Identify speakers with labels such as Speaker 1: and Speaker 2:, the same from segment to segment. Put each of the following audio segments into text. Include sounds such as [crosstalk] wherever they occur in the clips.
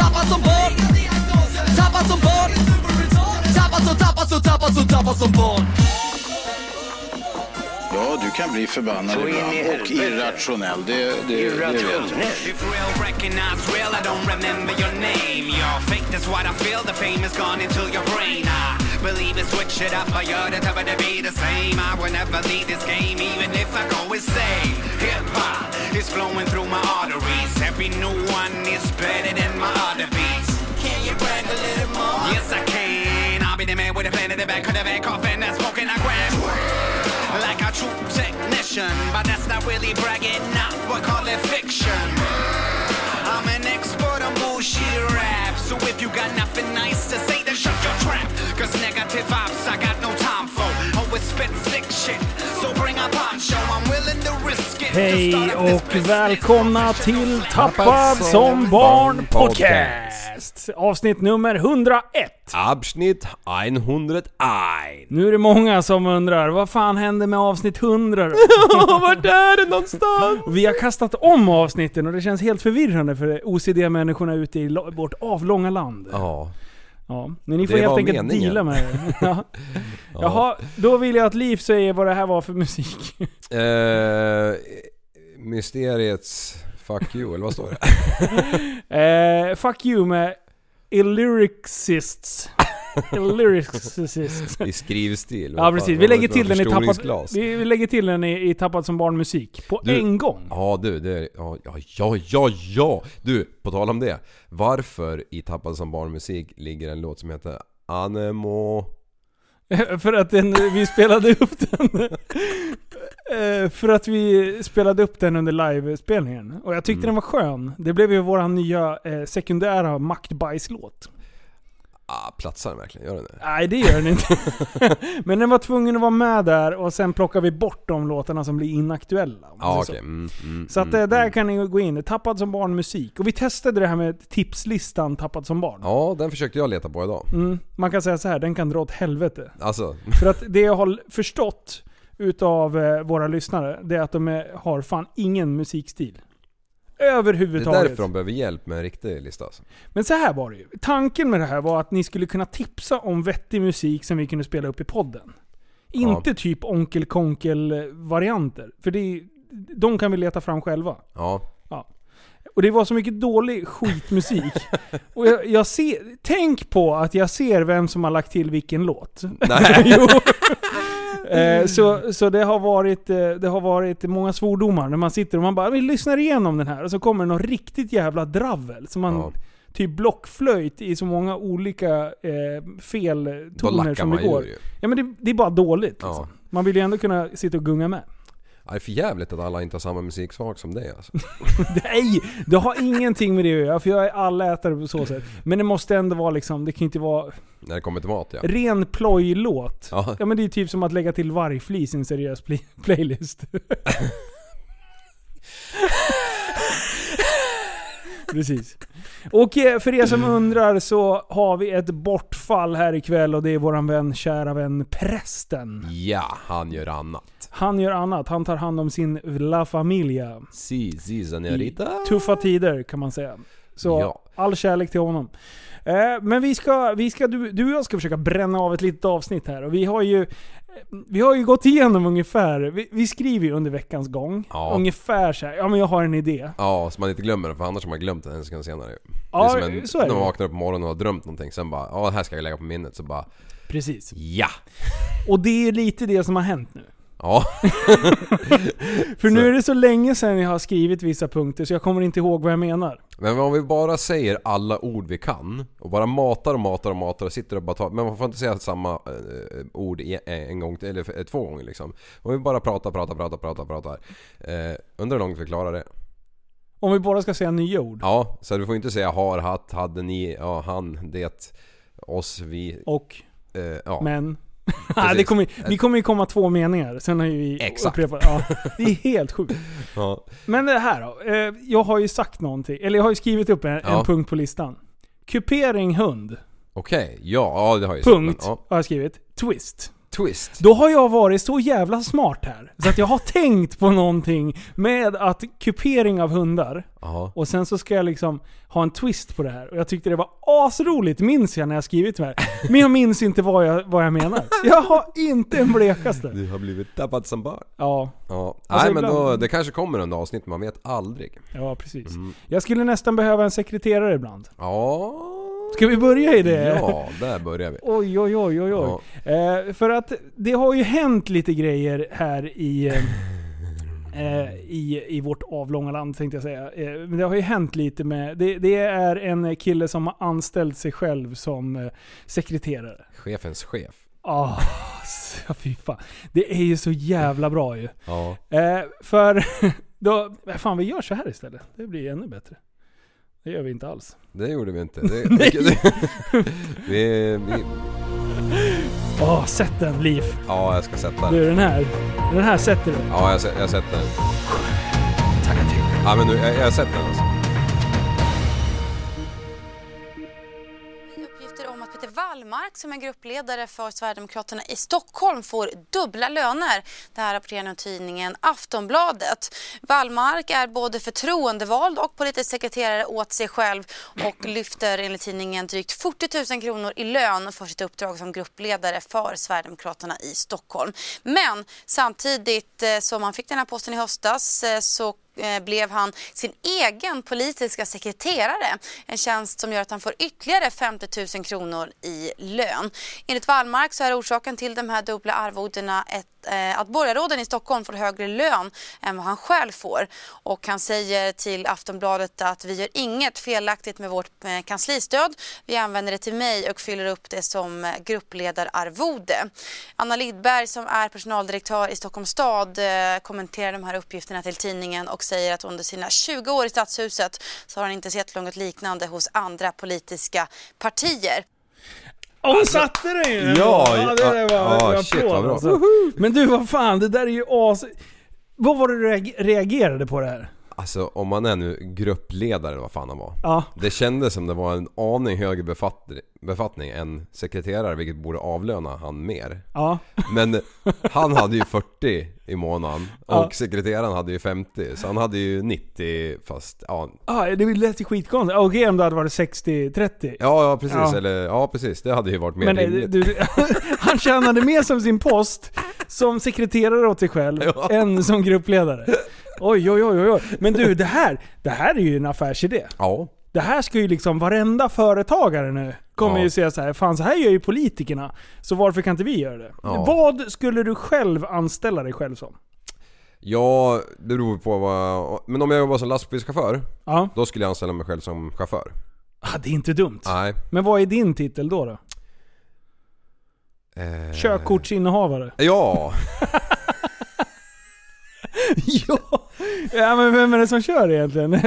Speaker 1: Tappad som barn Tappad som barn Tappad som, tappad som, tappad som, tappad som barn
Speaker 2: Ja, du kan bli förbannad
Speaker 3: Så in i
Speaker 2: ibland och
Speaker 3: helvete.
Speaker 2: irrationell. Det, det, det vet jag.
Speaker 4: If real recognize real, I don't remember your name. You're fake, that's what I feel. The fame is gone into your brain. I believe it, switch it up. I ought to never be the same. I will never leave this game, even if I go insane. Hip hop is flowing through my arteries. Every new one is better than my other beats. Can you brag a little more? Yes, I can. I'll be the man with a plan in the back of the back off and that's smoking. I grab like a true technician. But that's not really bragging, not what call it fiction. I'm an expert on bullshit rap. So if you got nothing nice to say, then shut your trap. Cause negative vibes, I got no time for. Always spit sick shit. So bring a poncho, I'm willing to risk it. to start
Speaker 5: Hej
Speaker 4: up this
Speaker 5: och
Speaker 4: business.
Speaker 5: välkomna till Tappad som barn podcast! Avsnitt nummer 101.
Speaker 6: Abschnitt 101.
Speaker 5: Nu är det många som undrar, vad fan hände med avsnitt 100 då?
Speaker 6: [laughs] Vart är det någonstans?
Speaker 5: Vi har kastat om avsnitten och det känns helt förvirrande för OCD-människorna ute i la- vårt avlånga land.
Speaker 6: Ja.
Speaker 5: Ja, men ni
Speaker 6: Det
Speaker 5: får helt
Speaker 6: var
Speaker 5: enkelt
Speaker 6: meningen.
Speaker 5: deala med
Speaker 6: [laughs]
Speaker 5: det. Ja. Jaha, då vill jag att Liv säger vad det här var för musik.
Speaker 6: Eh, mysteriets fuck you, eller vad står det?
Speaker 5: Eh, fuck you med
Speaker 6: [laughs]
Speaker 5: Illyrixists.
Speaker 6: [laughs]
Speaker 5: Illyrixists.
Speaker 6: I skrivstil.
Speaker 5: Ja precis, vi lägger till den i tappad,
Speaker 6: tappad...
Speaker 5: vi vi lägger till den i, i tappad som barn musik. På
Speaker 6: Du-
Speaker 5: en gång.
Speaker 6: Ja du, det är... Ja, ja, ja, ja, ja! Du, på tal om det. Varför i Tappad som barnmusik ligger en låt som heter Anemo...
Speaker 5: [laughs] för att den, vi spelade upp den. [laughs] Eh, för att vi spelade upp den under livespelningen. Och jag
Speaker 6: Mm.
Speaker 5: tyckte den var skön. Det blev ju vår nya eh, sekundära maktbajslåt.
Speaker 6: Ah, platsar den verkligen? Gör den det?
Speaker 5: Nej, det gör
Speaker 6: [laughs]
Speaker 5: den inte. Men den var tvungen att vara med där och sen plockar vi bort de låtarna som blir inaktuella. om man
Speaker 6: Ja,
Speaker 5: säger
Speaker 6: okej.
Speaker 5: så.
Speaker 6: Mm, mm,
Speaker 5: Så att
Speaker 6: mm,
Speaker 5: eh, där
Speaker 6: mm.
Speaker 5: kan ni gå in. Tappad som barn musik. Och vi testade det här med tipslistan Tappad som barn.
Speaker 6: Ja, den försökte jag leta på idag.
Speaker 5: Mm, man kan säga så här, den kan dra åt helvete.
Speaker 6: Alltså,
Speaker 5: För att det jag har förstått utav eh, våra lyssnare, det är att de är, har fan ingen musikstil.
Speaker 6: det är
Speaker 5: Överhuvudtaget.
Speaker 6: därför de behöver hjälp med en riktig lista alltså.
Speaker 5: Men så här var det ju. Tanken med det här var att ni skulle kunna tipsa om vettig musik som vi kunde spela upp i podden. Inte typ onkel konkel-varianter. För det är, de kan vi leta fram själva.
Speaker 6: Ja,
Speaker 5: Och det var så mycket dålig skitmusik. Och jag, jag ser, tänk på att jag ser vem som har lagt till vilken låt.
Speaker 6: Nej.
Speaker 5: [laughs] jo. Eh, så så det, har varit, eh, det har varit många svordomar när man sitter och man bara vi lyssnar igenom den här och så kommer det någon riktigt jävla dravel. Så man
Speaker 6: Ja.
Speaker 5: typ blockflöjt i så många olika eh,
Speaker 6: då
Speaker 5: feltoner
Speaker 6: lackar
Speaker 5: som
Speaker 6: man
Speaker 5: det går.
Speaker 6: ju.
Speaker 5: Ja men det, det är bara dåligt.
Speaker 6: Ja.
Speaker 5: Liksom. Man vill ju ändå kunna sitta och gunga med.
Speaker 6: Ja, det är för jävligt att alla inte har samma musiksmak som dig alltså.
Speaker 5: Nej! Det har ingenting med det att göra, för jag är allätare på så sätt. Men det måste ändå vara liksom, det kan ju inte vara
Speaker 6: När det kommer till mat
Speaker 5: [laughs]
Speaker 6: ja.
Speaker 5: ren plojlåt.
Speaker 6: Ja,
Speaker 5: Ja men det är typ som att lägga till vargflis i en seriös pli- [laughs] playlist. Precis. Och eh, för er som undrar så har vi ett bortfall här ikväll och det är våran vän, kära vän prästen.
Speaker 6: ja han gör annat.
Speaker 5: Han gör annat, han tar hand om sin La Familia.
Speaker 6: Si, si,
Speaker 5: i
Speaker 6: senorita.
Speaker 5: tuffa tider kan man säga. Så
Speaker 6: Ja.
Speaker 5: all kärlek till honom. Eh, men vi ska, vi ska, du, du och jag ska försöka bränna av ett litet avsnitt här. Och vi har ju, eh, vi har ju gått igenom ungefär, vi, vi skriver ju under veckans gång.
Speaker 6: Ja.
Speaker 5: Ungefär så här, ja men jag har en idé.
Speaker 6: Ja, så man inte glömmer det för annars har man glömt det en sekund senare.
Speaker 5: Ja,
Speaker 6: det är som en,
Speaker 5: så är
Speaker 6: när man
Speaker 5: det.
Speaker 6: vaknar upp på morgonen och har drömt någonting sen bara ja det här ska jag lägga på minnet så bara
Speaker 5: Precis.
Speaker 6: ja.
Speaker 5: Och det är lite det som har hänt nu.
Speaker 6: Ja, [laughs]
Speaker 5: För nu är det så länge sedan jag har skrivit vissa punkter så jag kommer inte ihåg vad jag menar.
Speaker 6: men om vi bara säger alla ord vi kan och bara matar och matar och matar och sitter och bara tar. Men man får inte säga samma eh, ord i- en gång till, eller eh, två gånger liksom. Om vi bara pratar, pratar, pratar, pratar, pratar. Eh, undrar hur långt vi klarar det.
Speaker 5: Om vi bara ska säga nya ord.
Speaker 6: Ja, så du får inte säga har, hatt, hade, ni, ja, han, det, oss, vi,
Speaker 5: Och,
Speaker 6: eh, ja. Eh.
Speaker 5: men. [laughs] Nej, det kommer, vi kommer ju komma två meningar, sen har ju vi
Speaker 6: Exakt.
Speaker 5: upprepat. Ja, det är helt sjukt.
Speaker 6: ja.
Speaker 5: Men det här då. Eh, jag har ju sagt någonting, eller jag har ju skrivit upp en,
Speaker 6: Ja.
Speaker 5: en punkt på listan. Kupering hund.
Speaker 6: Okej, ja, ja det har jag ju sagt, men,
Speaker 5: Punkt,
Speaker 6: ja.
Speaker 5: har jag skrivit. Twist.
Speaker 6: Twist.
Speaker 5: Då har jag varit så jävla smart här, så att jag har [laughs] tänkt på någonting med att kupering av hundar,
Speaker 6: Ja.
Speaker 5: och sen så ska jag liksom ha en twist på det här. Och jag tyckte det var asroligt, minns jag när jag skrivit det här. Men jag minns inte vad jag, vad jag menar. Jag har inte en blekaste.
Speaker 6: [laughs] Du har blivit tappad som barn.
Speaker 5: Ja,
Speaker 6: Ja,
Speaker 5: Alltså,
Speaker 6: nej men då,
Speaker 5: ibland-
Speaker 6: det kanske kommer under avsnitt, man vet aldrig.
Speaker 5: ja precis.
Speaker 6: Mm.
Speaker 5: Jag skulle nästan behöva en sekreterare ibland.
Speaker 6: Ja...
Speaker 5: Ska vi börja i det?
Speaker 6: Ja, där börjar vi.
Speaker 5: Eh. Oj, oj, oj, oj, oj. Eh, för att det har ju hänt lite grejer här i, eh, eh, i, i vårt avlånga land tänkte jag säga. Eh, men det har ju hänt lite med... Det, det är en kille som har anställt sig själv som eh, sekreterare.
Speaker 6: Chefens chef.
Speaker 5: Ah, [laughs] så fy fan. Det är ju så jävla bra ju.
Speaker 6: Ja.
Speaker 5: Eh, för [laughs] då... eh, Fan, vi gör så här istället. Det blir ännu bättre. Det gör vi inte alls.
Speaker 6: Det gjorde vi inte. Det, det, vi, vi,
Speaker 5: Åh, Ah, sätt den, Liv.
Speaker 6: ja, jag ska sätta den.
Speaker 5: Du, den här. Den här sätter du.
Speaker 6: Ja, jag, sä- jag sätter den. Ja, men nu, jag, jag sätter den alltså.
Speaker 7: eh, Uppgifter om att Peter Wallmark som är gruppledare för Sverigedemokraterna i Stockholm får dubbla löner. Det här rapporterar nu tidningen Aftonbladet. Wallmark är både förtroendevald och politisk sekreterare åt sig själv och [clears throat] lyfter enligt tidningen drygt 40 000 kronor i lön för sitt uppdrag som gruppledare för Sverigedemokraterna i Stockholm. Men samtidigt eh, som han fick den här posten i höstas eh, så eh, blev han sin egen politiska sekreterare. En tjänst som gör att han får ytterligare 50 000 kronor i lön. Enligt Wallmark så är orsaken till de här dubbla arvodena ett, eh, att borgarråden i Stockholm får högre lön än vad han själv får. Och han säger till Aftonbladet att vi gör inget felaktigt med vårt eh, kanslistöd. Vi använder det till mig och fyller upp det som eh, gruppledararvode. Anna Lidberg som är personaldirektör i Stockholms stad eh, kommenterar de här uppgifterna till tidningen och säger att under sina 20 år i Stadshuset så har han inte sett något liknande hos andra politiska partier.
Speaker 5: Och hon satte den ju!
Speaker 6: Alltså, Ja,
Speaker 5: det där var,
Speaker 6: ja,
Speaker 5: det var
Speaker 6: shit,
Speaker 5: applåd
Speaker 6: vad bra.
Speaker 5: Alltså. Men du, vad fan, det där är ju as... Vad var det du reag- reagerade på det här?
Speaker 6: Alltså om man är nu gruppledare eller vad fan han var.
Speaker 5: Ja.
Speaker 6: Det kändes som det var en aning högre befattning, befattning än sekreterare vilket borde avlöna han mer.
Speaker 5: Ja.
Speaker 6: Men han hade ju 40 i månaden och
Speaker 5: Ja.
Speaker 6: sekreteraren hade ju 50 så han hade ju 90 fast ja,
Speaker 5: Ah, det lät ju skitkonstigt. Okej om det hade varit 60-30.
Speaker 6: ja, ja precis
Speaker 5: Ja.
Speaker 6: eller ja precis det hade ju varit mer
Speaker 5: Men eh,
Speaker 6: rimligt.
Speaker 5: du, [laughs] han tjänade mer som sin post som sekreterare åt sig själv än som gruppledare. Oj, oj, oj, oj, oj. Men du, det här, det här är ju en affärsidé.
Speaker 6: Ja,
Speaker 5: Det här ska ju liksom varenda företagare nu kommer
Speaker 6: Ja.
Speaker 5: ju säga så här, fan så här gör ju politikerna, så varför kan inte vi göra det?
Speaker 6: Ja.
Speaker 5: Vad skulle du själv anställa dig själv som?
Speaker 6: ja det beror på vad... Men om jag jobbar som lastbilschaufför
Speaker 5: Ja,
Speaker 6: då skulle jag anställa mig själv som chaufför.
Speaker 5: ah, det är inte dumt.
Speaker 6: Nej.
Speaker 5: Men vad är din titel då? då?
Speaker 6: Eh, [laughs]
Speaker 5: Körkortsinnehavare?
Speaker 6: Ja!
Speaker 5: ja. ja, men vem är det som kör egentligen? [laughs] Nej,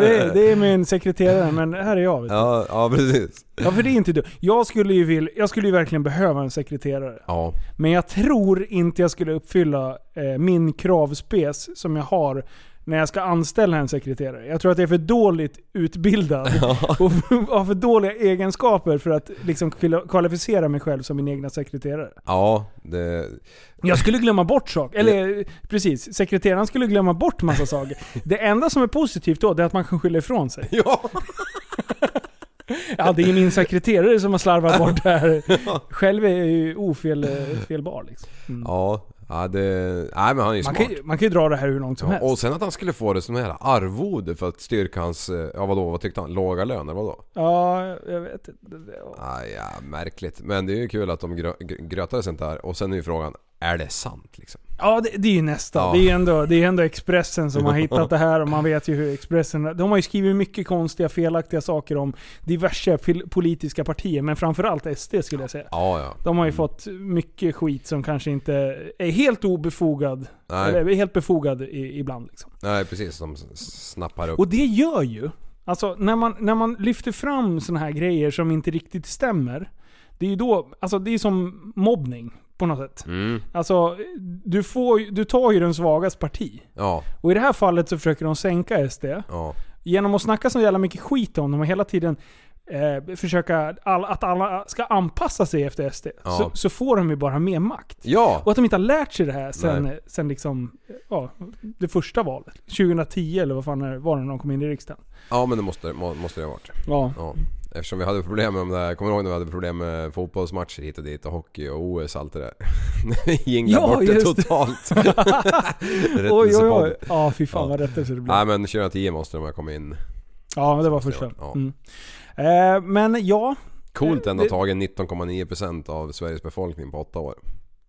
Speaker 5: det, är, det är min sekreterare, men här är jag. Vet du.
Speaker 6: Ja, ja precis.
Speaker 5: Ja, för det är inte dumt. Jag skulle ju, vill, jag skulle ju verkligen behöva en sekreterare.
Speaker 6: Ja.
Speaker 5: Men jag tror inte jag skulle uppfylla eh, min kravspes som jag har när jag ska anställa en sekreterare. Jag tror att jag är för dåligt
Speaker 6: [laughs]
Speaker 5: utbildad och [laughs] har för dåliga egenskaper för att liksom kvali- kvalificera mig själv som min egna sekreterare.
Speaker 6: Ja, det...
Speaker 5: [laughs] Jag skulle glömma bort saker. Eller precis, sekreteraren skulle glömma bort massa saker. Det enda som är positivt då det är att man kan skylla ifrån sig.
Speaker 6: Ja!
Speaker 5: Ja, det är min sekreterare som har slarvat bort det
Speaker 6: [laughs]
Speaker 5: här. Själv är jag ju ofelbar liksom.
Speaker 6: Ja, ja det... Nej men han är ju
Speaker 5: Man
Speaker 6: smart.
Speaker 5: kan, ju- man kan ju dra det här hur långt som
Speaker 6: Ja,
Speaker 5: helst.
Speaker 6: och sen att han skulle få det som en jävla arvode för att styrka hans... eh, Ja vadå, vad tyckte han? Låga löner, vadå?
Speaker 5: Ja, jag vet inte.
Speaker 6: Ah, ja, märkligt. Men det är ju kul att de grö- gr- grötade sånt där. Och sen är ju frågan, är det sant liksom?
Speaker 5: Ja, det, det är ju nästa.
Speaker 6: Ja.
Speaker 5: Det, är ju ändå, det är ändå Expressen som
Speaker 6: [laughs]
Speaker 5: har hittat det här och man vet ju hur Expressen... De har ju skrivit mycket konstiga, felaktiga saker om diverse pil- politiska partier, men framförallt SD skulle jag säga.
Speaker 6: Ja, ja.
Speaker 5: De har ju fått mycket skit som kanske inte är helt obefogad.
Speaker 6: Nej.
Speaker 5: Eller helt befogad i, ibland liksom.
Speaker 6: Nej precis, de s- snappar upp.
Speaker 5: Och det gör ju, alltså när man, när man lyfter fram såna här grejer som inte riktigt stämmer. Det är ju då, alltså det är som mobbning på något sätt.
Speaker 6: Mm.
Speaker 5: Alltså, du, får, ju- du tar ju den svagas parti.
Speaker 6: Ja,
Speaker 5: Och i det här fallet så försöker de sänka SD.
Speaker 6: ja.
Speaker 5: Genom att snacka så jävla mycket skit om dem och hela tiden eh, försöka all, att alla ska anpassa sig efter SD.
Speaker 6: Ja.
Speaker 5: Så, så får de ju bara mer makt.
Speaker 6: Ja!
Speaker 5: Och att de inte har lärt sig det här sen,
Speaker 6: Nej.
Speaker 5: sen liksom, ja, det första valet. 2010 eller vad fan är det- var det när de kom in i riksdagen?
Speaker 6: Ja men det måste, må- måste det ha varit. [laughs]
Speaker 5: Ja.
Speaker 6: Ja. Eftersom vi hade problem med de där, kommer du ihåg när vi hade problem med fotbollsmatcher hit och dit och hockey och OS och allt det där? [laughs] vi jinglade
Speaker 5: Ja,
Speaker 6: bort det
Speaker 5: just det.
Speaker 6: totalt.
Speaker 5: Oj, oj,
Speaker 6: Rättelsepodd.
Speaker 5: oj. Ja, fy fan
Speaker 6: Ja.
Speaker 5: vad rättelse det blev.
Speaker 6: Nej men 2010 måste de ha kommit in.
Speaker 5: Ja, det var
Speaker 6: måste det
Speaker 5: första.
Speaker 6: ha varit,
Speaker 5: Mm. Eh, men ja,
Speaker 6: Coolt ändå
Speaker 5: Det-
Speaker 6: att ha tagit 19,9% av Sveriges befolkning på 8 år.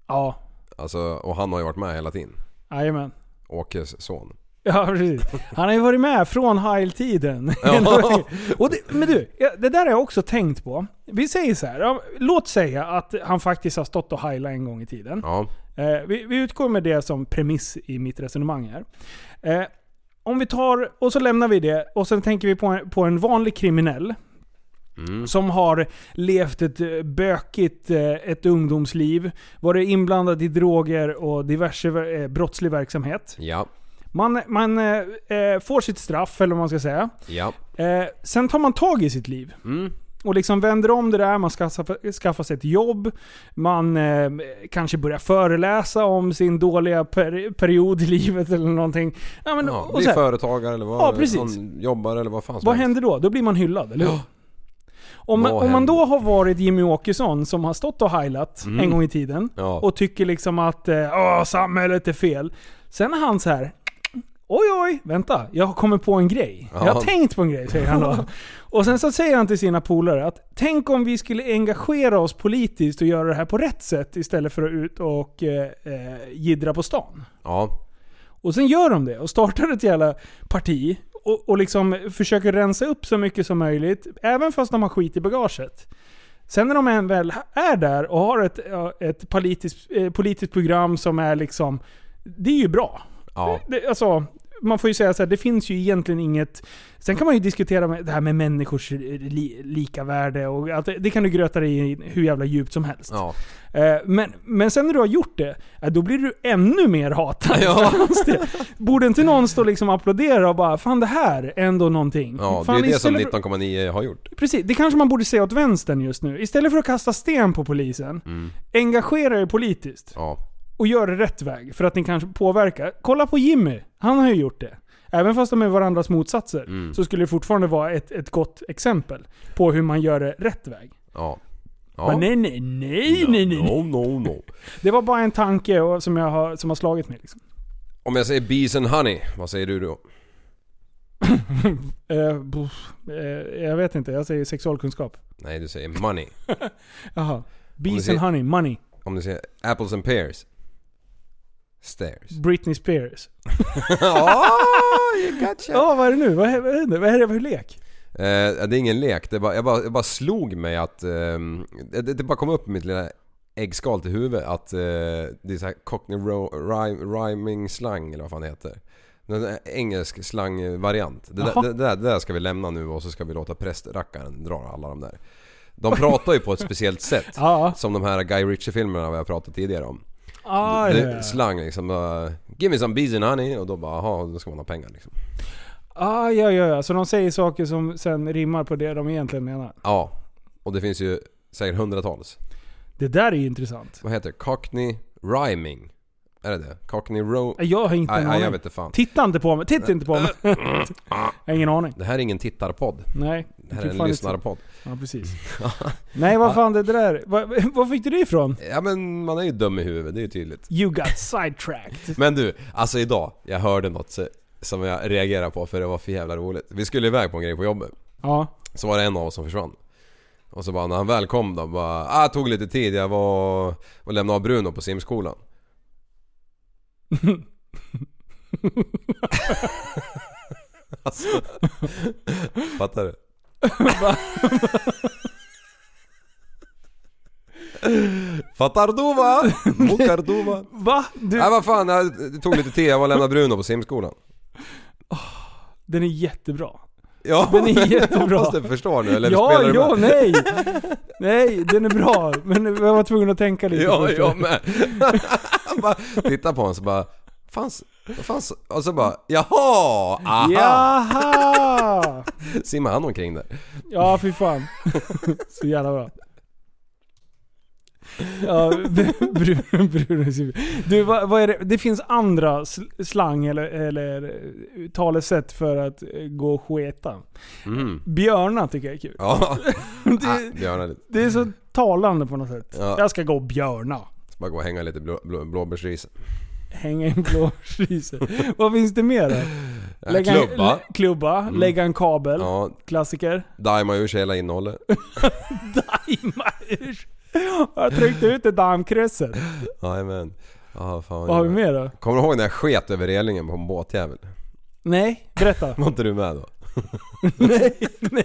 Speaker 5: ja,
Speaker 6: Alltså, och han har ju varit med hela tiden.
Speaker 5: jajamän.
Speaker 6: Åkes son.
Speaker 5: Ja, precis. Han har ju varit med från Heil-tiden. [laughs]
Speaker 6: Ja.
Speaker 5: Och det, men du, ja, det där har jag också tänkt på. Vi säger så här. ja, låt säga att han faktiskt har stått och heilat en gång i tiden.
Speaker 6: Ja.
Speaker 5: Eh, vi, vi utgår med det som premiss i mitt resonemang här. Eh, om vi tar, och så lämnar vi det, och sen tänker vi på en, på en vanlig kriminell. Som har levt ett eh, bökigt eh, ett ungdomsliv, varit inblandad i droger och diverse eh, brottslig verksamhet.
Speaker 6: Ja.
Speaker 5: Man, man eh, eh, får sitt straff, eller vad man ska säga.
Speaker 6: Ja.
Speaker 5: Eh, sen tar man tag i sitt liv.
Speaker 6: Mm.
Speaker 5: Och liksom vänder om det där, man skaffar, skaffar sig ett jobb. Man eh, kanske börjar föreläsa om sin dåliga per, period i livet eller någonting. Ja, men,
Speaker 6: ja.
Speaker 5: och
Speaker 6: Bli
Speaker 5: så här,
Speaker 6: företagare eller vad...
Speaker 5: Ja, precis.
Speaker 6: någon Jobbar eller vad fan som
Speaker 5: vad
Speaker 6: helst.
Speaker 5: händer då? Då blir man hyllad, eller hur? Om, man-
Speaker 6: Vad
Speaker 5: om man
Speaker 6: händer? Mm.
Speaker 5: då har varit Jimmy Åkesson som har stått och heilat en gång i tiden
Speaker 6: Ja.
Speaker 5: och tycker liksom att eh, Åh, samhället är fel. Sen är han så här. Oj oj, vänta. Jag har kommit på en grej.
Speaker 6: Ja.
Speaker 5: Jag har tänkt på en grej, säger
Speaker 6: [laughs]
Speaker 5: han då. Och sen så säger han till sina polare att tänk om vi skulle engagera oss politiskt och göra det här på rätt sätt istället för att ut och eh, eh, jiddra på stan.
Speaker 6: Ja.
Speaker 5: Och sen gör de det och startar ett jävla parti. Och, och liksom försöker rensa upp så mycket som möjligt. Även fast de har skit i bagaget. Sen när de än väl är där och har ett, ja, ett politiskt, eh, politiskt program som är liksom... Det är ju bra.
Speaker 6: Ja.
Speaker 5: Det, alltså, man får ju säga så här, det finns ju egentligen inget... Sen kan man ju diskutera med, det här med människors eh, li, lika värde och att det, det kan du gröta dig i hur jävla djupt som helst.
Speaker 6: Ja.
Speaker 5: Eh, Men, men sen när du har gjort det, eh, då blir du ännu mer hatad. [laughs]
Speaker 6: Ja.
Speaker 5: förstås det. Borde inte någon stå och liksom applådera och bara 'Fan det här är ändå någonting'?
Speaker 6: Ja, det
Speaker 5: Fan,
Speaker 6: är det som
Speaker 5: istället för-
Speaker 6: 19,9 har gjort.
Speaker 5: Precis, det kanske man borde säga åt vänstern just nu. Istället för att kasta sten på polisen,
Speaker 6: Mm.
Speaker 5: engagera er politiskt.
Speaker 6: Ja.
Speaker 5: Och gör det rätt väg, för att ni kanske påverkar. Kolla på Jimmy, han har ju gjort det. Även fast de är varandras motsatser,
Speaker 6: Mm.
Speaker 5: så skulle det fortfarande vara ett, ett gott exempel på hur man gör det rätt väg.
Speaker 6: Ja. Ja.
Speaker 5: Men nej, nej, nej, nej, nej,
Speaker 6: No,
Speaker 5: nej.
Speaker 6: no, no.
Speaker 5: Det var bara en tanke och- som, jag har, som har slagit mig. Liksom.
Speaker 6: Om jag säger bees and honey, vad säger du då?
Speaker 5: Eh, bof, eh, jag vet inte, jag säger sexualkunskap.
Speaker 6: Nej, du säger money.
Speaker 5: Jaha.
Speaker 6: du
Speaker 5: Bees
Speaker 6: säger-
Speaker 5: and honey, money,
Speaker 6: Om du säger apples and pears. Stairs.
Speaker 5: Britney Spears. [laughs]
Speaker 6: oh, you gotcha.
Speaker 5: Ja, vad är det nu? Vad är, vad är det? Vad är det för lek?
Speaker 6: Eh, det är ingen lek, det bara, jag, bara, jag bara slog mig att... ehm, det, det bara kom upp i mitt lilla äggskal till huvudet att eh, det är så här cockney ro, rhyme, rhyming slang eller vad fan det heter. Den där engelsk slangvariant. Det, där-
Speaker 5: Jaha.
Speaker 6: det, där- det där ska vi lämna nu och så ska vi låta prästrackaren dra alla de där. De pratar ju på ett speciellt sätt.
Speaker 5: [laughs] Ja.
Speaker 6: Som de här Guy Ritchie-filmerna vi har pratat tidigare om.
Speaker 5: Ah,
Speaker 6: det,
Speaker 5: ja, ja.
Speaker 6: Slang liksom. Uh, Give me some bees and honey. Och då bara, jaha, då ska man ha pengar liksom.
Speaker 5: ah, ja, ja, ja. Så de säger saker som sen rimmar på det de egentligen menar.
Speaker 6: Ja. Och det finns ju säkert hundratals.
Speaker 5: Det där är ju intressant.
Speaker 6: Vad heter det? Cockney rhyming? Är det det? Cockney ro...
Speaker 5: Eh, Jag har inte
Speaker 6: Nej,
Speaker 5: en
Speaker 6: nej,
Speaker 5: aning.
Speaker 6: jag vet inte fan.
Speaker 5: Titta inte på mig. Titta inte
Speaker 6: [laughs]
Speaker 5: på mig. jag har ingen aning.
Speaker 6: Det här är ingen tittarpodd.
Speaker 5: Nej.
Speaker 6: Det här
Speaker 5: Fy
Speaker 6: är en
Speaker 5: fan,
Speaker 6: lyssnarpodd.
Speaker 5: Ja,
Speaker 6: [laughs]
Speaker 5: precis. Nej, vad fan det där... Vad, [laughs] vad fick du det ifrån?
Speaker 6: Ja men man är ju dum i huvudet, det är ju tydligt.
Speaker 5: You got sidetracked.
Speaker 6: Men du, alltså idag, jag hörde något så- som jag reagerade på för det var för jävla roligt. Vi skulle iväg på en grej på jobbet.
Speaker 5: Ja.
Speaker 6: Så var det en av oss som försvann. Och så bara när han väl kom då bara, ah, det tog lite tid, jag var och lämnade av Bruno på simskolan. [laughs] Alltså, fattar du? [laughs] Fattar du va? Mokar du va?
Speaker 5: Va? Du,
Speaker 6: Nej vad fan, jag tog lite te, jag var och lämnade Bruno på simskolan.
Speaker 5: den är jättebra.
Speaker 6: Ja, [laughs]
Speaker 5: Den är
Speaker 6: men
Speaker 5: jättebra.
Speaker 6: Hoppas du förstår nu, eller
Speaker 5: ja,
Speaker 6: spelar du
Speaker 5: ja,
Speaker 6: med? [laughs]
Speaker 5: nej! Nej, den är bra. Men jag var tvungen att tänka lite
Speaker 6: Ja,
Speaker 5: först.
Speaker 6: jag med. Han [laughs] bara tittar på honom så bara, fanns, fanns, och så bara, jaha, aha.
Speaker 5: Jaha!
Speaker 6: Simmar han omkring där?
Speaker 5: Ja,
Speaker 6: [laughs]
Speaker 5: fy fan. Så jävla bra. Ja, [laughs] br- br- brun i huvudet. Du, vad, vad är det? Det finns andra sl- slang eller, eller eh, talesätt för att eh, gå och sketa.
Speaker 6: Mm.
Speaker 5: Björna tycker jag är kul.
Speaker 6: Ja,
Speaker 5: [laughs]
Speaker 6: Ah,
Speaker 5: Det,
Speaker 6: Björn lite.
Speaker 5: det är så talande på något sätt.
Speaker 6: Ja.
Speaker 5: Jag ska gå och björna.
Speaker 6: Så bara gå och hänga lite blå, blå, blåbärsris.
Speaker 5: Hänga i en blå skise. Vad finns det mer då?
Speaker 6: Ja,
Speaker 5: Lägga en-
Speaker 6: Eh, Äh, Klubba. Mm.
Speaker 5: lä- klubba, lägga en kabel.
Speaker 6: Ja,
Speaker 5: Klassiker.
Speaker 6: dajma ur sig hela innehållet.
Speaker 5: Daima ur. Jag tryckte ut det dammkrysset.
Speaker 6: Jajamän. Ja, fan.
Speaker 5: Vad har vi mer då?
Speaker 6: Kommer du ihåg när jag sket över relingen på en båtjävel?
Speaker 5: Nej,
Speaker 6: [laughs]
Speaker 5: berätta.
Speaker 6: Var inte du med
Speaker 5: [laughs]
Speaker 6: då? [laughs] nej, nej.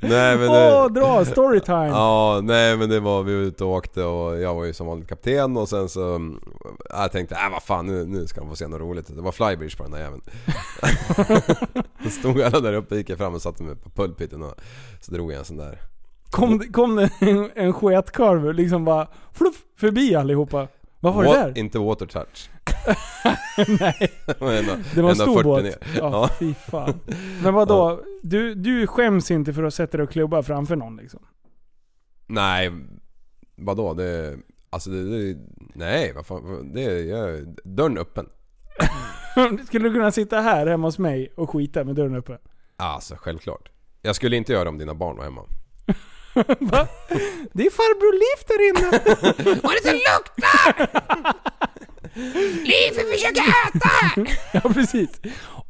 Speaker 6: nej men det,
Speaker 5: Åh, dra storytime!
Speaker 6: Ja, nej men det var vi var ute och åkte och jag var ju som vanligt kapten och sen så... mm, Jag tänkte, äh vad fan nu, nu ska han få se något roligt. Det var flybridge på den där
Speaker 5: [laughs]
Speaker 6: jäveln. Då stod alla där uppe, gick jag fram och satte mig på pulpiten och så drog jag en sån där.
Speaker 5: Kom, det- kom det en, en sketkorv liksom bara fluff, förbi allihopa. Vad var det
Speaker 6: Wa-
Speaker 5: där?
Speaker 6: Inte water touch.
Speaker 5: [laughs]
Speaker 6: [laughs]
Speaker 5: Nej,
Speaker 6: Ändå-
Speaker 5: det var
Speaker 6: [laughs]
Speaker 5: en
Speaker 6: ändå
Speaker 5: stor
Speaker 6: 40
Speaker 5: båt.
Speaker 6: ner.
Speaker 5: Ja,
Speaker 6: Ja.
Speaker 5: fy fan. Men vadå? Du, du skäms inte för att sätta dig och klubba framför någon liksom? [laughs]
Speaker 6: Nej, vadå? Det... Alltså det... det nej, vad fan. Det, jag, dörren öppen.
Speaker 5: Skulle du kunna sitta här hemma hos mig och skita med dörren öppen?
Speaker 6: Alltså självklart. Jag skulle inte göra det om dina barn var hemma.
Speaker 5: Va? Det är farbror Liv där inne!
Speaker 8: [laughs] Vad är det som luktar? Liv, vi försöker äta!
Speaker 5: ja, precis.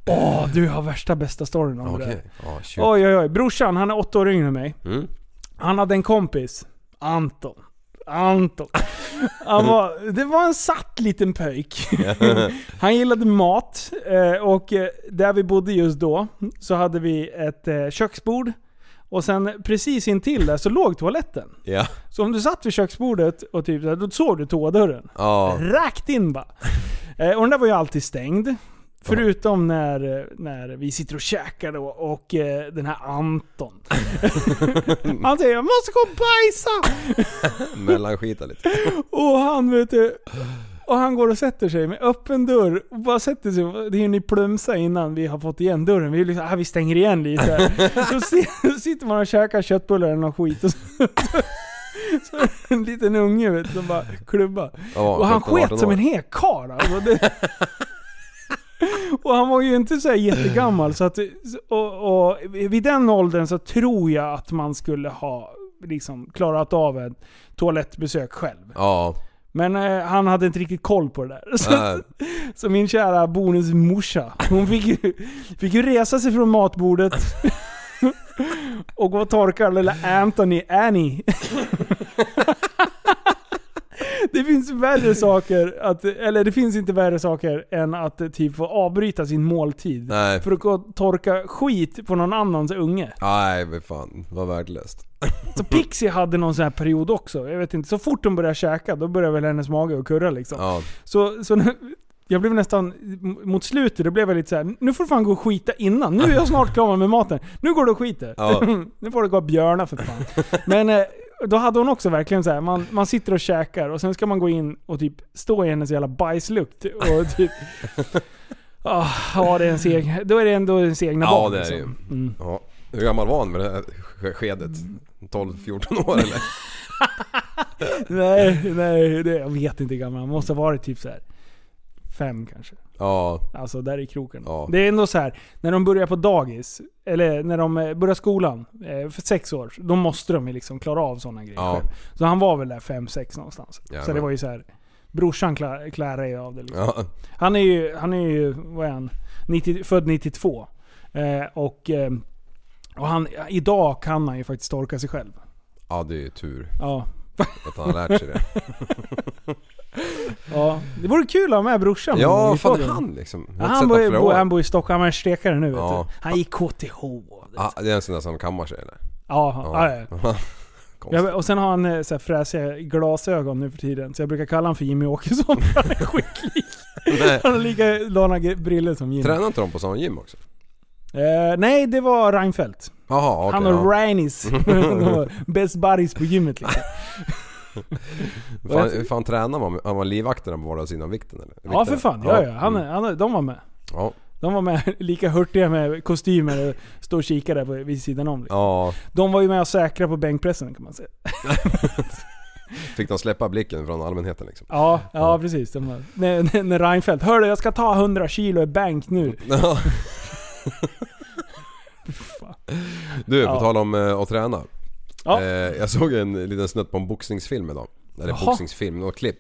Speaker 5: Åh, du har värsta bästa storyn om det där.
Speaker 6: Okej. Ja, shit.
Speaker 5: Oj, oj, oj. Brorsan, han är åtta år yngre än mig.
Speaker 6: Mm.
Speaker 5: Han hade en kompis. Anton. Anton. Han var, det var en satt
Speaker 6: [laughs]
Speaker 5: liten pöjk. Han gillade mat eh, och eh, där vi bodde just då så hade vi ett eh, köksbord. Och sen precis intill där så låg toaletten.
Speaker 6: Ja.
Speaker 5: Så om du satt vid köksbordet och typ så här, då såg du toadörren.
Speaker 6: Ja.
Speaker 5: Rakt in bara. Eh, och den där var ju alltid stängd. Förutom när, eh, när vi sitter och käkar då och eh, den här Anton. han säger 'Jag måste gå och bajsa!'
Speaker 6: Mellanskita lite.
Speaker 5: Och han vet du, och han går och sätter sig med öppen dörr och bara sätter sig. Det hinner ju plumsa innan vi har fått igen dörren. Vi, är liksom, ah, vi stänger igen lite. Så si- så sitter man och käkar köttbullar eller någon skit och så, [laughs] så är det en liten unge vet, du, som bara klubbar.
Speaker 6: Ja,
Speaker 5: Och han
Speaker 6: 17, 18
Speaker 5: sket som
Speaker 6: år.
Speaker 5: en hek karl alltså. det... Och han var ju inte så här jättegammal så att, och, och vid den åldern så tror jag att man skulle ha liksom klarat av ett toalettbesök själv.
Speaker 6: Ja.
Speaker 5: Men eh, han hade inte riktigt koll på det där. [laughs] Så,
Speaker 6: Nej.
Speaker 5: att, så min kära bonusmorsa, hon fick ju, fick ju resa sig från matbordet [laughs] och gå och torka lilla Anthony Annie. [laughs] Det finns värre saker, att, eller det finns inte värre saker än att eh, typ få avbryta sin måltid.
Speaker 6: Nej.
Speaker 5: För att gå och torka skit på någon annans unge.
Speaker 6: Nej, vad fan. Vad värdelöst.
Speaker 5: Så Pixie hade någon sån här period också. Jag vet inte, så fort hon började käka då började väl hennes mage att kurra liksom.
Speaker 6: Ja.
Speaker 5: Så, så när, jag blev nästan, mot slutet, då blev jag lite så här: nu får du fan gå och skita innan. Nu är jag snart klar med maten. Nu går du och skiter.
Speaker 6: Ja.
Speaker 5: [laughs] nu får du gå och björna för fan. Men eh, då hade hon också verkligen så här, man, man sitter och käkar och sen ska man gå in och typ stå i hennes jävla bajslukt.
Speaker 6: [laughs]
Speaker 5: Och typ, ah, ja, det är en seg, då är det ändå ens egna
Speaker 6: Ja,
Speaker 5: barn.
Speaker 6: det är det ju.
Speaker 5: liksom. Mm.
Speaker 6: Ja. Hur gammal var han med det här sk- skedet? 12-14 år eller?
Speaker 5: Nej, nej, det, jag vet inte hur gammal han måste ha varit typ så här. Fem kanske.
Speaker 6: Ja.
Speaker 5: Alltså där i kroken.
Speaker 6: Ja.
Speaker 5: Det är ändå så här. när de börjar på dagis, eller när de eh, börjar skolan eh, för sex år, då måste de ju liksom klara av sådana grejer
Speaker 6: Ja.
Speaker 5: själv. Så han var väl där fem, sex någonstans. Så
Speaker 6: Jajamän.
Speaker 5: det var ju så här. brorsan kla- klarar ju av det liksom.
Speaker 6: Ja.
Speaker 5: Han är ju, han är ju, vad är han? 90, född 92. Eh, och eh, och han, idag kan han ju faktiskt torka sig själv.
Speaker 6: Ja, det är ju tur.
Speaker 5: Ja.
Speaker 6: Att han har lärt
Speaker 5: [laughs]
Speaker 6: sig det.
Speaker 5: Ja, det vore kul att ha med brorsan.
Speaker 6: Ja,
Speaker 5: i
Speaker 6: fan
Speaker 5: podden.
Speaker 6: han liksom. Jag
Speaker 5: Ja,
Speaker 6: har inte sett honom
Speaker 5: han, bor,
Speaker 6: flera
Speaker 5: bor, han
Speaker 6: år.
Speaker 5: bor i Stockholm, han är stekare nu
Speaker 6: Ja.
Speaker 5: vet du. Han gick KTH. Ja,
Speaker 6: Ah, det är en sån där som kammar sig eller?
Speaker 5: ja.
Speaker 6: [laughs]
Speaker 5: ja.
Speaker 6: Konstigt.
Speaker 5: Ja, och sen har han eh, så här fräsiga glasögon nu för tiden, så jag brukar kalla honom för Jimmy Åkesson [laughs] för han är skitlik.
Speaker 6: Nej.
Speaker 5: [laughs] Han har likadana gre- brillor som Jimmy.
Speaker 6: Tränar inte de på sån gym också?
Speaker 5: Eh, nej, det var Reinfeldt.
Speaker 6: Jaha, okej.
Speaker 5: han och
Speaker 6: ja.
Speaker 5: [laughs] Reinis. De var bäst buddies på gymmet liksom.
Speaker 6: Hur fan, hur fan tränar man? Har man livvakterna på vardera sidan av vikten eller?
Speaker 5: Ja för
Speaker 6: Vikterna?
Speaker 5: fan, ja ja. Han,
Speaker 6: mm.
Speaker 5: han, de var med.
Speaker 6: ja.
Speaker 5: De var med, [laughs] lika hurtiga med kostymer och stå och kika där på, vid sidan om. Liksom.
Speaker 6: ja,
Speaker 5: De var ju med och säkra på bänkpressen kan man säga.
Speaker 6: fick de släppa blicken från allmänheten liksom?
Speaker 5: Ja, ja precis. De var, när, när- när Reinfeldt, hörru jag ska ta 100 kilo i bänk nu.
Speaker 6: Ja. du, på
Speaker 5: Ja.
Speaker 6: tal om eh, att träna.
Speaker 5: Ja.
Speaker 6: Eh, jag såg en liten snutt på en boxningsfilm idag. Eller
Speaker 5: Jaha.
Speaker 6: boxningsfilm, något klipp.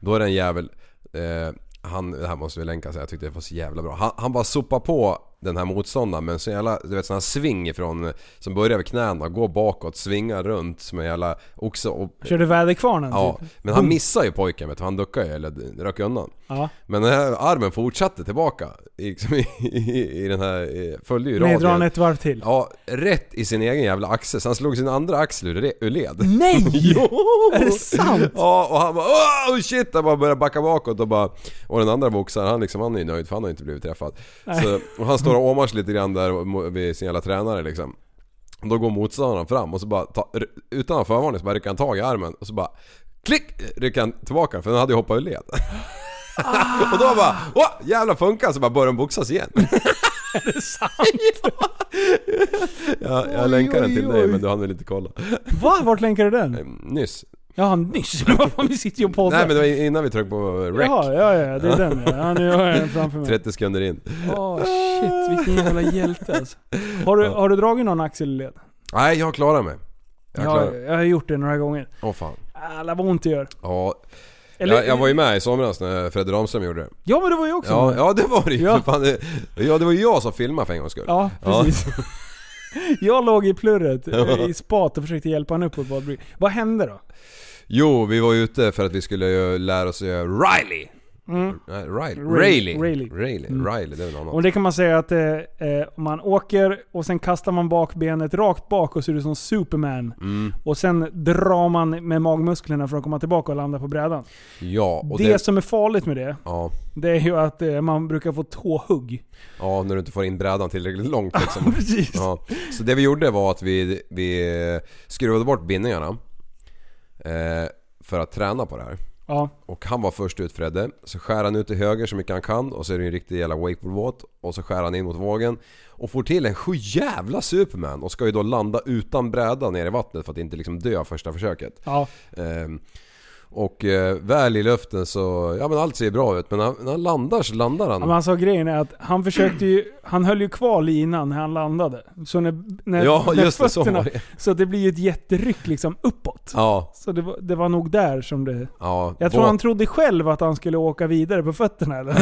Speaker 6: Då är det en jävel, eh, han, det här måste vi länka så jag tyckte det var så jävla bra. Han, han bara sopar på den här motståndaren med en så jävla, du vet sån här sving ifrån, som börjar vid knäna, går bakåt, svingar runt som en jävla oxe och
Speaker 5: Körde väderkvarnen
Speaker 6: Ja,
Speaker 5: typ.
Speaker 6: men han missar ju pojken vet du, han duckar ju eller rök undan.
Speaker 5: Ja.
Speaker 6: Men den här armen fortsatte tillbaka. i- Liksom i, i, i den här, eh, följde ju
Speaker 5: Nej, drar han
Speaker 6: radien.
Speaker 5: ett varv till.
Speaker 6: Ja, rätt i sin egen jävla axel. Så han slog sin andra axel ur, re- ur led.
Speaker 5: Nej!
Speaker 6: [laughs] Jo!
Speaker 5: Är
Speaker 6: [laughs]
Speaker 5: det sant?
Speaker 6: Ja, och han bara oh shit! Han bara började backa bakåt och bara... Och den andra boxaren, han liksom, han är ju nöjd för han har ju inte blivit träffad. Så, och han står och åmar sig lite grann där vid sin jävla tränare liksom. Och Då går motståndaren fram och så bara, ta, r- utan förvarning så bara rycker han tag i armen och så bara Klick! Rycker han tillbaka för den hade ju hoppat ur led. [laughs] och då bara, åh jävlar funkar så bara börjar de boxas igen. Jag, jag länkar den till dig men du hann väl inte kolla.
Speaker 5: Va? Vart länkar du den?
Speaker 6: Nyss.
Speaker 5: Ja, nyss. Men [laughs] vad fan, vi sitter ju och poddar.
Speaker 6: Nej men det var innan vi tryckte på rec.
Speaker 5: Jaha, ja, ja, det är den ja. ja. Nu har jag den framför mig.
Speaker 6: 30 sekunder in.
Speaker 5: Åh shit, vilken jävla hjälte alltså. Har du, har du dragit någon axelled?
Speaker 6: Nej, jag klarar mig. Jag klarar
Speaker 5: Jag,
Speaker 6: mig.
Speaker 5: jag har gjort det några gånger.
Speaker 6: Åh fan.
Speaker 5: Alla vad ont det gör.
Speaker 6: Ja,
Speaker 5: Eller,
Speaker 6: jag, jag var ju med i somras när Fredrik Ramström gjorde det.
Speaker 5: ja men det var ju också
Speaker 6: Ja,
Speaker 5: med.
Speaker 6: ja det var det ju.
Speaker 5: Ja.
Speaker 6: Ja. Fan, det, ja, det var ju jag som filmade för en gångs skull.
Speaker 5: Ja,
Speaker 6: [laughs]
Speaker 5: precis. Jag låg i plurret eh, i spat och försökte hjälpa honom upp på badbryggan. Vad hände då?
Speaker 6: Jo, vi var ute för att vi skulle ju lära oss att göra Riley.
Speaker 5: Mm.
Speaker 6: Nej, Riley.
Speaker 5: Riley.
Speaker 6: Riley.
Speaker 5: Riley.
Speaker 6: Riley. Riley. det är väl någon
Speaker 5: Mm. Och
Speaker 6: annan.
Speaker 5: det kan man säga att eh, eh, man åker och sen kastar man bakbenet rakt bak och ser ut som Superman.
Speaker 6: Mm.
Speaker 5: Och sen drar man med magmusklerna för att komma tillbaka och landa på brädan.
Speaker 6: Ja, och
Speaker 5: det,
Speaker 6: det...
Speaker 5: som är farligt med det,
Speaker 6: Ja,
Speaker 5: det är ju att eh, man brukar få tåhugg.
Speaker 6: ja, när du inte får in brädan tillräckligt långt liksom.
Speaker 5: [laughs] Precis.
Speaker 6: Ja. Så det vi gjorde var att vi, vi skruvade bort bindningarna. Eh, för att träna på det här.
Speaker 5: Ja.
Speaker 6: Och han var först ut Fredde. Så skär han ut till höger så mycket han kan och så är det en riktig jävla wakeboardbåt. Och så skär han in mot vågen. Och får till en sju jävla Superman och ska ju då landa utan bräda ner i vattnet för att inte liksom dö av första försöket.
Speaker 5: Ja.
Speaker 6: Ehm, och eh, väl i luften så, ja men allt ser bra ut men han, när han landar så landar han.
Speaker 5: Men alltså grejen är att han försökte ju, han höll ju kvar linan när han landade. Så när, när,
Speaker 6: Ja,
Speaker 5: när
Speaker 6: just det, så
Speaker 5: fötterna,
Speaker 6: var det.
Speaker 5: så att det blir ju ett jätteryck liksom uppåt.
Speaker 6: Ja,
Speaker 5: Så det var, det var nog där som det...
Speaker 6: ja.
Speaker 5: Jag tror
Speaker 6: båt-
Speaker 5: han trodde själv att han skulle åka vidare på fötterna eller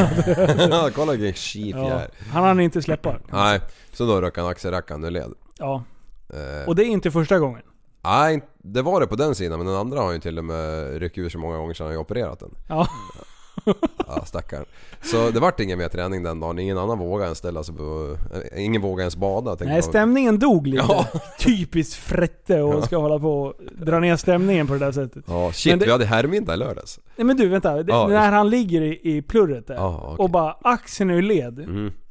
Speaker 6: [laughs]
Speaker 5: något.
Speaker 6: Kolla vilken skif jag
Speaker 5: ja.
Speaker 6: är.
Speaker 5: Han hann inte släppa.
Speaker 6: Nej, så då rök han axelrackan ur led.
Speaker 5: Ja.
Speaker 6: Eh,
Speaker 5: Och det är inte första gången.
Speaker 6: Nej, det var det på den sidan men den andra har ju till och med ryckt ur så många gånger sedan han har ju opererat den.
Speaker 5: Ja.
Speaker 6: Ja, stackarn. Så det vart ingen mer träning den dagen. Ingen annan vågade ens ställa sig på... eh, Ingen vågade ens bada. tänkte
Speaker 5: Nej,
Speaker 6: man.
Speaker 5: stämningen dog lite.
Speaker 6: Ja.
Speaker 5: [laughs] Typiskt Frette och ska hålla på och dra ner stämningen på det där sättet.
Speaker 6: Ja,
Speaker 5: Men
Speaker 6: shit.
Speaker 5: det-
Speaker 6: Vi hade härmiddag i lördags.
Speaker 5: Nej men du, vänta. Det,
Speaker 6: Ja,
Speaker 5: när han ligger i, i plurret där
Speaker 6: Ja, okej. Mm.
Speaker 5: och bara axeln är ur led.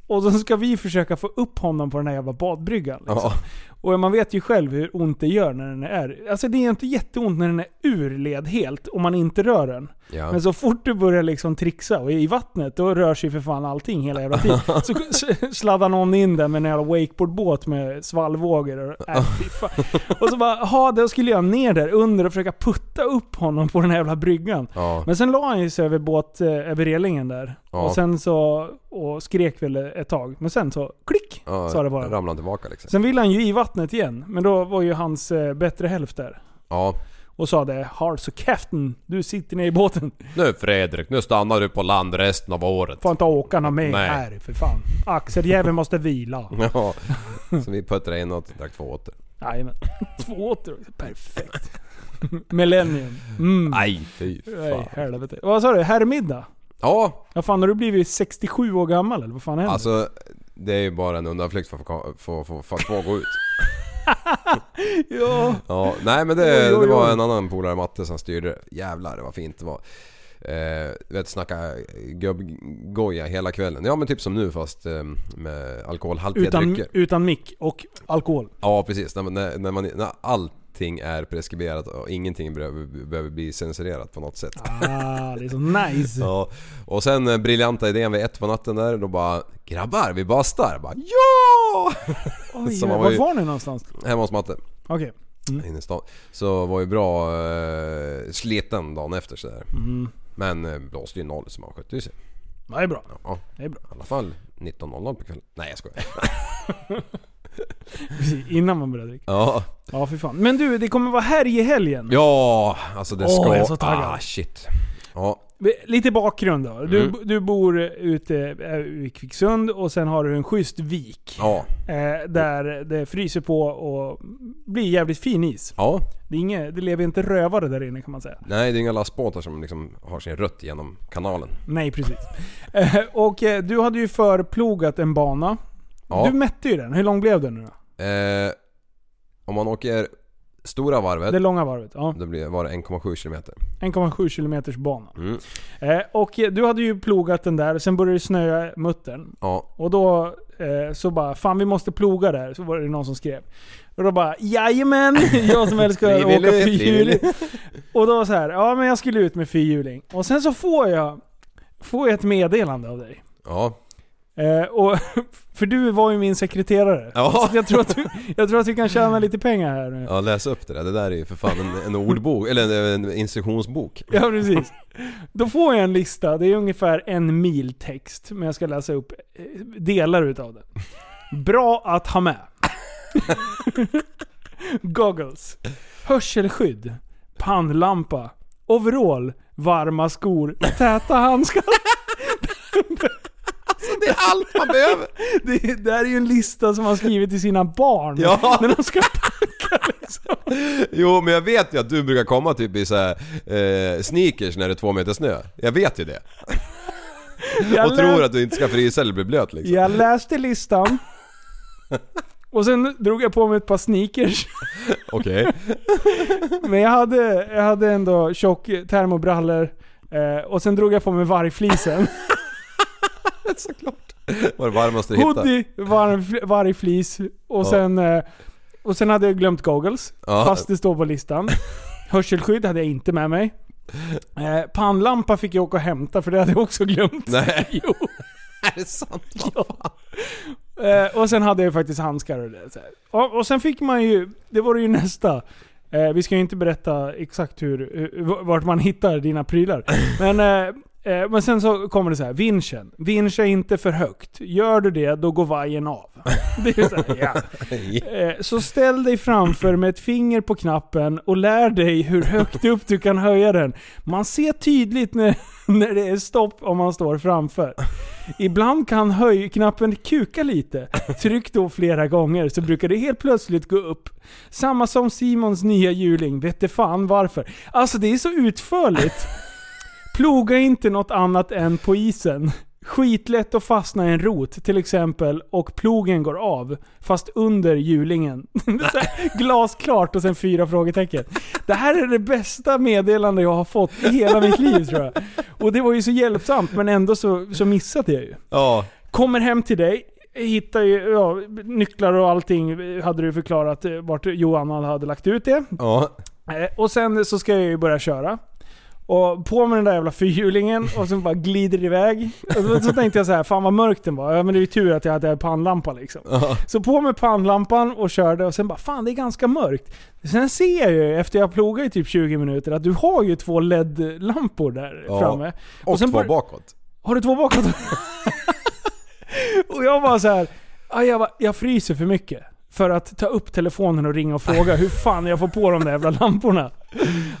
Speaker 5: Och så ska vi försöka få upp honom på den här jävla badbryggan. Liksom.
Speaker 6: Ja.
Speaker 5: Och man vet ju själv hur ont det gör när den är... Alltså det är inte jätteont när den är ur led helt, om man inte rör den.
Speaker 6: Ja.
Speaker 5: Men så fort du börjar liksom trixa och är i vattnet, då rör sig för fan allting hela
Speaker 6: [laughs]
Speaker 5: jävla tiden. Så s- sladdar någon in där med en jävla wakeboardbåt med svallvågor. Och, äh, fy fan. och så bara, ha då skulle jag ner där under och försöka putta upp honom på den här jävla bryggan.
Speaker 6: Ja.
Speaker 5: Men sen la han ju sig över båt, eh, över relingen där.
Speaker 6: Ja.
Speaker 5: Och sen så, och skrek väl ett tag. Men sen så, klick!
Speaker 6: Ja,
Speaker 5: sa det bara.
Speaker 6: Ramlade tillbaka liksom.
Speaker 5: Sen ville han ju i vattnet igen. Men då var ju hans eh, bättre hälft där.
Speaker 6: Ja.
Speaker 5: Och sa det, har så käften, du sitter ner i båten.
Speaker 6: Nu Fredrik, nu stannar du på land resten av året. [laughs]
Speaker 5: Får inte åka någon mer
Speaker 6: Nej. Mm.
Speaker 5: här för fan. Axeljäveln måste vila. Mm.
Speaker 6: Ja. Så vi puttrade inåt och drack två åter.
Speaker 5: Jajamän. [laughs] Två åter. Perfekt. Millennium. Mm.
Speaker 6: Nej, fy
Speaker 5: Nej,
Speaker 6: fan.
Speaker 5: helvete. Vad sa du? Herrmiddag?
Speaker 6: Ja,
Speaker 5: Ja fan, har du blivit 67 år gammal eller vad fan händer?
Speaker 6: alltså det är ju bara en undanflykt för att få- få- få- för att få gå ut.
Speaker 5: Ja.
Speaker 6: Ja, nej men det,
Speaker 5: Oj, oj, oj.
Speaker 6: det var en annan polare, Matte, som styrde det. Jävlar vad fint det var. Eh, vet, snacka gubbgoja hela kvällen. Ja men typ som nu fast eh, med alkoholhaltiga
Speaker 5: Utan,
Speaker 6: drycker.
Speaker 5: utan mick och alkohol.
Speaker 6: Ja precis, när, man- när, när, man, när allting är preskriberat och ingenting behöver, behöver bli censurerat på något sätt.
Speaker 5: Ah, det är så [laughs] nice.
Speaker 6: Ja, och sen eh, briljanta idén vid ett på natten där, då bara “Grabbar, vi bastar!” bara, Ja!
Speaker 5: Oj,
Speaker 6: Så man var
Speaker 5: vart
Speaker 6: ju-
Speaker 5: var ni någonstans?
Speaker 6: Hemma hos Matte,
Speaker 5: Okej.
Speaker 6: inne i stan. Så var ju bra eh, sliten dagen efter sådär. Men eh, blåste ju noll så man skötte ju sig.
Speaker 5: Mm. Ja, Det är bra.
Speaker 6: Ja,
Speaker 5: Det är bra.
Speaker 6: i alla fall 19.00 på kvällen. Nej jag skojar.
Speaker 5: Precis, innan man börjar dricka.
Speaker 6: Ja,
Speaker 5: Ja, för fan. Men du, det kommer vara här i helgen.
Speaker 6: ja alltså det
Speaker 5: Åh,
Speaker 6: ska...
Speaker 5: jag är så taggad.
Speaker 6: Ah shit. Ja,
Speaker 5: Lite bakgrund då. Du,
Speaker 6: Mm.
Speaker 5: du bor ute eh, i Kvicksund och sen har du en schysst vik.
Speaker 6: ja,
Speaker 5: Eh, där det fryser på och blir jävligt fin is.
Speaker 6: ja.
Speaker 5: Det, är inget, det lever inte rövare där inne kan man säga.
Speaker 6: Nej det är inga lastbåtar som liksom har sin rutt genom kanalen.
Speaker 5: Nej, precis. [laughs] Eh, och eh, du hade ju förplogat en bana.
Speaker 6: Ja.
Speaker 5: Du mätte ju den. Hur lång blev den nu då?
Speaker 6: Eh, om man åker stora varvet
Speaker 5: Det långa varvet. Ja.
Speaker 6: Då blir, var det 1,7 kilometer.
Speaker 5: 1,7 kilometers bana.
Speaker 6: Mm.
Speaker 5: Eh, och eh, du hade ju plogat den där, sen började det snöa muttern.
Speaker 6: Ja.
Speaker 5: Och då eh, så bara, fan vi måste ploga där. Så var det någon som skrev. Och då bara,
Speaker 6: [laughs]
Speaker 5: jajamän! Jag som älskar att åka
Speaker 6: Frivilligt,
Speaker 5: fyrhjuling.
Speaker 6: frivilligt.
Speaker 5: Och då var så här, ja men jag skulle ut med fyrhjuling. Och sen så får jag, får jag ett meddelande av dig.
Speaker 6: Ja.
Speaker 5: Eh, och, [laughs] för du var ju min sekreterare.
Speaker 6: Ja.
Speaker 5: Så jag, tror att du, jag tror att vi kan tjäna lite pengar här nu.
Speaker 6: ja, läs upp det där. Det där är ju för fan en, en ordbok, eller en instruktionsbok.
Speaker 5: [laughs] Ja, precis. Då får jag en lista. Det är ungefär en mil text. Men jag ska läsa upp eh, delar utav den. Bra att ha med. [laughs] Goggles. Hörselskydd. Pannlampa. Overall. Varma skor. Täta handskar.
Speaker 6: Alltså, Det är allt man behöver!
Speaker 5: Det, det här är ju en lista som man skrivit till sina barn.
Speaker 6: Ja.
Speaker 5: När de ska
Speaker 6: Jo, men jag vet ju att du brukar komma typ i så här, eh, sneakers när det är två meter snö. Jag vet ju det.
Speaker 5: jag
Speaker 6: Och tror att du inte ska frysa eller bli blöt liksom.
Speaker 5: Jag
Speaker 6: [laughs]
Speaker 5: läste listan. Och sen drog jag på mig ett
Speaker 6: [laughs]
Speaker 5: par sneakers.
Speaker 6: Okej.
Speaker 5: Men jag hade, jag hade ändå tjock termobrallor. Eh, och sen drog jag på mig vargflisen.
Speaker 6: Var det varmaste du hittade?
Speaker 5: Hoodie, varg, vargflis och sen... Eh, och sen hade jag glömt goggles.
Speaker 6: Ja.
Speaker 5: Fast det står på listan. Hörselskydd hade jag inte
Speaker 6: [laughs]
Speaker 5: med mig. Eh, pannlampa fick jag åka och hämta för det hade jag också glömt.
Speaker 6: Nej.
Speaker 5: [laughs] Jo.
Speaker 6: [laughs] Är det sant?
Speaker 5: Eh, och sen hade jag ju faktiskt handskar och det. Så här. Och, och sen fick man ju, det var det ju nästa. Eh, vi ska ju inte berätta exakt hur, hur, vart man hittar dina prylar. Men, eh, eh, men sen så kommer det så här, vinschen. Vinscha inte för högt. Gör du det, då går vajern av. [laughs] Det är så, här, ja. Eh, så ställ dig framför med ett finger på knappen och lär dig hur högt upp du kan höja den. Man ser tydligt när, [laughs] när det är stopp om man står framför. Ibland kan höjknappen kuka lite. Tryck då flera gånger så brukar det helt plötsligt gå upp. Samma som Simons nya hjuling, vet du fan varför. Alltså det är så utförligt. Ploga inte något annat än på isen. Skitlätt att fastna i en rot till exempel och plogen går av. Fast under hjulingen. [laughs] Så här, Glasklart och sen fyra frågetecken. Det här är det bästa meddelande jag har fått i hela mitt liv tror jag. Och det var ju så hjälpsamt men ändå så, så missade jag ju.
Speaker 6: Ja.
Speaker 5: Kommer hem till dig, hittar ju ja, nycklar och allting hade du förklarat eh, vart Johan hade lagt ut det.
Speaker 6: Ja.
Speaker 5: Eh, Och sen så ska jag ju börja köra. Och på med den där jävla fyrhjulingen och sen bara glider det iväg. Och så- så tänkte jag så här, fan vad mörkt den var. Ja men det är ju tur att jag hade pannlampa liksom. Så på med pannlampan och körde och sen bara, fan det är ganska mörkt. Sen ser jag ju efter jag plogat i typ 20 minuter att du har ju två LED-lampor där
Speaker 6: Ja.
Speaker 5: framme.
Speaker 6: Och,
Speaker 5: sen
Speaker 6: två
Speaker 5: bör-
Speaker 6: bakåt.
Speaker 5: har du två bakåt? och jag bara så här, "Aj, jag, bara, jag fryser för mycket. För att ta upp telefonen och ringa och fråga hur fan jag får på de där jävla lamporna.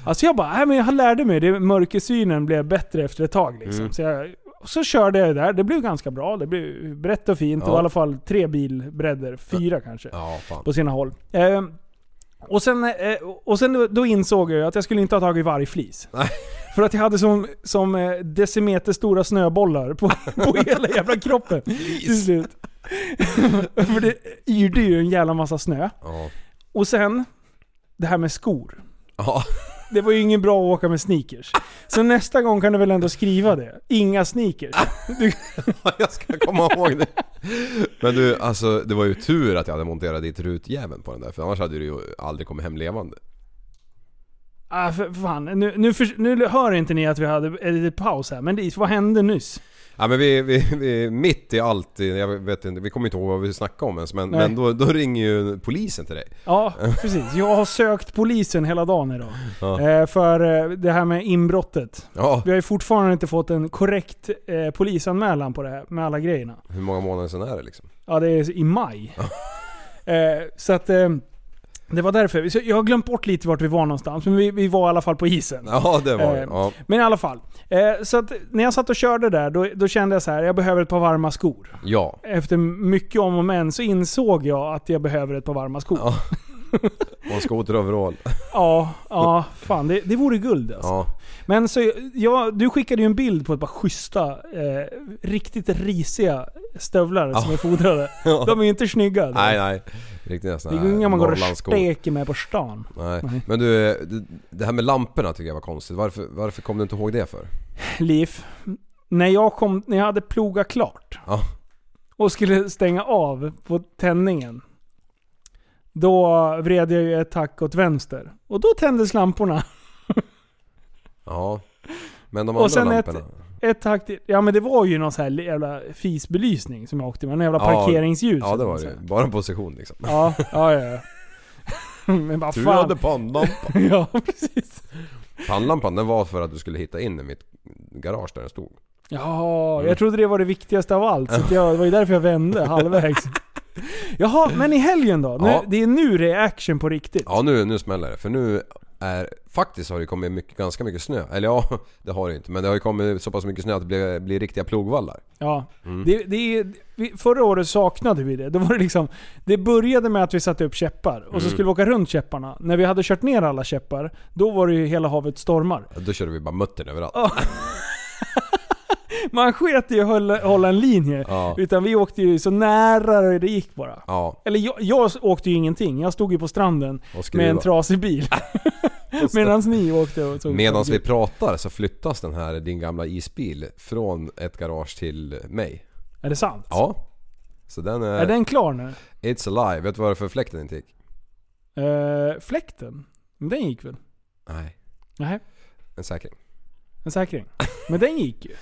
Speaker 5: Alltså jag bara, nej men jag lärde mig. Det, mörkersynen blev bättre efter ett tag liksom. Så jag Och så körde jag det där, det blev ganska bra. Det blev brett och fint. Det var i alla fall tre bilbredder, fyra kanske.
Speaker 6: Ja, fan.
Speaker 5: På sina håll. Eh, och sen, eh, och sen då- då insåg jag ju att jag skulle inte ha tagit varje flis.
Speaker 6: Nej.
Speaker 5: [laughs] För att jag hade som, som eh, decimeter stora snöbollar på, på hela jävla kroppen. Till slut. [laughs] För det yrde ju en jävla massa snö.
Speaker 6: Ja.
Speaker 5: Och sen, det här med skor.
Speaker 6: Ja. [laughs]
Speaker 5: Det var ju ingen bra att åka med sneakers. Så nästa gång kan du väl ändå skriva det? Inga sneakers.
Speaker 6: jag ska komma ihåg det. Men du, alltså det var ju tur att jag hade monterat dit rutjäveln på den där för annars hade du ju aldrig kommit hem levande.
Speaker 5: Ah, för fan. Nu, nu, för, nu hör inte ni att vi hade en liten paus här, men det, vad hände nyss?
Speaker 6: Ja men vi, vi, vi mitt i allt, i- jag vet inte, vi kommer inte ihåg vad vi snackade om ens men,
Speaker 5: Nej.
Speaker 6: men då, då ringer ju polisen till dig.
Speaker 5: Ja, precis. Jag har sökt polisen hela dagen idag. Eh, för eh, det här med inbrottet.
Speaker 6: Ja,
Speaker 5: Vi har ju fortfarande inte fått en korrekt eh, polisanmälan på det här med alla grejerna.
Speaker 6: hur många månader sen är det liksom?
Speaker 5: Ja, det är i maj. eh, så att... Eh, det var därför. Så jag har glömt bort lite vart vi var någonstans, men vi, vi var i alla fall på isen.
Speaker 6: Ja det var det.
Speaker 5: Eh,
Speaker 6: Ja.
Speaker 5: Men i alla fall. Eh, så att när jag satt och körde där, då, då kände jag så här, jag behöver ett par varma skor.
Speaker 6: ja.
Speaker 5: Efter mycket om och men så insåg jag att jag behöver ett par varma skor.
Speaker 6: Ja. Och en skoteroverall.
Speaker 5: Ja, ja fan det, det vore guld alltså.
Speaker 6: [laughs] Ja.
Speaker 5: Men så, ja, du skickade ju en bild på ett par schyssta, eh, riktigt risiga stövlar som är fodrade. De är ju inte snygga.
Speaker 6: [laughs] Nej nej. Riktigt nästan.
Speaker 5: det är ju inga man går och
Speaker 6: Norrlandsskor.
Speaker 5: steker med på stan. Nej.
Speaker 6: Nej. Men du, eh, det- det här med lamporna tycker jag var konstigt. Varför, varför kom du inte ihåg det för?
Speaker 5: Liv, när jag, kom, när jag hade plogat klart
Speaker 6: Ja.
Speaker 5: och skulle stänga av på tändningen. Då vred jag ju ett tack åt vänster. Och då tändes lamporna.
Speaker 6: Ja. Men de
Speaker 5: Och
Speaker 6: andra
Speaker 5: sen ett-
Speaker 6: lamporna?
Speaker 5: Ett tack till, Ja men det var ju någon så här jävla fisbelysning som jag åkte med. En jävla parkeringsljus.
Speaker 6: Ja det var det
Speaker 5: Så
Speaker 6: ju.
Speaker 5: här.
Speaker 6: Bara en position liksom.
Speaker 5: Ja, ja, ja. [laughs] ja. Men vad
Speaker 6: Tur du hade
Speaker 5: fan.
Speaker 6: pannlampan.
Speaker 5: [laughs] Ja, precis.
Speaker 6: Pannlampan den var för att du skulle hitta in i mitt garage där den stod.
Speaker 5: Ja,
Speaker 6: Mm.
Speaker 5: jag trodde det var det viktigaste av allt. Så att jag, det var ju därför
Speaker 6: [laughs]
Speaker 5: jag vände halvvägs. Jaha, men i helgen då? Nu,
Speaker 6: Ja.
Speaker 5: Det är nu det är action på riktigt.
Speaker 6: Ja nu, nu smäller det. För nu är... Faktiskt har det kommit mycket, ganska mycket snö. Eller ja, [laughs] det har det ju inte. Men det har ju kommit så pass mycket snö att det blir, blir riktiga plogvallar.
Speaker 5: Ja.
Speaker 6: Mm.
Speaker 5: Det, det är, vi, förra året saknade vi det. Då var det, liksom, det började med att vi satte upp käppar och
Speaker 6: Mm.
Speaker 5: så skulle vi åka runt käpparna. När vi hade kört ner alla käppar, då var det ju hela havet stormar.
Speaker 6: Då körde vi bara muttern överallt.
Speaker 5: Man sket i att hålla, hålla en linje.
Speaker 6: Ja.
Speaker 5: Utan vi åkte ju så nära det gick bara.
Speaker 6: Ja.
Speaker 5: Eller jag, jag åkte ju ingenting. Jag stod ju på stranden
Speaker 6: Och skruva.
Speaker 5: med en trasig
Speaker 6: [laughs]
Speaker 5: bil. [laughs] Medan ni åkte och såg
Speaker 6: Medan vi pratar så flyttas den här, din gamla isbil, från ett garage till mig.
Speaker 5: Är det sant?
Speaker 6: Ja. eh. Så den är...
Speaker 5: Är den klar nu?
Speaker 6: It's alive. Vet du vad det är för fläkten inte gick?
Speaker 5: Uh, fläkten? Men den gick väl?
Speaker 6: Nej.
Speaker 5: Nej,
Speaker 6: En säkring. [laughs]
Speaker 5: en säkring. Men den gick ju.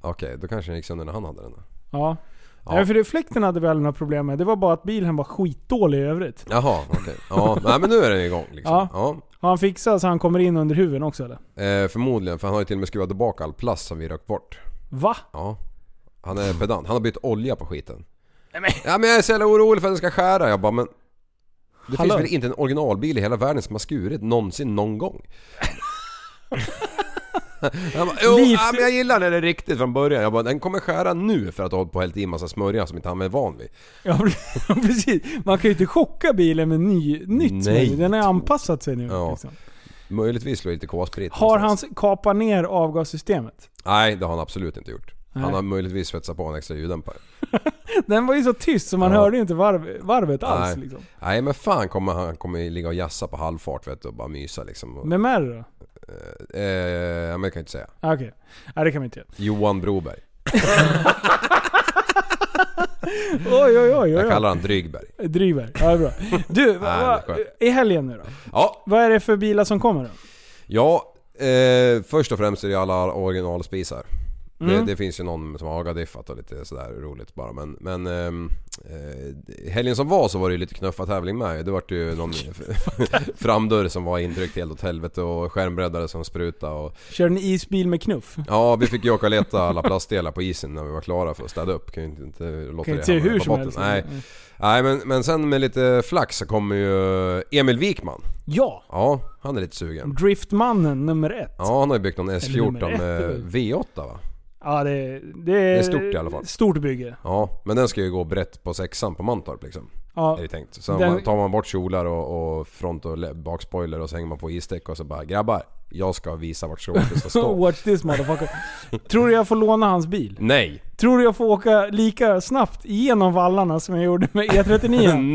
Speaker 6: Okej, då kanske den gick sönder när han hade den då.
Speaker 5: Ja.
Speaker 6: Ja.
Speaker 5: Nej, för det, fläkten hade vi aldrig några problem med. Det var bara att bilen var skitdålig i övrigt.
Speaker 6: Jaha, okej. Ja, nej, men nu är den igång liksom.
Speaker 5: Ja.
Speaker 6: Ja.
Speaker 5: Har han fixat så han kommer in under huven också eller?
Speaker 6: Eh, förmodligen, för han har ju till och med skruvat tillbaka all plast som vi rökt bort.
Speaker 5: Va? [laughs]
Speaker 6: Ja. Han är pedant. Han har bytt olja på skiten. Ja men jag är så jävla orolig för att den ska skära. Jag bara men... Det
Speaker 5: Hallå?
Speaker 6: finns väl inte en originalbil i hela världen som har skurit någonsin någon gång? [laughs] Han bara, jo,
Speaker 5: Liv-
Speaker 6: ja, men jag gillar när det är riktigt från början. Jag bara, den kommer skära nu för att du har hållit på och hällt i en massa smörja som inte han är van vid.
Speaker 5: Ja [laughs] precis. Man kan ju inte chocka bilen med ny, nytt.
Speaker 6: Nej.
Speaker 5: Nej. Den har anpassat sig nu.
Speaker 6: Ja.
Speaker 5: Liksom.
Speaker 6: Möjligtvis slår lite K-sprit
Speaker 5: Har han
Speaker 6: någonstans.
Speaker 5: kapat ner avgassystemet?
Speaker 6: Nej, det har han absolut inte gjort.
Speaker 5: Nej.
Speaker 6: Han har möjligtvis svetsat på en extra ljuddämpare.
Speaker 5: Den var ju så tyst så man
Speaker 6: Ja.
Speaker 5: hörde ju inte varv, varvet alls.
Speaker 6: Nej.
Speaker 5: Liksom.
Speaker 6: Nej men fan kommer han kommer ju ligga och jassa på halvfart vet du och bara mysa liksom. Och,
Speaker 5: Vem är det då?
Speaker 6: eh, ja, men det kan jag inte säga.
Speaker 5: Ah, Okej. Nej det kan vi inte göra.
Speaker 6: Johan Broberg.
Speaker 5: Oj oj oj. oj,
Speaker 6: Mm. Jag
Speaker 5: oj.
Speaker 6: kallar han Drygberg.
Speaker 5: Driver. Ja
Speaker 6: [laughs]
Speaker 5: det är bra. Du, va,
Speaker 6: Nej,
Speaker 5: va,
Speaker 6: det är skönt.
Speaker 5: i helgen nu då?
Speaker 6: Ja,
Speaker 5: Vad är det för bilar som kommer då?
Speaker 6: ja eh, först och främst är det alla originalspisar.
Speaker 5: Mm.
Speaker 6: Det, det finns ju någon som har agadiffat och lite sådär roligt bara men... men ehm, eh, helgen som var så var det ju lite knuffartävling med Det vart ju någon [laughs] framdörr som var intryckt helt åt helvete och skärmbreddare som sprutade och...
Speaker 5: Kör ni isbil med knuff?
Speaker 6: Ja, vi fick ju åka och leta alla plastdelar på isen när vi var klara för att städa upp. Kan ju inte, inte låta
Speaker 5: Kan
Speaker 6: det
Speaker 5: inte se
Speaker 6: hamna
Speaker 5: hur
Speaker 6: på
Speaker 5: som
Speaker 6: botten.
Speaker 5: helst.
Speaker 6: Nej, Nej men, men sen med lite flax så kommer ju Emil Wikman.
Speaker 5: Ja.
Speaker 6: Ja, han är lite sugen.
Speaker 5: Driftmannen nummer ett.
Speaker 6: Ja, han har ju byggt någon
Speaker 5: Eller nummer
Speaker 6: S14
Speaker 5: ett,
Speaker 6: med
Speaker 5: eller?
Speaker 6: V8 va?
Speaker 5: Ja, det, det, är,
Speaker 6: är stort i alla fall.
Speaker 5: Stort bygge.
Speaker 6: Ja, men den ska ju gå brett på sexan på Mantorp liksom.
Speaker 5: Ja,
Speaker 6: Är det tänkt. Så
Speaker 5: Den-
Speaker 6: man- tar man bort kjolar och, och front och le- bakspoiler och så hänger man på isdäck och så bara grabbar, jag ska visa vart stråket ska
Speaker 5: so [laughs]
Speaker 6: stå.
Speaker 5: watch this motherfucker. Tror du jag får låna hans bil?
Speaker 6: Nej!
Speaker 5: Tror du jag får åka lika snabbt igenom vallarna som jag gjorde med E39?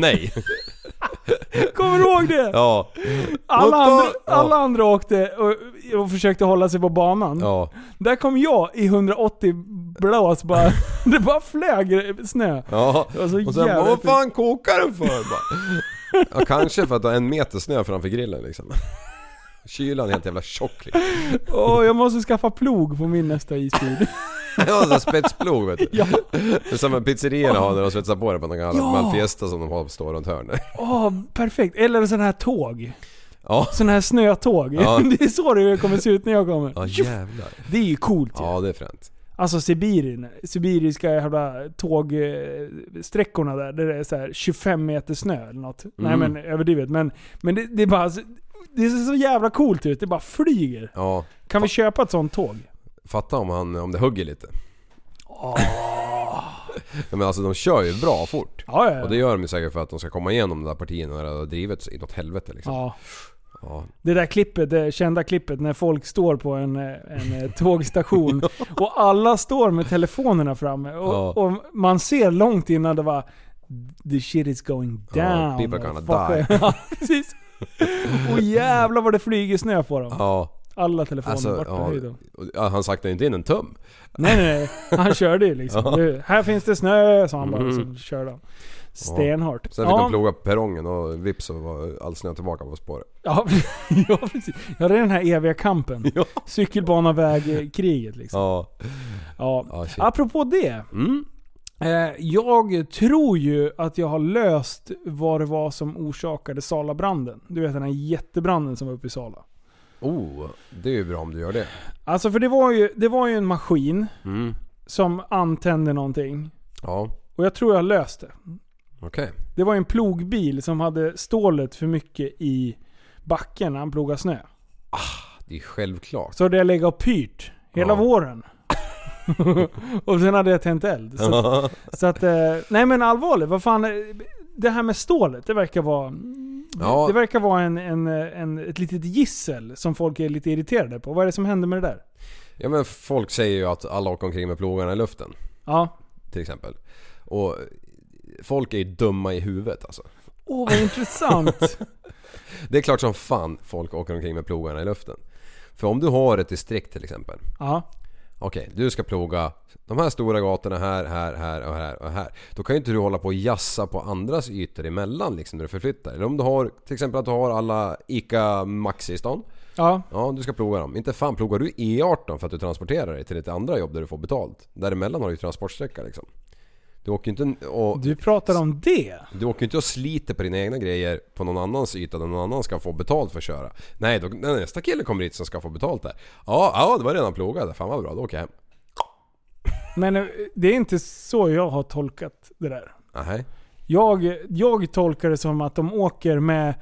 Speaker 6: [laughs] Nej!
Speaker 5: Kommer du ihåg det?
Speaker 6: Ja. Hoppa!
Speaker 5: Alla andra,
Speaker 6: Ja.
Speaker 5: alla andra åkte och, och försökte hålla sig på banan.
Speaker 6: Ja.
Speaker 5: Där kom jag i 180
Speaker 6: [laughs]
Speaker 5: blås bara. Det bara flög snö.
Speaker 6: Ja.
Speaker 5: var så
Speaker 6: och sen bara, vad
Speaker 5: jävligt-
Speaker 6: fan kokar du för? Bara. Ja, kanske för att du har en meter snö framför grillen
Speaker 5: [laughs]
Speaker 6: liksom. Kylan är helt jävla tjock liksom.
Speaker 5: Åh, jag måste skaffa plog på min
Speaker 6: [laughs]
Speaker 5: nästa isbil.
Speaker 6: Ja, sån här spetsplog
Speaker 5: [laughs]
Speaker 6: vet du. Ja. Som en pizzerierna har när de svetsar på det på någon annan
Speaker 5: Ja.
Speaker 6: ja. fiesta som de har på står runt hörnet. [laughs]
Speaker 5: Åh, perfekt. Eller sån här tåg.
Speaker 6: Ja.
Speaker 5: Sån här snötåg.
Speaker 6: Ja.
Speaker 5: [laughs] Det är så det kommer se ut när jag kommer.
Speaker 6: Ja jävlar.
Speaker 5: Det är ju coolt ju.
Speaker 6: Ja det är fränt.
Speaker 5: Alltså Sibirien. Sibiriska jävla tågsträckorna där. Där det är så här 25 meter snö eller något. Nej
Speaker 6: Mm.
Speaker 5: men överdrivet. Men, men det, det är bara... Det ser så jävla coolt ut. Det bara flyger.
Speaker 6: Ja.
Speaker 5: Kan vi köpa ett sånt tåg?
Speaker 6: Fatta om, han, om det hugger lite. Ah. Ja, men alltså de kör ju bra fort.
Speaker 5: Ja, ja, ja.
Speaker 6: Och det gör de ju säkert för att de ska komma igenom de där partierna när det har drivits inåt helvete liksom.
Speaker 5: Ja.
Speaker 6: Ja.
Speaker 5: Det där klippet, det kända klippet när folk står på en, eh, en eh,
Speaker 6: [laughs]
Speaker 5: tågstation och alla står med telefonerna framme och,
Speaker 6: Ja.
Speaker 5: och man ser långt innan det var The shit is going
Speaker 6: Ja,
Speaker 5: down.
Speaker 6: people gonna
Speaker 5: Fuck.
Speaker 6: die.
Speaker 5: [laughs] Ja, precis. Och jävlar vad det flyger snö på dem.
Speaker 6: Ja.
Speaker 5: Alla telefoner
Speaker 6: Alltså,
Speaker 5: borta
Speaker 6: ja,
Speaker 5: höjd dem.
Speaker 6: och- ja, han saknar ju inte in en tum.
Speaker 5: Nej nej nej. Han körde ju liksom.
Speaker 6: [laughs] Ja. Mm.
Speaker 5: Du, här finns det snö, sa han bara. Så körde han. Stenhårt.
Speaker 6: Sen fick de ploga på perrongen och vips så var all snö tillbaka på spåret.
Speaker 5: Ja, [laughs] ja precis. Ja, det är den här eviga kampen.
Speaker 6: [laughs] Ja.
Speaker 5: Cykelbana, väg, eh, kriget liksom.
Speaker 6: Ja.
Speaker 5: Ja.
Speaker 6: Ja, shit.
Speaker 5: Apropå det.
Speaker 6: Mm.
Speaker 5: Eh, jag tror ju att jag har löst vad det var som orsakade Salabranden. Du vet den här jättebranden som var uppe i Sala.
Speaker 6: Oh, det är ju bra om du gör det.
Speaker 5: Alltså för det var ju, det var ju en maskin
Speaker 6: Mm.
Speaker 5: som antände någonting.
Speaker 6: Ja,
Speaker 5: Och jag tror jag har löst det.
Speaker 6: okej.
Speaker 5: Det var ju en plogbil som hade stålet för mycket i backen när han plogade snö.
Speaker 6: Det är självklart.
Speaker 5: Så hade jag legat och pyrt hela
Speaker 6: Ja.
Speaker 5: våren. [laughs] och sen hade jag tänt eld. Så, att- så att, eh, nej men allvarligt, vad fan. eh, Det här med stålet, det verkar vara,
Speaker 6: Ja.
Speaker 5: det verkar vara en, en, en, ett litet gissel som folk är lite irriterade på. Vad är det som händer med det där?
Speaker 6: Ja men folk säger ju att alla åker omkring med plågarna i luften.
Speaker 5: Ja.
Speaker 6: till exempel. Och folk är ju dumma i huvudet alltså.
Speaker 5: Åh vad intressant.
Speaker 6: Det är klart som fan folk åker omkring med plogarna i luften. För om du har ett distrikt till exempel.
Speaker 5: [laughs] ja.
Speaker 6: Okej, du ska ploga de här stora gatorna här, här, här och här och här. Då kan ju inte du hålla på och jassa på andras ytor emellan liksom när du förflyttar. Eller om du har till exempel att du har alla ICA Maxi i stan.
Speaker 5: Ja.
Speaker 6: Ja, du ska ploga dem. Inte fan plogar du E18 för att du transporterar dig till ditt andra jobb där du får betalt. Däremellan har du ju transportsträcka liksom. Du åker ju inte och
Speaker 5: Du pratar om det?
Speaker 6: Du åker ju inte och sliter på dina egna grejer på någon annans yta där någon annan ska få betalt för att köra. Nej, då, när nästa kille kommer hit som ska få betalt där. Ja, ja det var redan plogad. Fan vad bra, då åker jag hem.
Speaker 5: Men eh, det är inte så jag har tolkat det där.
Speaker 6: Nej.
Speaker 5: Jag, jag tolkar det som att de åker med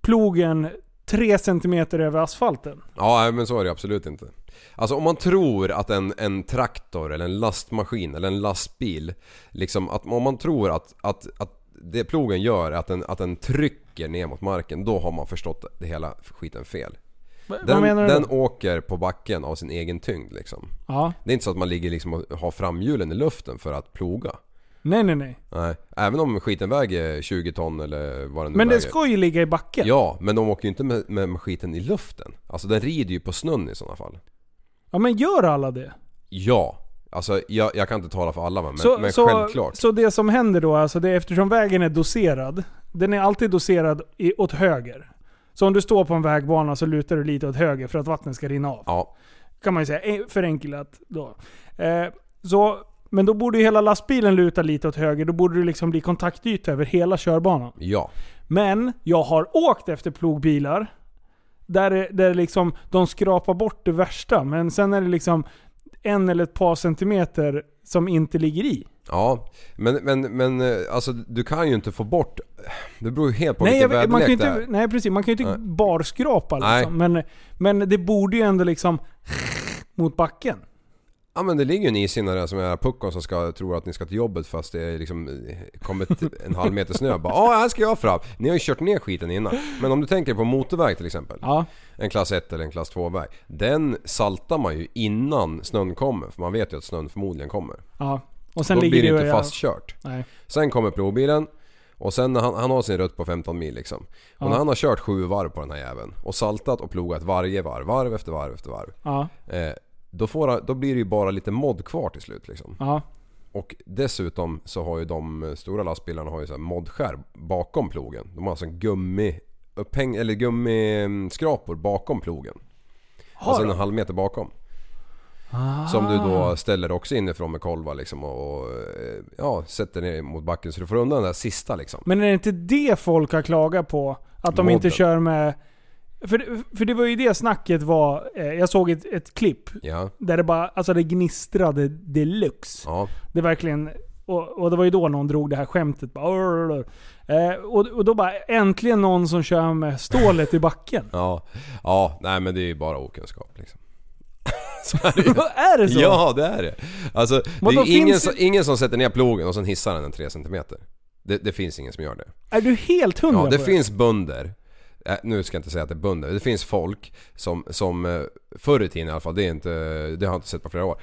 Speaker 5: plogen 3 cm över asfalten.
Speaker 6: Ja, nej, men så är det absolut inte. Alltså om man tror att en, en traktor eller en lastmaskin eller en lastbil, liksom att, om man tror att, att, att det plogen gör är att den, att den trycker ner mot marken, då har man förstått det hela skiten fel.
Speaker 5: Va- Vad
Speaker 6: Den,
Speaker 5: menar du?
Speaker 6: den
Speaker 5: då?
Speaker 6: åker på backen av sin egen tyngd liksom.
Speaker 5: Ja.
Speaker 6: Det är inte så att man ligger liksom och har framhjulen i luften för att ploga.
Speaker 5: Nej, nej, nej.
Speaker 6: Nej. Även om skiten väger 20 ton eller vad den nu
Speaker 5: Men
Speaker 6: väger.
Speaker 5: den ska ju ligga i backen.
Speaker 6: Ja, men de åker ju inte med, med skiten i luften. Alltså den rider ju på snön i sådana fall.
Speaker 5: Ja, men gör alla det?
Speaker 6: Ja. Alltså jag, jag kan inte tala för alla men,
Speaker 5: så,
Speaker 6: men
Speaker 5: så,
Speaker 6: självklart.
Speaker 5: så det som händer då, alltså det, är eftersom vägen är doserad. Den är alltid doserad i, åt höger. Så om du står på en vägbana så lutar du lite åt höger för att vattnet ska rinna av.
Speaker 6: Ja.
Speaker 5: Kan man ju säga, en- förenklat då. Eh, så, men då borde ju hela lastbilen luta lite åt höger. Då borde det liksom bli kontaktyta över hela körbanan.
Speaker 6: Ja.
Speaker 5: Men jag har åkt efter plogbilar. Där, det- där det liksom, de skrapar bort det värsta, men sen är det liksom en eller ett par centimeter som inte ligger i.
Speaker 6: Ja. Men, men, men eh, alltså du kan ju inte få bort... Det beror ju helt på
Speaker 5: Nej, jag,
Speaker 6: vilken
Speaker 5: vet- man
Speaker 6: väderlek
Speaker 5: kan ju
Speaker 6: det
Speaker 5: inte,
Speaker 6: är.
Speaker 5: nej precis, man kan ju inte
Speaker 6: Nej.
Speaker 5: barskrapa
Speaker 6: Nej.
Speaker 5: liksom. Men, men det borde ju ändå liksom mot backen.
Speaker 6: Ja men det ligger ju en isinnare där som är puckon som ska, tror att ni ska till jobbet fast det är liksom eh,
Speaker 5: [laughs]
Speaker 6: kommit en halv meter snö. Bara ja här ska jag fram. Ni har ju kört ner skiten innan. Men om du tänker på motorväg till exempel.
Speaker 5: Ja.
Speaker 6: En klass 1 eller en klass 2 väg. Den saltar man ju innan snön kommer. För man vet ju att snön förmodligen kommer.
Speaker 5: Ja. Och sen
Speaker 6: Då
Speaker 5: ligger
Speaker 6: blir
Speaker 5: det
Speaker 6: det
Speaker 5: och
Speaker 6: inte
Speaker 5: jag-
Speaker 6: fastkört.
Speaker 5: Nej.
Speaker 6: Sen kommer provbilen och sen när han, han har sin rutt på 15 mil liksom. Och när han har kört sju varv på den här jäveln och saltat och plogat varje varv, varv efter varv efter varv.
Speaker 5: Ja.
Speaker 6: Eh, då, får, han- då blir det ju bara lite mod kvar till slut liksom.
Speaker 5: Ja.
Speaker 6: Och dessutom så har ju de eh, stora lastbilarna har ju så här moddskär bakom plogen. De har alltså en gummi upphäng, eller gummiskrapor bakom plogen. alltså en halv meter bakom. Som du
Speaker 5: Ah.
Speaker 6: då ställer också inifrån med kolvar liksom och, och eh, ja, sätter ner mot backen så du får undan den där sista liksom.
Speaker 5: Men är det inte det folk har klagat på? Att de inte
Speaker 6: Modden.
Speaker 5: kör med... För, för det var ju det snacket var... eh, Jag såg ett, ett klipp
Speaker 6: Ja,
Speaker 5: där det bara alltså det gnistrade deluxe.
Speaker 6: ja,
Speaker 5: Det verkligen... Och, och det var ju då någon drog det här skämtet. Bara, "Orr, orr, orr." eh, och, och då bara äntligen någon som kör med stålet i backen.
Speaker 6: ja, ja, nej men det är ju bara okunskap liksom.
Speaker 5: [laughs] är det så?
Speaker 6: Ja, det är det. Alltså, det
Speaker 5: Vadå,
Speaker 6: är ju ingen,
Speaker 5: finns
Speaker 6: som, ingen som sätter ner plogen och sen hissar den en 3 cm. Det, det finns ingen som gör det.
Speaker 5: Är du helt hundra
Speaker 6: Ja, det
Speaker 5: på
Speaker 6: finns bönder. Äh, nu ska jag inte säga att det är bönder. Det finns folk som, som eh, förr i tiden i alla fall, det, är inte, det har jag inte sett på flera år.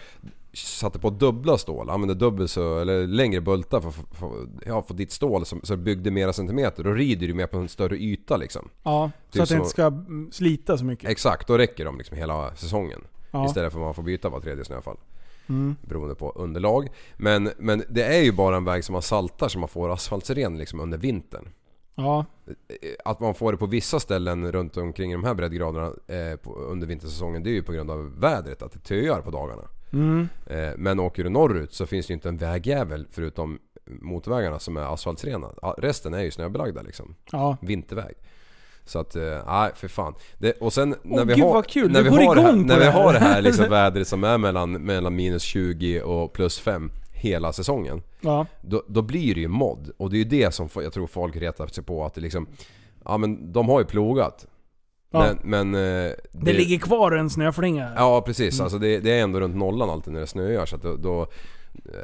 Speaker 6: Satte på dubbla stål, använde dubbel så, eller längre bultar för, för, för, ja, för ditt stål som, så det byggde mera centimeter. Då rider du mer på en större yta liksom.
Speaker 5: Ja, så
Speaker 6: Typ
Speaker 5: att det inte
Speaker 6: så.
Speaker 5: ska mm, slita så mycket.
Speaker 6: Exakt, då räcker de liksom hela säsongen.
Speaker 5: Ja.
Speaker 6: Istället för att man får byta var tredje snöfall. Beroende på underlag. Men, men det är ju bara en väg som man saltar så man får asfaltsren liksom under vintern.
Speaker 5: Ja,
Speaker 6: eh, att man får det på vissa ställen runt omkring de här breddgraderna eh, på, under vintersäsongen det är ju på grund av vädret, att det töar på dagarna.
Speaker 5: Mm.
Speaker 6: Eh, men åker du norrut så finns det ju inte en vägjävel förutom motorvägarna som är asfaltsrena. Ja, Resten är ju snöbelagda liksom.
Speaker 5: ja.
Speaker 6: Vinterväg. Så att, eh, nej för fan. Det, och sen när
Speaker 5: Åh,
Speaker 6: vi
Speaker 5: gud,
Speaker 6: har,
Speaker 5: vad kul.
Speaker 6: när vi
Speaker 5: Du går
Speaker 6: har det här,
Speaker 5: igång på
Speaker 6: när vi
Speaker 5: det här.
Speaker 6: har det här
Speaker 5: [laughs]
Speaker 6: liksom vädret som är mellan, mellan minus 20 och plus 5 hela säsongen
Speaker 5: ja.
Speaker 6: då, då blir det ju mod. Och det är ju det som fo- jag tror folk retar sig på att det liksom... Ja men de har ju plogat.
Speaker 5: Ja.
Speaker 6: Men... men eh, det,
Speaker 5: Det ligger kvar en snöflinga.
Speaker 6: Ja precis, alltså det, det är ändå runt nollan alltid när det snöar så att då... då eh,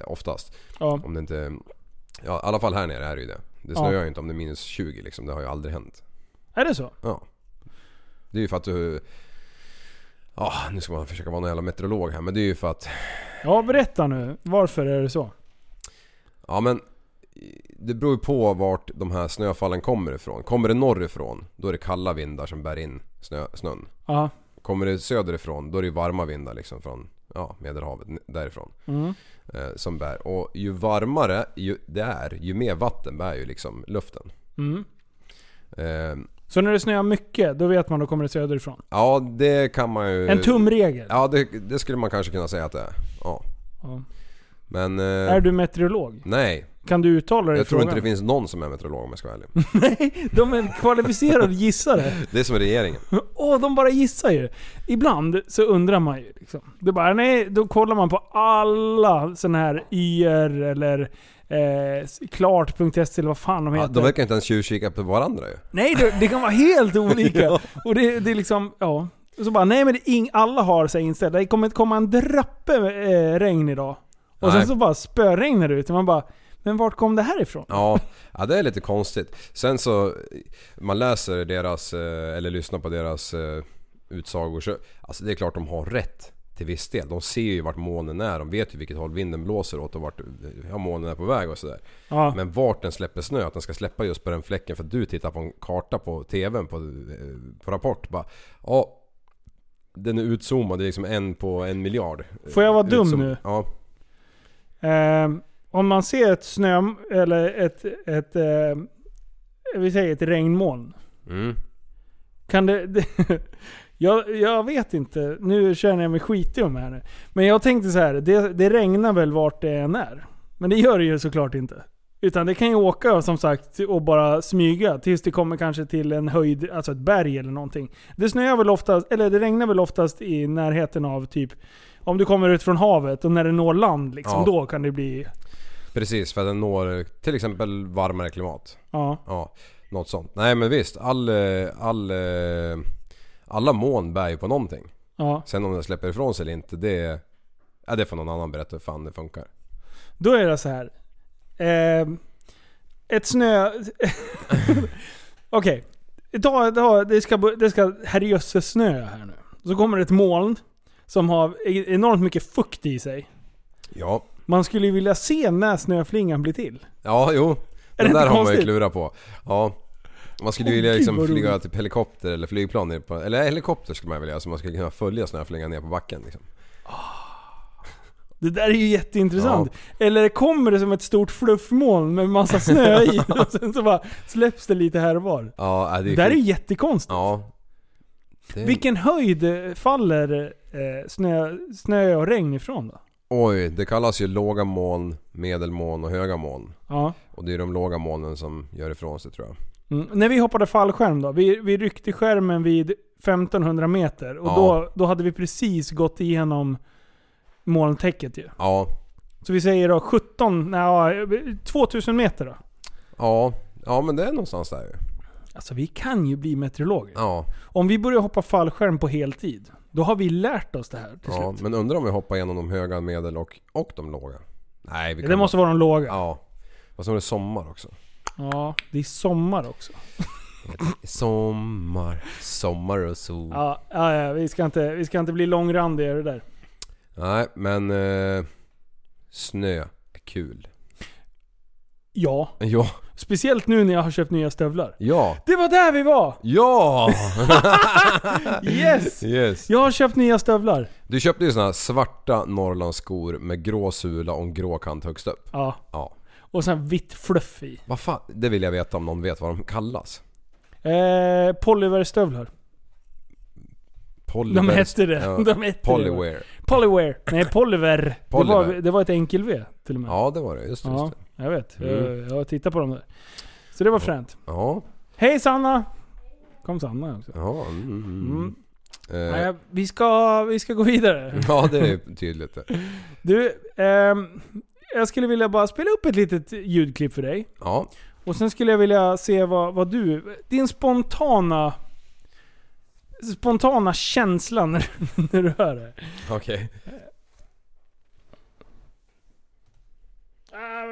Speaker 6: oftast.
Speaker 5: Ja.
Speaker 6: Om det inte... Ja i alla fall här nere är det ju det. Det snöar ju inte om det är minus 20 liksom, det har ju aldrig hänt.
Speaker 5: Är det så?
Speaker 6: Ja. Det är ju för att du... Ja, nu ska man försöka vara någon jävla meteorolog här men det är ju för att...
Speaker 5: Ja, berätta nu. Varför är det så?
Speaker 6: Ja men det beror ju på vart de här snöfallen kommer ifrån. Kommer det norrifrån då är det kalla vindar som bär in snö, snön.
Speaker 5: Ja,
Speaker 6: Kommer det söderifrån då är det ju varma vindar liksom från ja, Medelhavet n- därifrån.
Speaker 5: Mm.
Speaker 6: Eh, som bär. Och ju varmare ju, det är ju mer vatten bär ju liksom luften.
Speaker 5: Mm.
Speaker 6: Eh,
Speaker 5: Så när det snöar mycket, då vet man då kommer det söderifrån.
Speaker 6: ja det kan man ju...
Speaker 5: En tumregel.
Speaker 6: Eh, Ja det, det skulle man kanske kunna säga att det är. Ja.
Speaker 5: Ja.
Speaker 6: Men... eh,
Speaker 5: Är du meteorolog?
Speaker 6: Nej,
Speaker 5: Kan du uttala dig i
Speaker 6: jag tror inte
Speaker 5: frågan?
Speaker 6: det finns någon som är meteorolog om jag ska vara ärlig.
Speaker 5: Nej, de är kvalificerade gissare.
Speaker 6: Det är som regeringen.
Speaker 5: Åh, de bara gissar ju. Ibland så undrar man ju. Liksom. Det bara, nej, då kollar man på alla sådana här YR eller eh, klart.se eller vad fan de
Speaker 6: Ja,
Speaker 5: heter.
Speaker 6: de verkar inte ens tjuvkika på varandra ju.
Speaker 5: Nej, det, det kan
Speaker 6: [laughs]
Speaker 5: vara helt olika. Och det, det är liksom, ja. Och så bara, nej men det är ing, alla har sig inställt. Det kommer inte komma en drappe eh, regn idag. Och sen
Speaker 6: Nej.
Speaker 5: så bara spöregnar det ut. Och man bara, men vart kom det här ifrån?
Speaker 6: Ja, [laughs] ja, det är lite konstigt. Sen så, man läser deras, eh, eller lyssnar på deras eh, utsagor så, alltså det är klart de har rätt till viss del. De ser ju vart molnen är, de vet ju vilket håll vinden blåser åt och vart eh, ja, molnen är på väg och sådär.
Speaker 5: Ja.
Speaker 6: Men vart den släpper snö, att den ska släppa just på den fläcken för att du tittar på en karta på TVn på, eh, på Rapport bara, ja, den är utzoomad, det är liksom en på en miljard.
Speaker 5: Får jag vara dum
Speaker 6: Utzoom-
Speaker 5: nu?
Speaker 6: Ja.
Speaker 5: Ehm, om man ser ett snö, eller ett, ett ehm, vi säger ett regnmoln.
Speaker 6: Mm.
Speaker 5: Kan det, det [laughs] jag, jag vet inte, nu känner jag mig skitig om det här nu. Men jag tänkte så här, det, det regnar väl vart det än är. Men det gör det ju såklart inte. Utan det kan ju åka som sagt och bara smyga tills det kommer kanske till en höjd, alltså ett berg eller någonting. Det snöar väl oftast, eller det regnar väl oftast i närheten av typ, om du kommer ut från havet och när det når land liksom,
Speaker 6: Ja.
Speaker 5: då kan det bli,
Speaker 6: Precis, för att den når till exempel varmare klimat.
Speaker 5: ja.
Speaker 6: Ja, något sånt. Nej men visst, all, eh, all, eh, alla moln bär ju på någonting.
Speaker 5: Ja,
Speaker 6: Sen om den släpper ifrån sig eller inte, det, Ja, det får någon annan berätta hur fan det funkar.
Speaker 5: Då är det så här. Eh, ett snö... [laughs] Okej. Idag, idag, det ska, bo- det ska herrejösses snö här nu. Så kommer det ett moln som har e- enormt mycket fukt i sig.
Speaker 6: Ja,
Speaker 5: Man skulle ju vilja se när snöflingan blir till.
Speaker 6: ja jo. Den
Speaker 5: inte
Speaker 6: där har man ju
Speaker 5: konstigt?
Speaker 6: klurat på. Ja. Man skulle ju
Speaker 5: Åh,
Speaker 6: vilja
Speaker 5: gud,
Speaker 6: liksom
Speaker 5: vad
Speaker 6: flyga
Speaker 5: roligt.
Speaker 6: typ helikopter eller flygplan ner på... Eller helikopter skulle man vilja göra så man skulle kunna följa snöflingan ner på backen liksom.
Speaker 5: Det där är ju jätteintressant. Eller kommer det som ett stort fluffmoln med massa
Speaker 6: [laughs]
Speaker 5: snö i [laughs] och sen så bara släpps det lite här och var.
Speaker 6: Ja, äh, det
Speaker 5: Det
Speaker 6: är
Speaker 5: där är ju
Speaker 6: skit-
Speaker 5: jättekonstigt.
Speaker 6: Ja. Det...
Speaker 5: Vilken höjd eh, faller eh, snö, snö och regn ifrån då?
Speaker 6: Oj, det kallas ju låga moln, medelmoln och höga moln.
Speaker 5: Ja.
Speaker 6: Och det är de låga molnen som gör ifrån sig tror jag.
Speaker 5: Mm. När vi hoppade fallskärm då, vi, vi ryckte skärmen vid 1500 meter och
Speaker 6: Ja.
Speaker 5: då, då hade vi precis gått igenom molntäcket ju.
Speaker 6: Ja,
Speaker 5: Så vi säger då 17, nej, 2000 meter då.
Speaker 6: ja, ja men det är någonstans där ju.
Speaker 5: Alltså vi kan ju bli meteorologer.
Speaker 6: Ja,
Speaker 5: Om vi börjar hoppa fallskärm på heltid, då har vi lärt oss det här till
Speaker 6: ja
Speaker 5: slut.
Speaker 6: men undrar om vi hoppar igenom de höga, medel och, och de låga. Nej, vi
Speaker 5: Det måste vara de låga. Ja.
Speaker 6: Ja. Och så är det sommar också.
Speaker 5: det är sommar också.
Speaker 6: Mm. Sommar, sommar och sol.
Speaker 5: Ja, ja, ja vi, ska inte, vi ska inte bli långrandiga i det där.
Speaker 6: Nej, men eh, snö är kul.
Speaker 5: Ja,
Speaker 6: Ja,
Speaker 5: speciellt nu när jag har köpt nya stövlar.
Speaker 6: ja,
Speaker 5: Det var där
Speaker 6: [laughs]
Speaker 5: vi var!
Speaker 6: ja!
Speaker 5: Yes!
Speaker 6: yes.
Speaker 5: Jag har köpt nya stövlar.
Speaker 6: Du köpte ju såna här svarta norrlandsskor med grå sula och en grå kant högst upp.
Speaker 5: Ja.
Speaker 6: Ja.
Speaker 5: Och sen vitt fluff i.
Speaker 6: Vad fan, det vill jag veta om någon vet vad de kallas.
Speaker 5: Eh, Polywear-stövlar.
Speaker 6: Polyver-
Speaker 5: De hette det.
Speaker 6: Ja,
Speaker 5: [laughs] De hette Det.
Speaker 6: Polywear.
Speaker 5: Polywear. Nej, Polyver. Det,
Speaker 6: Polyver.
Speaker 5: var, det var ett enkel-V till och med.
Speaker 6: Ja, det var det. Just det.
Speaker 5: Ja,
Speaker 6: Just det.
Speaker 5: jag vet. Eh,
Speaker 6: Mm.
Speaker 5: Jag, jag har tittat på dem där. Så det var fränt.
Speaker 6: Ja,
Speaker 5: Hej Sanna! Kom Sanna också.
Speaker 6: ja. Mm, mm.
Speaker 5: Mm.
Speaker 6: Eh, Mm.
Speaker 5: Nej, vi, ska, vi ska gå vidare.
Speaker 6: ja, det är ju tydligt det.
Speaker 5: Du, ehm, jag skulle vilja bara spela upp ett litet ljudklipp för dig.
Speaker 6: Ja,
Speaker 5: Och sen skulle jag vilja se vad, vad du... Din spontana... Spontana känsla när, du- [laughs] när du hör det.
Speaker 6: okej.
Speaker 5: Ah,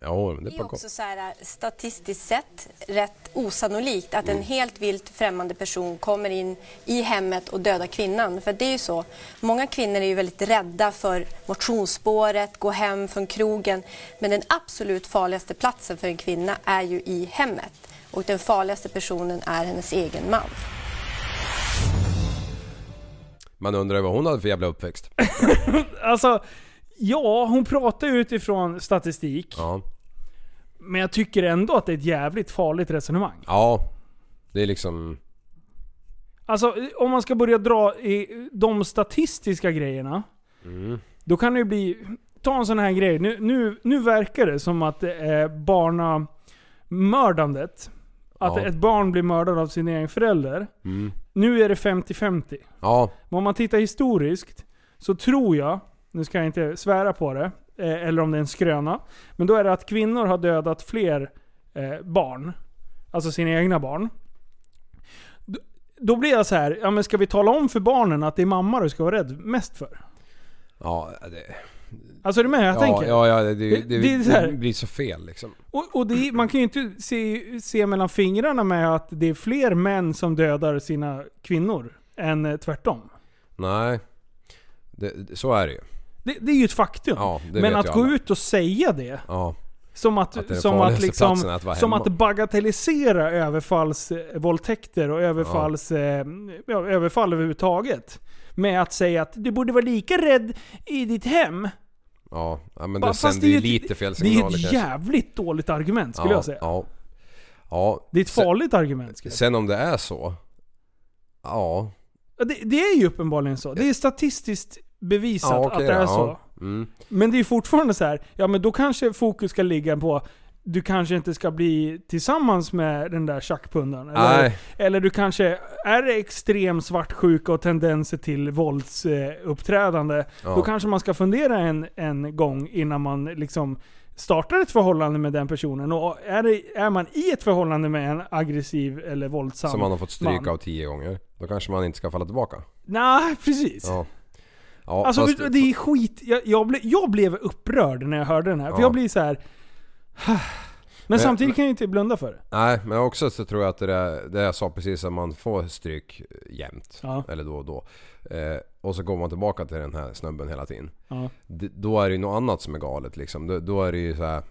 Speaker 6: Ja, men det är
Speaker 9: Det är ju
Speaker 6: på gång.
Speaker 9: också så här, äh, statistiskt sett rätt osannolikt att
Speaker 6: Mm.
Speaker 9: en helt vilt främmande person kommer in i hemmet och dödar kvinnan. För det är ju så, många kvinnor är ju väldigt rädda för motionsspåret, gå hem från krogen. Men den absolut farligaste platsen för en kvinna är ju i hemmet. Och den farligaste personen är hennes egen man.
Speaker 6: Man undrar ju vad hon hade för jävla uppväxt.
Speaker 5: Alltså, ja, hon pratar ju utifrån statistik.
Speaker 6: Ja,
Speaker 5: Men jag tycker ändå att det är ett jävligt farligt resonemang.
Speaker 6: ja. det är liksom...
Speaker 5: Alltså, om man ska börja dra i de statistiska grejerna.
Speaker 6: mm.
Speaker 5: Då kan det ju bli... Ta en sån här grej. Nu, nu, nu verkar det som att det är barnamördandet. Att
Speaker 6: Ja. Mm.
Speaker 5: ett barn blir mördad av sin egen förälder. Nu är det 50-50.
Speaker 6: Ja,
Speaker 5: Men om man tittar historiskt så tror jag, nu ska jag inte svära på det, eh, eller om det är en skröna. Men då är det att kvinnor har dödat fler eh, barn. Alltså sina egna barn. D- Då blir jag så här, ja men ska vi tala om för barnen att det är mamma du ska vara rädd mest för?
Speaker 6: ja, det...
Speaker 5: Alltså är du med hur jag
Speaker 6: Ja,
Speaker 5: tänker?
Speaker 6: ja, ja det, det,
Speaker 5: Det-
Speaker 6: det,
Speaker 5: det är så här-
Speaker 6: det blir så fel liksom.
Speaker 5: Och, och det, är- man kan ju inte se, se mellan fingrarna med att det är fler män som dödar sina kvinnor än eh, tvärtom.
Speaker 6: Nej. Det, det, så är det ju.
Speaker 5: Det, det är ju ett faktum.
Speaker 6: Ja, det vet
Speaker 5: men
Speaker 6: ju
Speaker 5: att gå
Speaker 6: alla.
Speaker 5: ut och säga det
Speaker 6: Ja,
Speaker 5: Som att,
Speaker 6: Att det är den
Speaker 5: som att,
Speaker 6: farligaste
Speaker 5: liksom,
Speaker 6: platsen att vara
Speaker 5: som
Speaker 6: hemma.
Speaker 5: att bagatellisera överfallsvåldtäkter och överfalls, eh, ja, överfall överhuvudtaget. Med att säga att du borde vara lika rädd i ditt hem.
Speaker 6: ja. ja men
Speaker 5: Ba-
Speaker 6: det
Speaker 5: fast
Speaker 6: sänder ju
Speaker 5: ett-
Speaker 6: lite fel
Speaker 5: Det är
Speaker 6: signaler
Speaker 5: ett
Speaker 6: kanske.
Speaker 5: jävligt dåligt argument skulle
Speaker 6: ja,
Speaker 5: jag säga.
Speaker 6: Ja. ja.
Speaker 5: Det är ett
Speaker 6: Sen-
Speaker 5: farligt argument. Skulle jag. säga.
Speaker 6: Sen om det är så. Ja.
Speaker 5: Ja, Det, det är ju uppenbarligen så. Det är statistiskt bevisat
Speaker 6: ja okej
Speaker 5: att det är
Speaker 6: då,
Speaker 5: så.
Speaker 6: ja. Mm.
Speaker 5: Men det är ju fortfarande så här, ja men då kanske fokus ska ligga på du kanske inte ska bli tillsammans med den där tjackpundaren. Eller,
Speaker 6: Nej.
Speaker 5: eller du kanske är extrem svartsjuka och tendenser till våldsuppträdande.
Speaker 6: Ja.
Speaker 5: Då kanske man ska fundera en, en gång innan man liksom startar ett förhållande med den personen. Och är, det, är man i ett förhållande med en aggressiv eller våldsam
Speaker 6: Som man har fått stryk
Speaker 5: man.
Speaker 6: av tio gånger. Då kanske man inte ska falla tillbaka.
Speaker 5: Nej, precis.
Speaker 6: Ja. Ja,
Speaker 5: Alltså
Speaker 6: fast-
Speaker 5: för- det är skit. Jag, jag, ble, jag blev upprörd när jag hörde den här. För
Speaker 6: Ja.
Speaker 5: jag blir så här. Men
Speaker 6: Men-
Speaker 5: samtidigt kan jag ju inte blunda för det.
Speaker 6: Nej, men också så tror jag att det där, det jag sa precis att man får stryk jämt.
Speaker 5: Ja.
Speaker 6: Eller då och då. Eh, och så går man tillbaka till den här snubben hela tiden.
Speaker 5: Ja.
Speaker 6: D- då är det ju något annat som är galet liksom. Då, då är det ju så här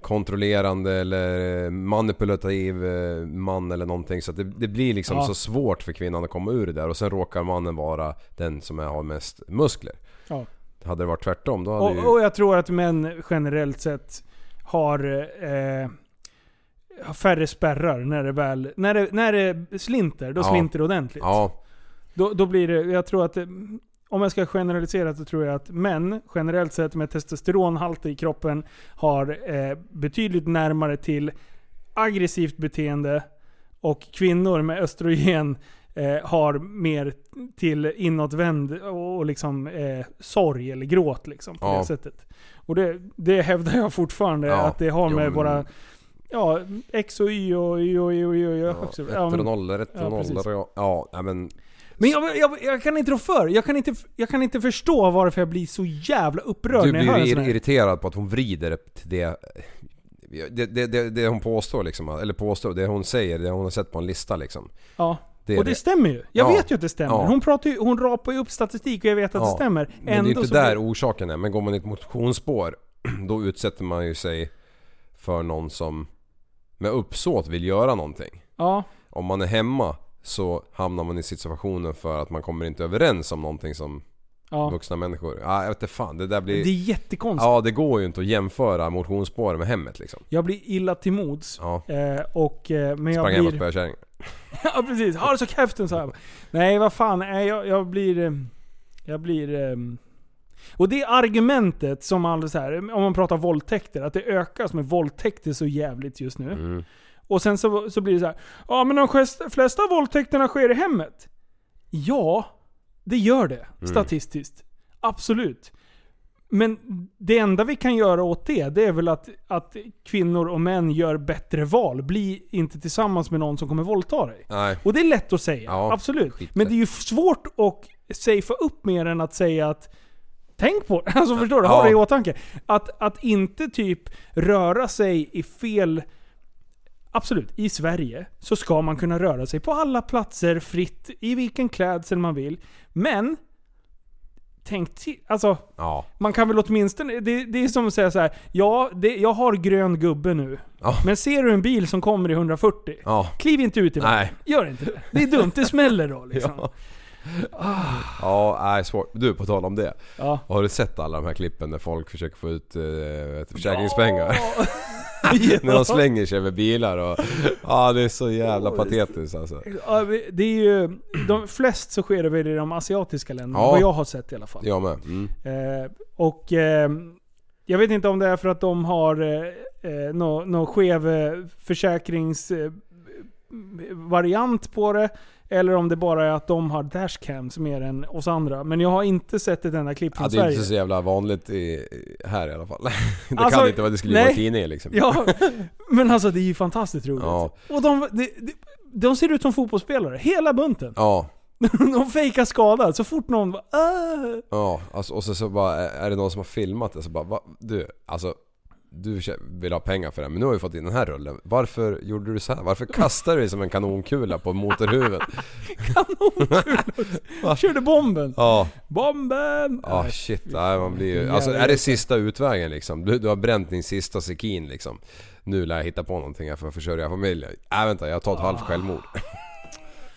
Speaker 6: kontrollerande eller manipulativ eh, man eller någonting. Så att det, det blir liksom
Speaker 5: Ja.
Speaker 6: så svårt för kvinnan att komma ur det där. Och sen råkar mannen vara den som är- har mest muskler.
Speaker 5: Ja.
Speaker 6: Hade det varit tvärtom då hade ju...
Speaker 5: Och, och jag tror att män generellt sett har eh, har färre spärrar när det väl... När det, när det slinter, då
Speaker 6: Ja.
Speaker 5: slinter det ordentligt.
Speaker 6: ja,
Speaker 5: Då, då blir det, jag tror att, eh, om jag ska generalisera så tror jag att män generellt sett med testosteronhalter i kroppen har eh, betydligt närmare till aggressivt beteende och kvinnor med östrogen eh, har mer till inåtvänd och, och liksom eh, sorg eller gråt liksom på
Speaker 6: Ja.
Speaker 5: det sättet. Och det, det hävdar jag fortfarande
Speaker 6: Ja,
Speaker 5: att det har
Speaker 6: jo,
Speaker 5: med
Speaker 6: men-
Speaker 5: våra ja, X och Y och Y och Y och Y och Y.
Speaker 6: Ja, ettor och nollor, ettor
Speaker 5: ja,
Speaker 6: och nollor.
Speaker 5: precis.
Speaker 6: Ja, ja, nej, men
Speaker 5: Men jag, jag, jag kan inte rå för. Jag kan inte, jag kan inte förstå varför jag blir så jävla upprörd
Speaker 6: Du
Speaker 5: när jag hör
Speaker 6: blir
Speaker 5: en
Speaker 6: ju
Speaker 5: sån
Speaker 6: ir-
Speaker 5: här.
Speaker 6: irriterad på att hon vrider det till det... Det, det, det, det hon påstår liksom, eller påstår, det hon säger, det hon har sett på en lista liksom.
Speaker 5: Ja.
Speaker 6: Det är
Speaker 5: och det,
Speaker 6: det.
Speaker 5: stämmer ju. Jag
Speaker 6: Ja.
Speaker 5: vet ju att det stämmer.
Speaker 6: Ja.
Speaker 5: Hon, pratar ju, hon rapar ju upp statistik och jag vet att det
Speaker 6: Ja.
Speaker 5: stämmer. Ändå
Speaker 6: Men det är ju
Speaker 5: så
Speaker 6: inte där
Speaker 5: blir-
Speaker 6: orsaken är, men går man i ett motionsspår [clears throat] då utsätter man ju sig för någon som med uppsåt vill göra någonting.
Speaker 5: Ja.
Speaker 6: Om man är hemma så hamnar man i situationen för att man kommer inte överens om någonting som
Speaker 5: ja.
Speaker 6: vuxna människor. Ja, jag vet inte fan, det där
Speaker 5: Det
Speaker 6: blir...
Speaker 5: är jättekonstigt.
Speaker 6: Ja, det går ju inte att jämföra motionsspår med hemmet liksom.
Speaker 5: Jag blir illa till mods.
Speaker 6: Ja.
Speaker 5: Eh, och, eh, men jag
Speaker 6: Sprang hem och
Speaker 5: blir...
Speaker 6: spöade kärringen.
Speaker 5: [laughs] ja precis. Har det så käften så här. Nej vad fan, Nej, jag, jag blir... eh, Jag blir... eh, Och det argumentet som aldrig så här, om man pratar våldtäkter, att det ökas med våldtäkter så jävligt just nu. Och sen så, så blir det så här. ja men de gest- flesta våldtäkterna sker i hemmet. Ja, det gör det. Statistiskt. Absolut. Men det enda vi kan göra åt det, det är väl att, att kvinnor och män gör bättre val. Bli inte tillsammans med någon som kommer våldta dig.
Speaker 6: Nej.
Speaker 5: Och det är lätt att säga,
Speaker 6: Ja,
Speaker 5: absolut.
Speaker 6: skitlätt.
Speaker 5: Men det är ju svårt att safea upp mer än att säga att Tänk på det, [laughs] alltså förstår du? Ha
Speaker 6: Ja.
Speaker 5: det i åtanke. Att, att inte typ röra sig i fel... Absolut, i Sverige så ska man kunna röra sig på alla platser fritt, i vilken klädsel man vill. Men, tänk till. Alltså,
Speaker 6: Ja.
Speaker 5: man kan väl åtminstone... Det, det är som att säga så här. ja, det, jag har grön gubbe nu.
Speaker 6: Ja.
Speaker 5: Men ser du en bil som kommer i 140,
Speaker 6: Ja.
Speaker 5: kliv inte ut i vägen.
Speaker 6: Nej.
Speaker 5: Gör inte det. Det är dumt, det smäller då liksom. Ja.
Speaker 6: Ja. Ja, nej svårt. Du, på tal om det.
Speaker 5: Ja.
Speaker 6: Har du sett alla de här klippen när folk försöker få ut eh, vet, du, försäkringspengar? [laughs] när de slänger sig över bilar och... Ja, det är så jävla patetiskt alltså.
Speaker 5: Ja, vi- det är ju, de flest så sker det väl i de asiatiska länderna,
Speaker 6: Ja.
Speaker 5: vad jag har sett i alla fall.
Speaker 6: Jag med. Mm.
Speaker 5: Eh, och eh, jag vet inte om det är för att de har eh, eh, någon nå skev eh, försäkringsvariant på det. Eller om det bara är att de har dashcams mer än oss andra. Men jag har inte sett ett enda klipp från
Speaker 6: Ja, det är
Speaker 5: Sverige.
Speaker 6: inte så jävla vanligt i, här i alla fall. [laughs] Det
Speaker 5: Alltså,
Speaker 6: kan inte vara, det skulle ju vara
Speaker 5: nej.
Speaker 6: i tidningen liksom.
Speaker 5: [laughs] Ja, men alltså det är ju fantastiskt roligt.
Speaker 6: Ja.
Speaker 5: Och de, de, de, de ser ut som fotbollsspelare, hela bunten.
Speaker 6: Ja.
Speaker 5: [laughs] De fejkar skada så fort någon bara "Ah."
Speaker 6: Ja, alltså, och så, så bara, är det någon som har filmat det så bara, va, du, alltså du kä- vill ha pengar för det men nu har vi fått in den här rullen. Varför gjorde du så här? Varför kastade du dig som en kanonkula på motorhuven?
Speaker 5: Körde bomben.
Speaker 6: [laughs] Ja,
Speaker 5: Bomben! Äh,
Speaker 6: ja
Speaker 5: Nej,
Speaker 6: shit.
Speaker 5: fy
Speaker 6: Nej, man
Speaker 5: fan,
Speaker 6: blir ju,
Speaker 5: vilken
Speaker 6: alltså
Speaker 5: jävla-
Speaker 6: är det sista utvägen liksom? Du, du har bränt din sista sekin liksom. Nu lär jag hitta på någonting här för att försörja familjen. Nej vänta, jag tar ett halvt självmord. [laughs]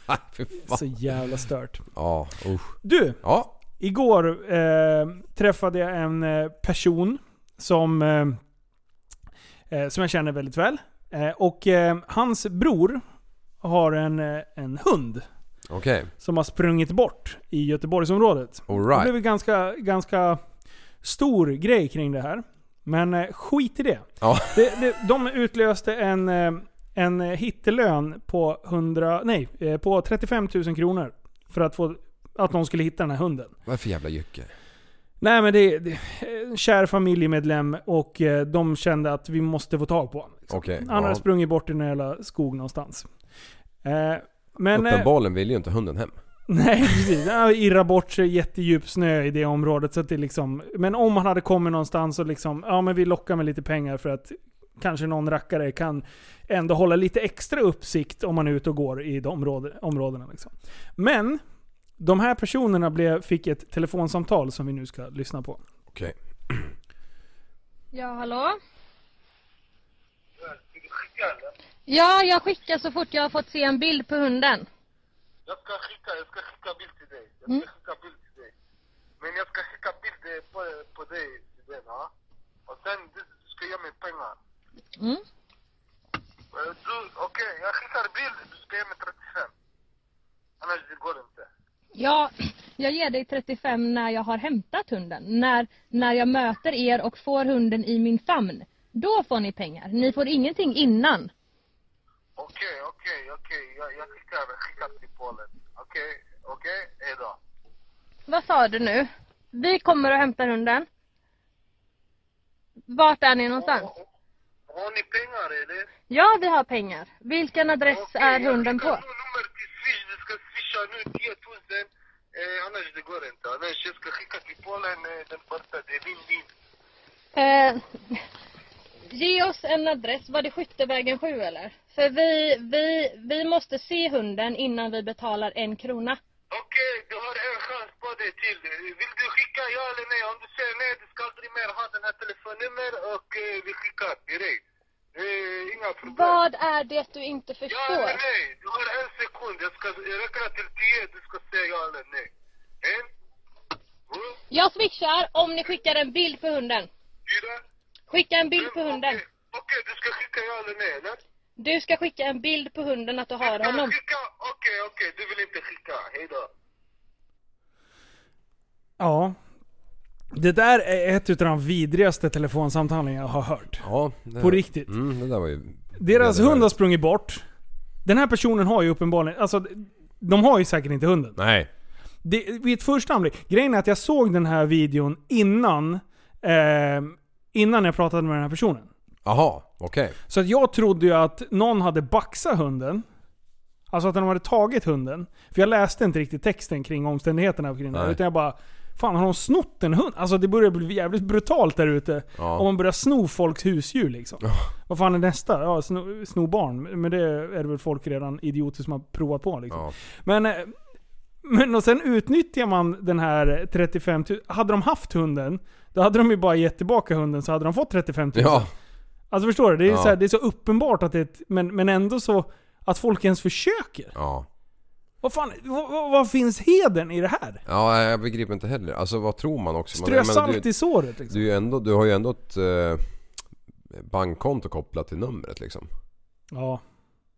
Speaker 6: Nej, Fy fan.
Speaker 5: Ah. Så jävla stört.
Speaker 6: Ja, usch.
Speaker 5: Du,
Speaker 6: Ja,
Speaker 5: igår eh, träffade jag en eh, person som, eh, eh, som jag känner väldigt väl. Eh, och eh, hans bror har en, eh, en hund
Speaker 6: okej.
Speaker 5: som har sprungit bort i Göteborgsområdet. Det blev
Speaker 6: Alright.
Speaker 5: ju ganska, ganska stor grej kring det här. Men eh, skit i det.
Speaker 6: Ja.
Speaker 5: [laughs] det, det de utlöste en, eh, en hittelön på, 100, nej, eh, på 35 000 kronor. För att, få, att någon skulle hitta den här hunden.
Speaker 6: Vad för jävla jycke?
Speaker 5: Nej men det, det en kär familjemedlem och eh, de kände att vi måste få tag på honom. Liksom.
Speaker 6: Okej.
Speaker 5: Han hade
Speaker 6: ja.
Speaker 5: sprungit bort i den här jävla skog någonstans. Eh, men, eh,
Speaker 6: Uppenbarligen vill ju inte hunden hem.
Speaker 5: Nej, precis. Han irrar bort sig jättedjup snö i det området. Så att det liksom, men om han hade kommit någonstans och liksom, ja men vi lockar med lite pengar för att kanske någon rackare kan ändå hålla lite extra uppsikt om man är ute och går i de område, områdena. Liksom. Men, de här personerna blev, fick ett telefonsamtal som vi nu ska lyssna på.
Speaker 6: Okej.
Speaker 10: Ja, hallå? Ja, jag skickar så fort jag har fått se en bild på hunden.
Speaker 11: Jag ska skicka, jag ska skicka bild till dig. Jag ska
Speaker 10: Mm.
Speaker 11: skicka bild till dig. Men jag ska skicka bild eh, på, på dig till den, ja.
Speaker 1: é?
Speaker 11: Och sen du, du ska ge mig pengar.
Speaker 10: Mm.
Speaker 11: Eh, Du, okej,
Speaker 1: é
Speaker 11: jag skickar bild, du ska ge mig 35.
Speaker 1: Ah,
Speaker 11: Annars det går inte.
Speaker 1: então.
Speaker 10: Ja, jag ger dig 35 när jag har hämtat hunden. När, när jag möter er och får hunden i min famn. Då får ni pengar. Ni får ingenting innan.
Speaker 11: Okej, okej, okej. Jag, jag skickar, jag skickar till Polen. Okej, okej,
Speaker 1: é
Speaker 11: hejdå.
Speaker 10: Vad sa du nu? Vi kommer och hämtar hunden. Vart är ni någonstans?
Speaker 11: Har ni pengar eller?
Speaker 10: Ja, vi har pengar. Vilken adress är
Speaker 1: إيه،
Speaker 10: hunden på?
Speaker 11: Swish, du ska swisha nu 10 000.
Speaker 1: إيه،
Speaker 11: Eh, annars det går inte. Annars jag ska skicka till Polen eh, den första, det är vin-vin.
Speaker 10: Eh, ge oss en adress. Var det Skyttevägen 7 eller? För vi, vi, vi måste se hunden innan vi betalar en krona.
Speaker 11: Okej, du har
Speaker 1: إيه،
Speaker 11: en chans på dig till. Vill du skicka ja eller nej? Om du säger
Speaker 1: إيه،
Speaker 11: nej, du ska aldrig mer ha den här telefonnummer och eh, vi skickar direkt. Eh,
Speaker 1: إيه،
Speaker 11: inga problem.
Speaker 10: Vad är det du inte
Speaker 11: Ja
Speaker 10: förstår?
Speaker 11: eller nej? Du har en sekund. Jag ska
Speaker 1: إيه،
Speaker 11: jag räkna till tio, du ska säga ja eller nej. En,
Speaker 10: Jag swishar om ni skickar en bild på hunden.
Speaker 11: fyra.
Speaker 10: Skicka en bild på hunden.
Speaker 11: Okej, du ska skicka ja eller nej,
Speaker 1: إيه.
Speaker 11: eller?
Speaker 10: Du ska skicka en bild på hunden att du har honom.
Speaker 11: Skicka, okej, okej. Du vill inte skicka. Hejdå.
Speaker 5: Ja. Det där är ett utav de vidrigaste telefonsamtalen jag har hört.
Speaker 6: Ja, det
Speaker 5: På
Speaker 6: var-
Speaker 5: riktigt.
Speaker 6: Mm, det där var ju...
Speaker 5: Deras
Speaker 6: det där-
Speaker 5: hund har sprungit bort. Den här personen har ju uppenbarligen... Alltså, de har ju säkert inte hunden.
Speaker 6: Nej.
Speaker 5: Det, vid ett första anblick. Grejen är att jag såg den här videon innan... Eh, innan jag pratade med den här personen.
Speaker 6: Jaha, okej.
Speaker 5: Så att jag trodde ju att någon hade baxat hunden. Alltså att de hade tagit hunden. För jag läste inte riktigt texten kring omständigheterna kring det. här,
Speaker 6: Nej.
Speaker 5: Utan jag bara... Fan har de snott en hund? Alltså det börjar bli jävligt brutalt där ute.
Speaker 6: Ja.
Speaker 5: Om man börjar sno folks husdjur liksom. Vad fan är nästa? Ja, sno, sno barn. Men det är väl folk redan idioter som har provat på liksom.
Speaker 6: Ja.
Speaker 5: Men, eh, men och sen utnyttjar man den här 35 000. Hade de haft hunden, då hade de ju bara gett tillbaka hunden så hade de fått 35 000.
Speaker 6: Ja.
Speaker 5: Alltså förstår du? Det är,
Speaker 6: Ja.
Speaker 5: så här, det är så uppenbart att det är ett, men, men ändå så... Att folk ens försöker.
Speaker 6: Ja.
Speaker 5: Vad fan, vad, vad- vad finns heden i det här?
Speaker 6: Ja, jag begriper inte heller. Alltså vad tror man också? Man-
Speaker 5: Strö
Speaker 6: jag menar,
Speaker 5: salt
Speaker 6: du,
Speaker 5: i såret liksom.
Speaker 6: du, är ju ändå, du har ju ändå ett eh, bankkonto kopplat till numret liksom.
Speaker 5: Ja.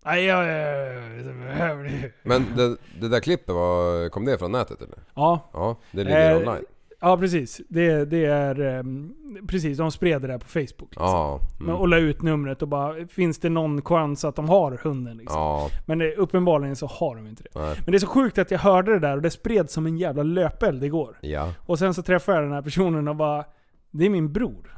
Speaker 5: Nej, jag... jag-
Speaker 6: Men det, det där klippet, var, kom det från nätet eller?
Speaker 5: Ja,
Speaker 6: Ja, det ligger
Speaker 5: Eh,
Speaker 6: online.
Speaker 5: Ja, precis. Det, det är... ehm, Precis, de spred det där på Facebook. Liksom.
Speaker 6: Ja.
Speaker 5: Men- Och
Speaker 6: Mm.
Speaker 5: la ut numret och bara, finns det någon chans att de har hunden? Liksom.
Speaker 6: Ja.
Speaker 5: Men det, uppenbarligen så har de inte det.
Speaker 6: Nej.
Speaker 5: Men det är så sjukt att jag hörde det där och det spreds som en jävla löpeld igår.
Speaker 6: Ja.
Speaker 5: Och sen så träffade jag den här personen och bara, det är min bror.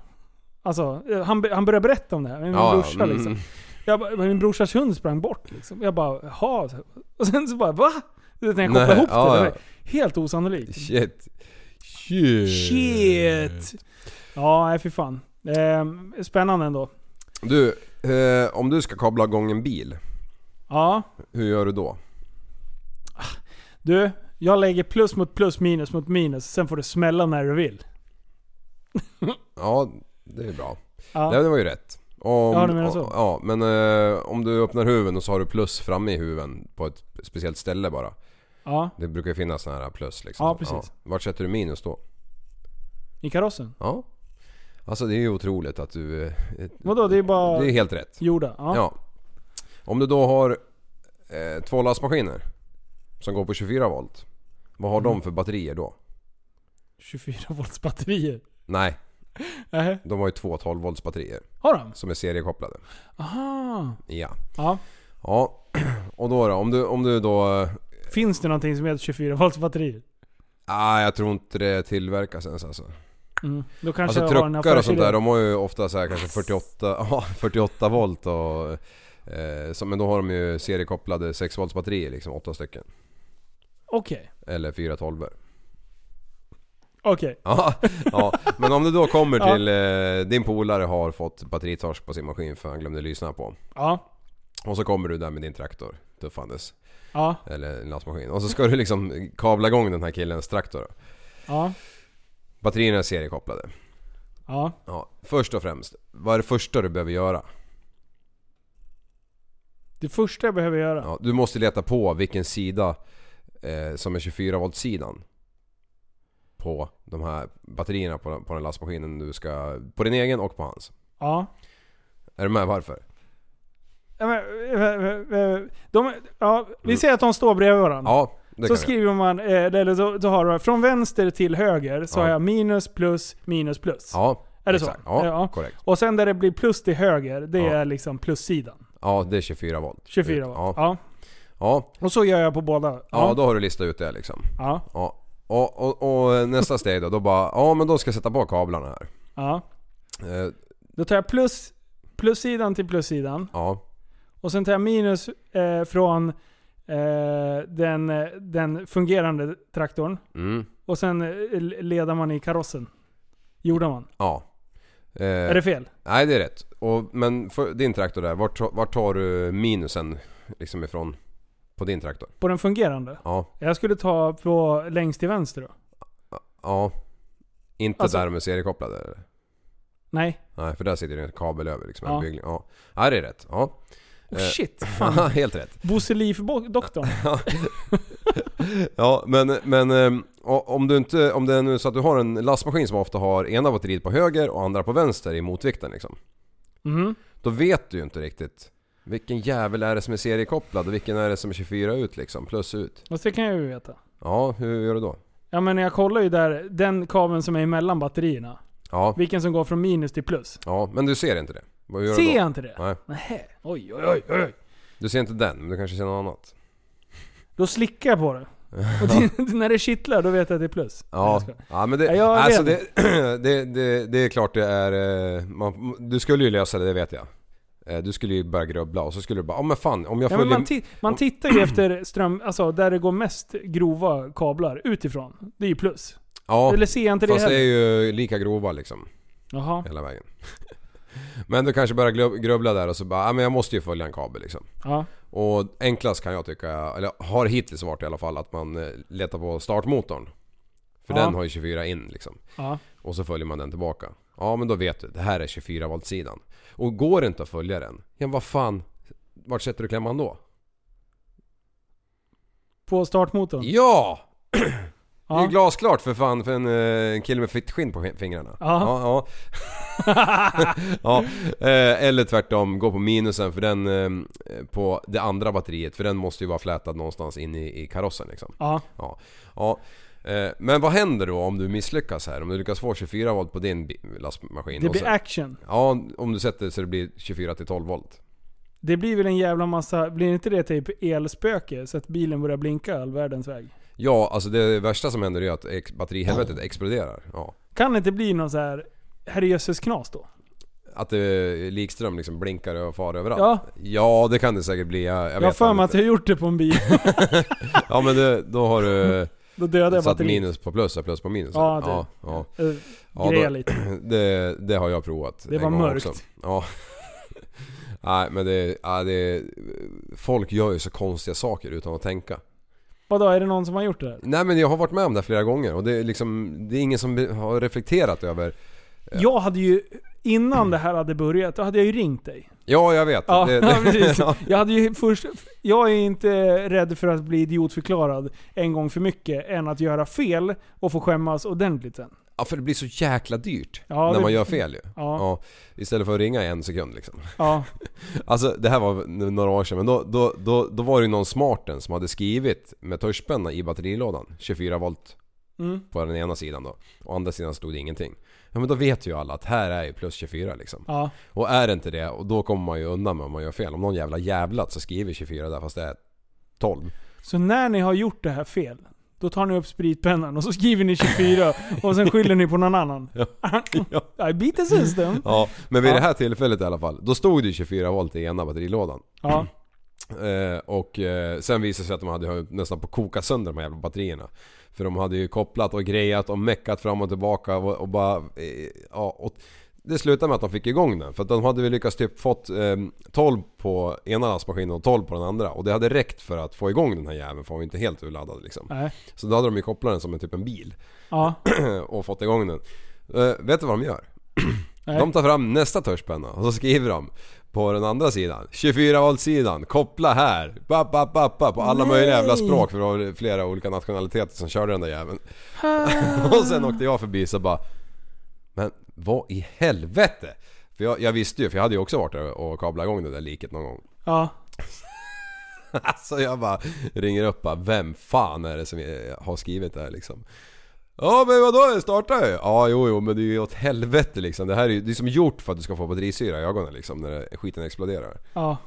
Speaker 5: Alltså, eh, han, be- han började berätta om det här. Min
Speaker 6: Ja,
Speaker 5: brorsa
Speaker 6: mm.
Speaker 5: liksom. Jag bara, "Men min brorsas hund sprang bort liksom. Jag bara, jaha. Och sen så bara, va? När jag kopplade
Speaker 6: Nej,
Speaker 5: ihop det.
Speaker 6: ja,
Speaker 5: det
Speaker 6: ja.
Speaker 5: var helt osannolikt.
Speaker 6: Shit. Shit.
Speaker 5: Shit! Ja, nej fy fan. Ehm, spännande ändå.
Speaker 6: Du, eh, om du ska kabla igång en bil,
Speaker 5: Ja,
Speaker 6: hur gör du då?
Speaker 5: du. Jag lägger plus mot plus, minus mot minus. Sen får du smälla när du vill.
Speaker 6: Ja, det är bra.
Speaker 5: Ja.
Speaker 6: Nej, det var ju rätt. Om,
Speaker 5: Ja, du menar så.
Speaker 6: Ja, men eh, om du öppnar huven och så har du plus framme i huven på ett speciellt ställe bara.
Speaker 5: Ja,
Speaker 6: Det brukar ju finnas sådana här plus liksom.
Speaker 5: Ja, precis.
Speaker 6: Vart sätter du minus då?
Speaker 5: i karossen.
Speaker 6: Ja. Alltså det är ju otroligt att du... eh,
Speaker 5: Vadå, det är bara
Speaker 6: Det är helt rätt.
Speaker 5: gjorda. Ja.
Speaker 6: Ja. Om du då har eh, två lastmaskiner som går på 24 volt. Vad har
Speaker 5: Mm.
Speaker 6: de för batterier då?
Speaker 5: 24 volts batterier.
Speaker 6: Nej,
Speaker 5: Nähä.
Speaker 6: de har ju två 12 volts batterier
Speaker 5: Har de?
Speaker 6: som är seriekopplade.
Speaker 5: Aha.
Speaker 6: Ja.
Speaker 5: Ja.
Speaker 6: Ja, [clears throat] och då då? Om du, om du då... eh,
Speaker 5: Finns det någonting som heter 24 volts batterier?
Speaker 6: Ah, jag tror inte det tillverkas ens alltså.
Speaker 5: Mm. Då kanske
Speaker 6: Alltså
Speaker 5: jag har en
Speaker 6: truckar och sånt
Speaker 5: affärsidé.
Speaker 6: där, de har ju ofta så här kanske 48, [laughs] ja, 48 volt och... Eh, så, men då har de ju seriekopplade 6 volts batterier liksom, åtta stycken.
Speaker 5: Okej.
Speaker 6: Eller fyra tolvor. [laughs]
Speaker 5: Okej.
Speaker 6: Ja, ja, men om du då kommer
Speaker 5: Ja.
Speaker 6: till... Eh, din polare har fått batteritorsk på sin maskin för han glömde lyssna på.
Speaker 5: Ja.
Speaker 6: Och så kommer du där med din traktor, tuffandes.
Speaker 5: Ja.
Speaker 6: Eller en lastmaskin. Och så ska du liksom kabla igång den här killens traktor.
Speaker 5: Ja.
Speaker 6: Batterierna är seriekopplade.
Speaker 5: Ja.
Speaker 6: Ja, först och främst, vad är det första du behöver göra?
Speaker 5: Det första jag behöver göra.
Speaker 6: Ja, du måste leta på vilken sida eh, som är 24 volt sidan på de här batterierna på, på den lastmaskinen du ska... På din egen och på hans.
Speaker 5: Ja.
Speaker 6: Är du med varför?
Speaker 5: Ja, men, eh, eh, eh, De, ja, vi säger att de står bredvid varandra.
Speaker 6: Mm. Ja, det
Speaker 5: så
Speaker 6: kan vi.
Speaker 5: skriver man, eh, eller så, så har du, från vänster till höger så
Speaker 6: Ja.
Speaker 5: har jag minus, plus, minus, plus.
Speaker 6: Ja,
Speaker 5: Är det
Speaker 6: exakt.
Speaker 5: så?
Speaker 6: Ja,
Speaker 5: Ja.
Speaker 6: korrekt.
Speaker 5: Och sen där det blir plus till höger, det
Speaker 6: Ja.
Speaker 5: är liksom plussidan.
Speaker 6: Ja, det är 24 volt.
Speaker 5: 24 volt.
Speaker 6: Ja.
Speaker 5: Ja.
Speaker 6: Ja,
Speaker 5: Och så gör jag på båda. Ja,
Speaker 6: ja då har du listat ut det liksom.
Speaker 5: Ja.
Speaker 6: Ja. Och, och, och nästa steg då, då bara... Ja men då ska jag sätta på kablarna här.
Speaker 5: Ja.
Speaker 6: Eh,
Speaker 5: Då tar jag plus, plussidan till plussidan.
Speaker 6: Ja.
Speaker 5: Och sen tar jag minus eh, från eh, den, eh, den fungerande traktorn.
Speaker 6: Mm.
Speaker 5: Och sen eh, ledar man i karossen. Gjorde man.
Speaker 6: Ja. Eh,
Speaker 5: Är det fel?
Speaker 6: Nej det är rätt. Och, men för din traktor där, vart, ta- vart tar du minusen liksom ifrån? På din traktor?
Speaker 5: På den fungerande?
Speaker 6: Ja.
Speaker 5: Jag skulle ta på längst till vänster då.
Speaker 6: Ja. Inte
Speaker 5: Alltså-
Speaker 6: där med seriekopplade eller?
Speaker 5: Nej.
Speaker 6: Nej för där sitter det en kabel över liksom.
Speaker 5: Ja.
Speaker 6: En byggling. Ja. ja det är rätt. Ja.
Speaker 5: Oh,
Speaker 6: Eh,
Speaker 5: shit,
Speaker 6: [laughs] ja,
Speaker 5: fan.
Speaker 6: helt rätt.
Speaker 5: Bosse Leif-doktorn.
Speaker 6: [laughs] Ja men, men ehm, o- om du inte, om det är nu så att du har en lastmaskin som ofta har ena batteriet på höger och andra på vänster i motvikten liksom.
Speaker 5: Mhm.
Speaker 6: Då vet du ju inte riktigt vilken jävel är det som är seriekopplad och vilken är det som är 24 ut liksom, plus ut.
Speaker 5: Och det kan jag ju veta.
Speaker 6: Ja, hur gör du då?
Speaker 5: Ja men jag kollar ju där, den kabeln som är emellan batterierna.
Speaker 6: Ja,
Speaker 5: Vilken som går från minus till plus.
Speaker 6: ja men du ser inte det. Vad gör du
Speaker 5: Ser
Speaker 6: då?
Speaker 5: jag inte det?
Speaker 6: Nej.
Speaker 5: Nähä. Oj, oj, oj, oj.
Speaker 6: Du ser inte den, men du kanske ser något annat.
Speaker 5: Då slickar jag
Speaker 6: [laughs]
Speaker 5: på det. Och det, när det kittlar då vet jag att det är plus.
Speaker 6: Ja, ja men det,
Speaker 5: Ja, jag
Speaker 6: alltså det,
Speaker 5: vet.
Speaker 6: det, [clears throat] det, det är klart det är... eh, Man, du skulle ju lösa det, det vet jag. Eh, Du skulle ju börja grubbla och så skulle du bara, ja men fan om jag
Speaker 5: Ja, men
Speaker 6: följer...
Speaker 5: man, ti- man tittar ju efter ström, alltså där det går mest grova kablar utifrån. Det är ju plus.
Speaker 6: ja,
Speaker 5: eller ser jag inte det
Speaker 6: fast det är
Speaker 5: heller?
Speaker 6: ju lika grova liksom.
Speaker 5: Jaha.
Speaker 6: Hela vägen. [laughs] men du kanske börjar glubb- grubbla där och så bara, ja men jag måste ju följa en kabel liksom.
Speaker 5: Ja.
Speaker 6: Och enklast kan jag tycka, eller har hittills varit i alla fall, att man eh, letar på startmotorn. För
Speaker 5: Ja.
Speaker 6: den har ju 24 in liksom.
Speaker 5: Ja.
Speaker 6: Och så följer man den tillbaka. Ja men då vet du, det här är 24 volt sidan. Och går det inte att följa den, ja men vad fan, vart sätter du klämman då?
Speaker 5: På startmotorn?
Speaker 6: Ja! Det är
Speaker 5: Ja.
Speaker 6: ju glasklart för fan för en, eh, en kille med fittskinn på fingrarna.
Speaker 5: Ja.
Speaker 6: ja, ja. Ja, eh, Eller tvärtom, gå på minusen för den eh, på det andra batteriet för den måste ju vara flätad någonstans in i, i karossen liksom.
Speaker 5: [laughs] Ja.
Speaker 6: Ja. ja. Eh, Men vad händer då om du misslyckas här? Om du lyckas få 24 volt på din bi- lastmaskin?
Speaker 5: Det
Speaker 6: och
Speaker 5: blir
Speaker 6: sen-
Speaker 5: action.
Speaker 6: Ja, om du sätter så det blir 24 till 12 volt.
Speaker 5: Det blir väl en jävla massa, blir inte det typ elspöke så att bilen börjar blinka all världens väg?
Speaker 6: Ja, alltså det värsta som händer är att ex- batterihelvetet exploderar. Ja.
Speaker 5: Kan det inte bli någon så här herrejösses knas då?
Speaker 6: Att det likström liksom blinkar och far överallt.
Speaker 5: Ja.
Speaker 6: ja, det kan det säkert bli. Jag, jag,
Speaker 5: Jag har
Speaker 6: vet
Speaker 5: för
Speaker 6: fan
Speaker 5: mig att
Speaker 6: inte.
Speaker 5: jag gjort det på
Speaker 6: [laughs]
Speaker 5: en bil.
Speaker 6: Ja men det, då
Speaker 5: [laughs]
Speaker 6: har du
Speaker 5: Då dödar jag
Speaker 6: satt
Speaker 5: batteriet.
Speaker 6: minus på plus och plus på minus.
Speaker 5: Ja, det-
Speaker 6: ja, ja.
Speaker 5: Eh,
Speaker 6: Ja,
Speaker 5: Greja
Speaker 6: då-
Speaker 5: lite.
Speaker 6: [clears throat] Det, det har jag provat.
Speaker 5: Det
Speaker 6: en
Speaker 5: var
Speaker 6: gång
Speaker 5: mörkt.
Speaker 6: Ja. [laughs] Nej men det, ja, det... Folk gör ju så konstiga saker utan att tänka.
Speaker 5: Vadå, är det någon som har gjort det där?
Speaker 6: Nej men jag har varit med om det här flera gånger och det är liksom... Det är ingen som har reflekterat över...
Speaker 5: Jag hade ju, innan det här hade börjat, då hade jag ju ringt dig.
Speaker 6: Ja jag vet.
Speaker 5: [laughs] Ja,
Speaker 6: Det- det-
Speaker 5: ja
Speaker 6: [laughs]
Speaker 5: precis.
Speaker 6: Ja.
Speaker 5: Jag, hade ju först, jag är inte rädd för att bli idiotförklarad en gång för mycket, än att göra fel och få skämmas ordentligt sen.
Speaker 6: Ja för det blir så jäkla dyrt
Speaker 5: Ja,
Speaker 6: när
Speaker 5: det-
Speaker 6: man gör fel ju.
Speaker 5: Ja.
Speaker 6: Istället för att ringa i en sekund liksom. [laughs]
Speaker 5: Ja.
Speaker 6: Alltså det här var nu några år sedan men då, då, då, då var det ju någon smarten som hade skrivit med tuschpenna i batterilådan 24 volt
Speaker 5: Mm.
Speaker 6: på den ena sidan då. Å andra sidan stod det ingenting. Ja men då vet ju alla att här är ju plus 24 liksom.
Speaker 5: Ja.
Speaker 6: Och är det inte det, och då kommer man ju undan med om man gör fel. Om någon jävla jävlat så skriver 24 där fast det är 12.
Speaker 5: Så när ni har gjort det här fel, då tar ni upp spritpennan och så skriver ni 24 och sen skyller ni på
Speaker 6: [laughs]
Speaker 5: någon annan. [laughs] I beat the system.
Speaker 6: Ja, men vid
Speaker 5: Ja.
Speaker 6: det här tillfället i alla fall. Då stod det ju 24 volt i ena batterilådan.
Speaker 5: Ja.
Speaker 6: Eh, och eh, sen visade det sig att de hade ju nästan på att koka sönder de här jävla batterierna. För de hade ju kopplat och grejat och meckat fram och tillbaka och, och bara... Eh, ja, och det slutade med att de fick igång den. För att de hade väl lyckats typ fått eh, 12 på ena lastmaskinen och 12 på den andra. Och det hade räckt för att få igång den här jäveln för han var ju inte helt urladdad liksom.
Speaker 5: Nej.
Speaker 6: Så då hade de ju kopplat den som en typ en bil.
Speaker 5: Ja.
Speaker 6: och fått igång den. Eh, vet du vad de gör? [clears throat]
Speaker 5: Nej.
Speaker 6: De tar fram nästa törstpenna och så skriver de på den andra sidan. 24 voltsidan, koppla här. Bap, bap, bap, bap, på alla
Speaker 5: Nej.
Speaker 6: möjliga jävla språk för det var flera olika nationaliteter som körde den där jäveln. [laughs] och sen åkte jag förbi så bara... Men vad i helvete? För jag, jag visste ju, för jag hade ju också varit där och kablat igång det där liket någon gång.
Speaker 5: Ja.
Speaker 6: Alltså jag bara ringer upp bara, vem fan är det som eh, har skrivit det här liksom? Ja men vadå, jag startar ju! Ja jo jo men det är ju åt helvete liksom. Det här är ju det är som gjort för att du ska få batterisyra i ögonen liksom när det- skiten exploderar. [laughs]
Speaker 5: Ja.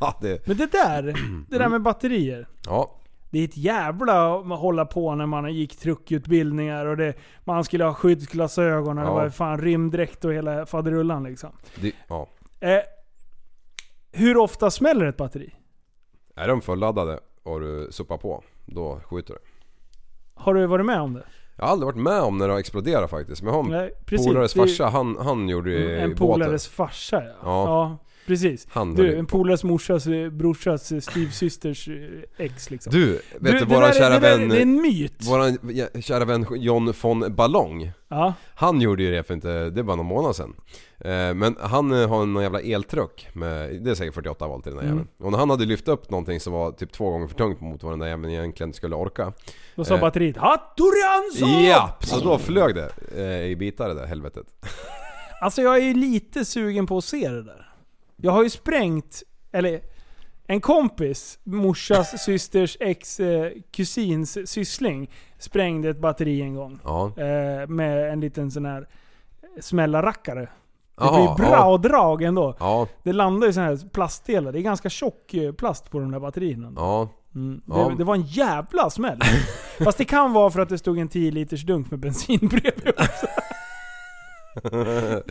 Speaker 6: Ja, det,
Speaker 5: Men det där, det där med batterier.
Speaker 6: ja.
Speaker 5: Det är ett jävla att hålla på när man gick truckutbildningar och det, man skulle ha skyddsglasögon och det
Speaker 6: Ja.
Speaker 5: var fan rymddräkt och hela faderullan liksom.
Speaker 6: Det, ja.
Speaker 5: Eh, hur ofta smäller ett batteri?
Speaker 6: Är de fulladdade och du suppar på, då skjuter du.
Speaker 5: Har du varit med om det?
Speaker 6: Jag har aldrig varit med om när det har exploderat faktiskt. Men jag har
Speaker 5: Nej,
Speaker 6: en
Speaker 5: precis.
Speaker 6: Mm. polares
Speaker 5: Det är-
Speaker 6: farsa, han, han gjorde ju i
Speaker 5: en
Speaker 6: båten.
Speaker 5: polares farsa ja.
Speaker 6: Ja.
Speaker 5: ja precis.
Speaker 6: Han höll
Speaker 5: du,
Speaker 6: ju
Speaker 5: en polares morsas, eh, brorsas, eh, styvsysters eh, ex liksom.
Speaker 6: Du, vet du,
Speaker 5: det
Speaker 6: våran
Speaker 5: där är-
Speaker 6: kära
Speaker 5: det där är-
Speaker 6: vän...
Speaker 5: Det är en myt.
Speaker 6: Våran ja, kära vän John von Ballong.
Speaker 5: Ja.
Speaker 6: Han gjorde ju det för inte, det var någon månad sedan. Eh, Men han eh, har en jävla eltruck med, det är säkert 48 volt i den där
Speaker 5: Mm.
Speaker 6: jäveln. Och när han hade lyft upp någonting som var typ två gånger för tungt mot vad den där jäveln egentligen skulle orka.
Speaker 5: Då sa
Speaker 6: eh,
Speaker 5: batteriet Hattorianso!
Speaker 6: Japp! Så då flög det eh, i bitar det där helvetet.
Speaker 5: Alltså jag är ju lite sugen på att se det där. Jag har ju sprängt, eller en kompis,
Speaker 6: [laughs]
Speaker 5: morsas systers ex eh, kusins syssling, sprängde ett batteri en gång.
Speaker 6: Ja.
Speaker 5: Eh, med en liten sån här smällarrackare. Det
Speaker 6: Jaha,
Speaker 5: blir bra
Speaker 6: ja.
Speaker 5: drag ändå.
Speaker 6: Ja,
Speaker 5: Det landar ju sån här plastdelar. Det är ganska tjock eh, plast på de där batterierna.
Speaker 6: ja.
Speaker 5: Mm, det,
Speaker 6: Ja.
Speaker 5: det var en
Speaker 6: [laughs]
Speaker 5: jävla smäll. Fast det kan vara för att det stod en 10 liters dunk med bensin
Speaker 6: [laughs]
Speaker 5: bredvid också.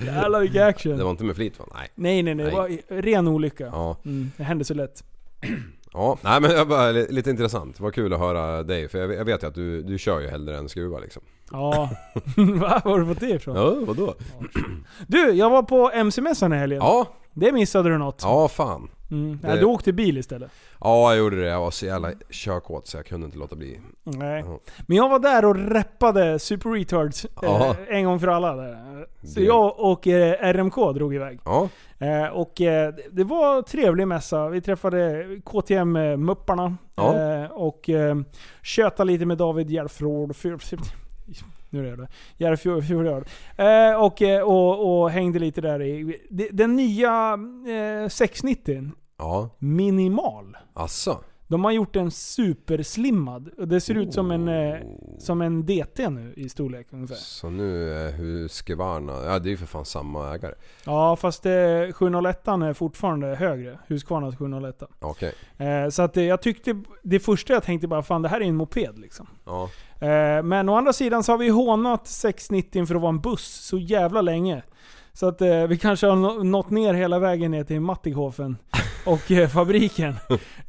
Speaker 5: Jävlar vilken action.
Speaker 6: Det var inte med flit va? Nej.
Speaker 5: Nej nej nej, det var ren olycka.
Speaker 6: Ja.
Speaker 5: Mm, det hände så lätt.
Speaker 6: Ja, nej men jag bara, li- lite intressant. Vad kul att höra dig för jag, jag vet ju att du, du kör ju hellre än skruva liksom. [laughs]
Speaker 5: Ja. [laughs] Va? Var har du fått det ifrån?
Speaker 6: Ja, vadå?
Speaker 5: Du, jag var på MC-mässan i helgen.
Speaker 6: Ja.
Speaker 5: Det missade du något.
Speaker 6: Ja, fan.
Speaker 5: Mm.
Speaker 6: Det-
Speaker 5: Nej, du åkte bil istället.
Speaker 6: Ja, jag gjorde det. Jag var så jävla körkåt så jag kunde inte låta bli.
Speaker 5: Nej.
Speaker 6: Ja.
Speaker 5: Men jag var där och reppade Super Retards eh,
Speaker 6: Ja.
Speaker 5: en gång för alla. Där. Så
Speaker 6: Det-
Speaker 5: jag och eh, RMK drog iväg.
Speaker 6: Ja.
Speaker 5: Eh, och eh, det- det var en trevlig mässa. Vi träffade KTM-mupparna
Speaker 6: Ja.
Speaker 5: eh, och eh, tjötade lite med David Järfråd. Nu är det Järfjord. Eh, och, eh, och, och hängde lite där i. Det- Den nya eh, 690
Speaker 6: Ja.
Speaker 5: minimal.
Speaker 6: Asså?
Speaker 5: De har gjort en superslimmad. Och Det ser ut som en, eh, som en DT nu i storlek ungefär.
Speaker 6: Så nu eh, är Husqvarna... Ja, det är ju för fan samma ägare.
Speaker 5: Ja, fast eh, 701 är fortfarande högre. Husqvarnas 701.
Speaker 6: Okej.
Speaker 5: Eh, så att eh, jag tyckte, det första jag tänkte bara fan det här är en moped liksom.
Speaker 6: Ja.
Speaker 5: Eh, men å andra sidan så har vi hånat 690 för att vara en buss så jävla länge. Så att eh, vi kanske har nå- nått ner hela vägen ner
Speaker 6: [laughs]
Speaker 5: till Mattighofen och eh, fabriken.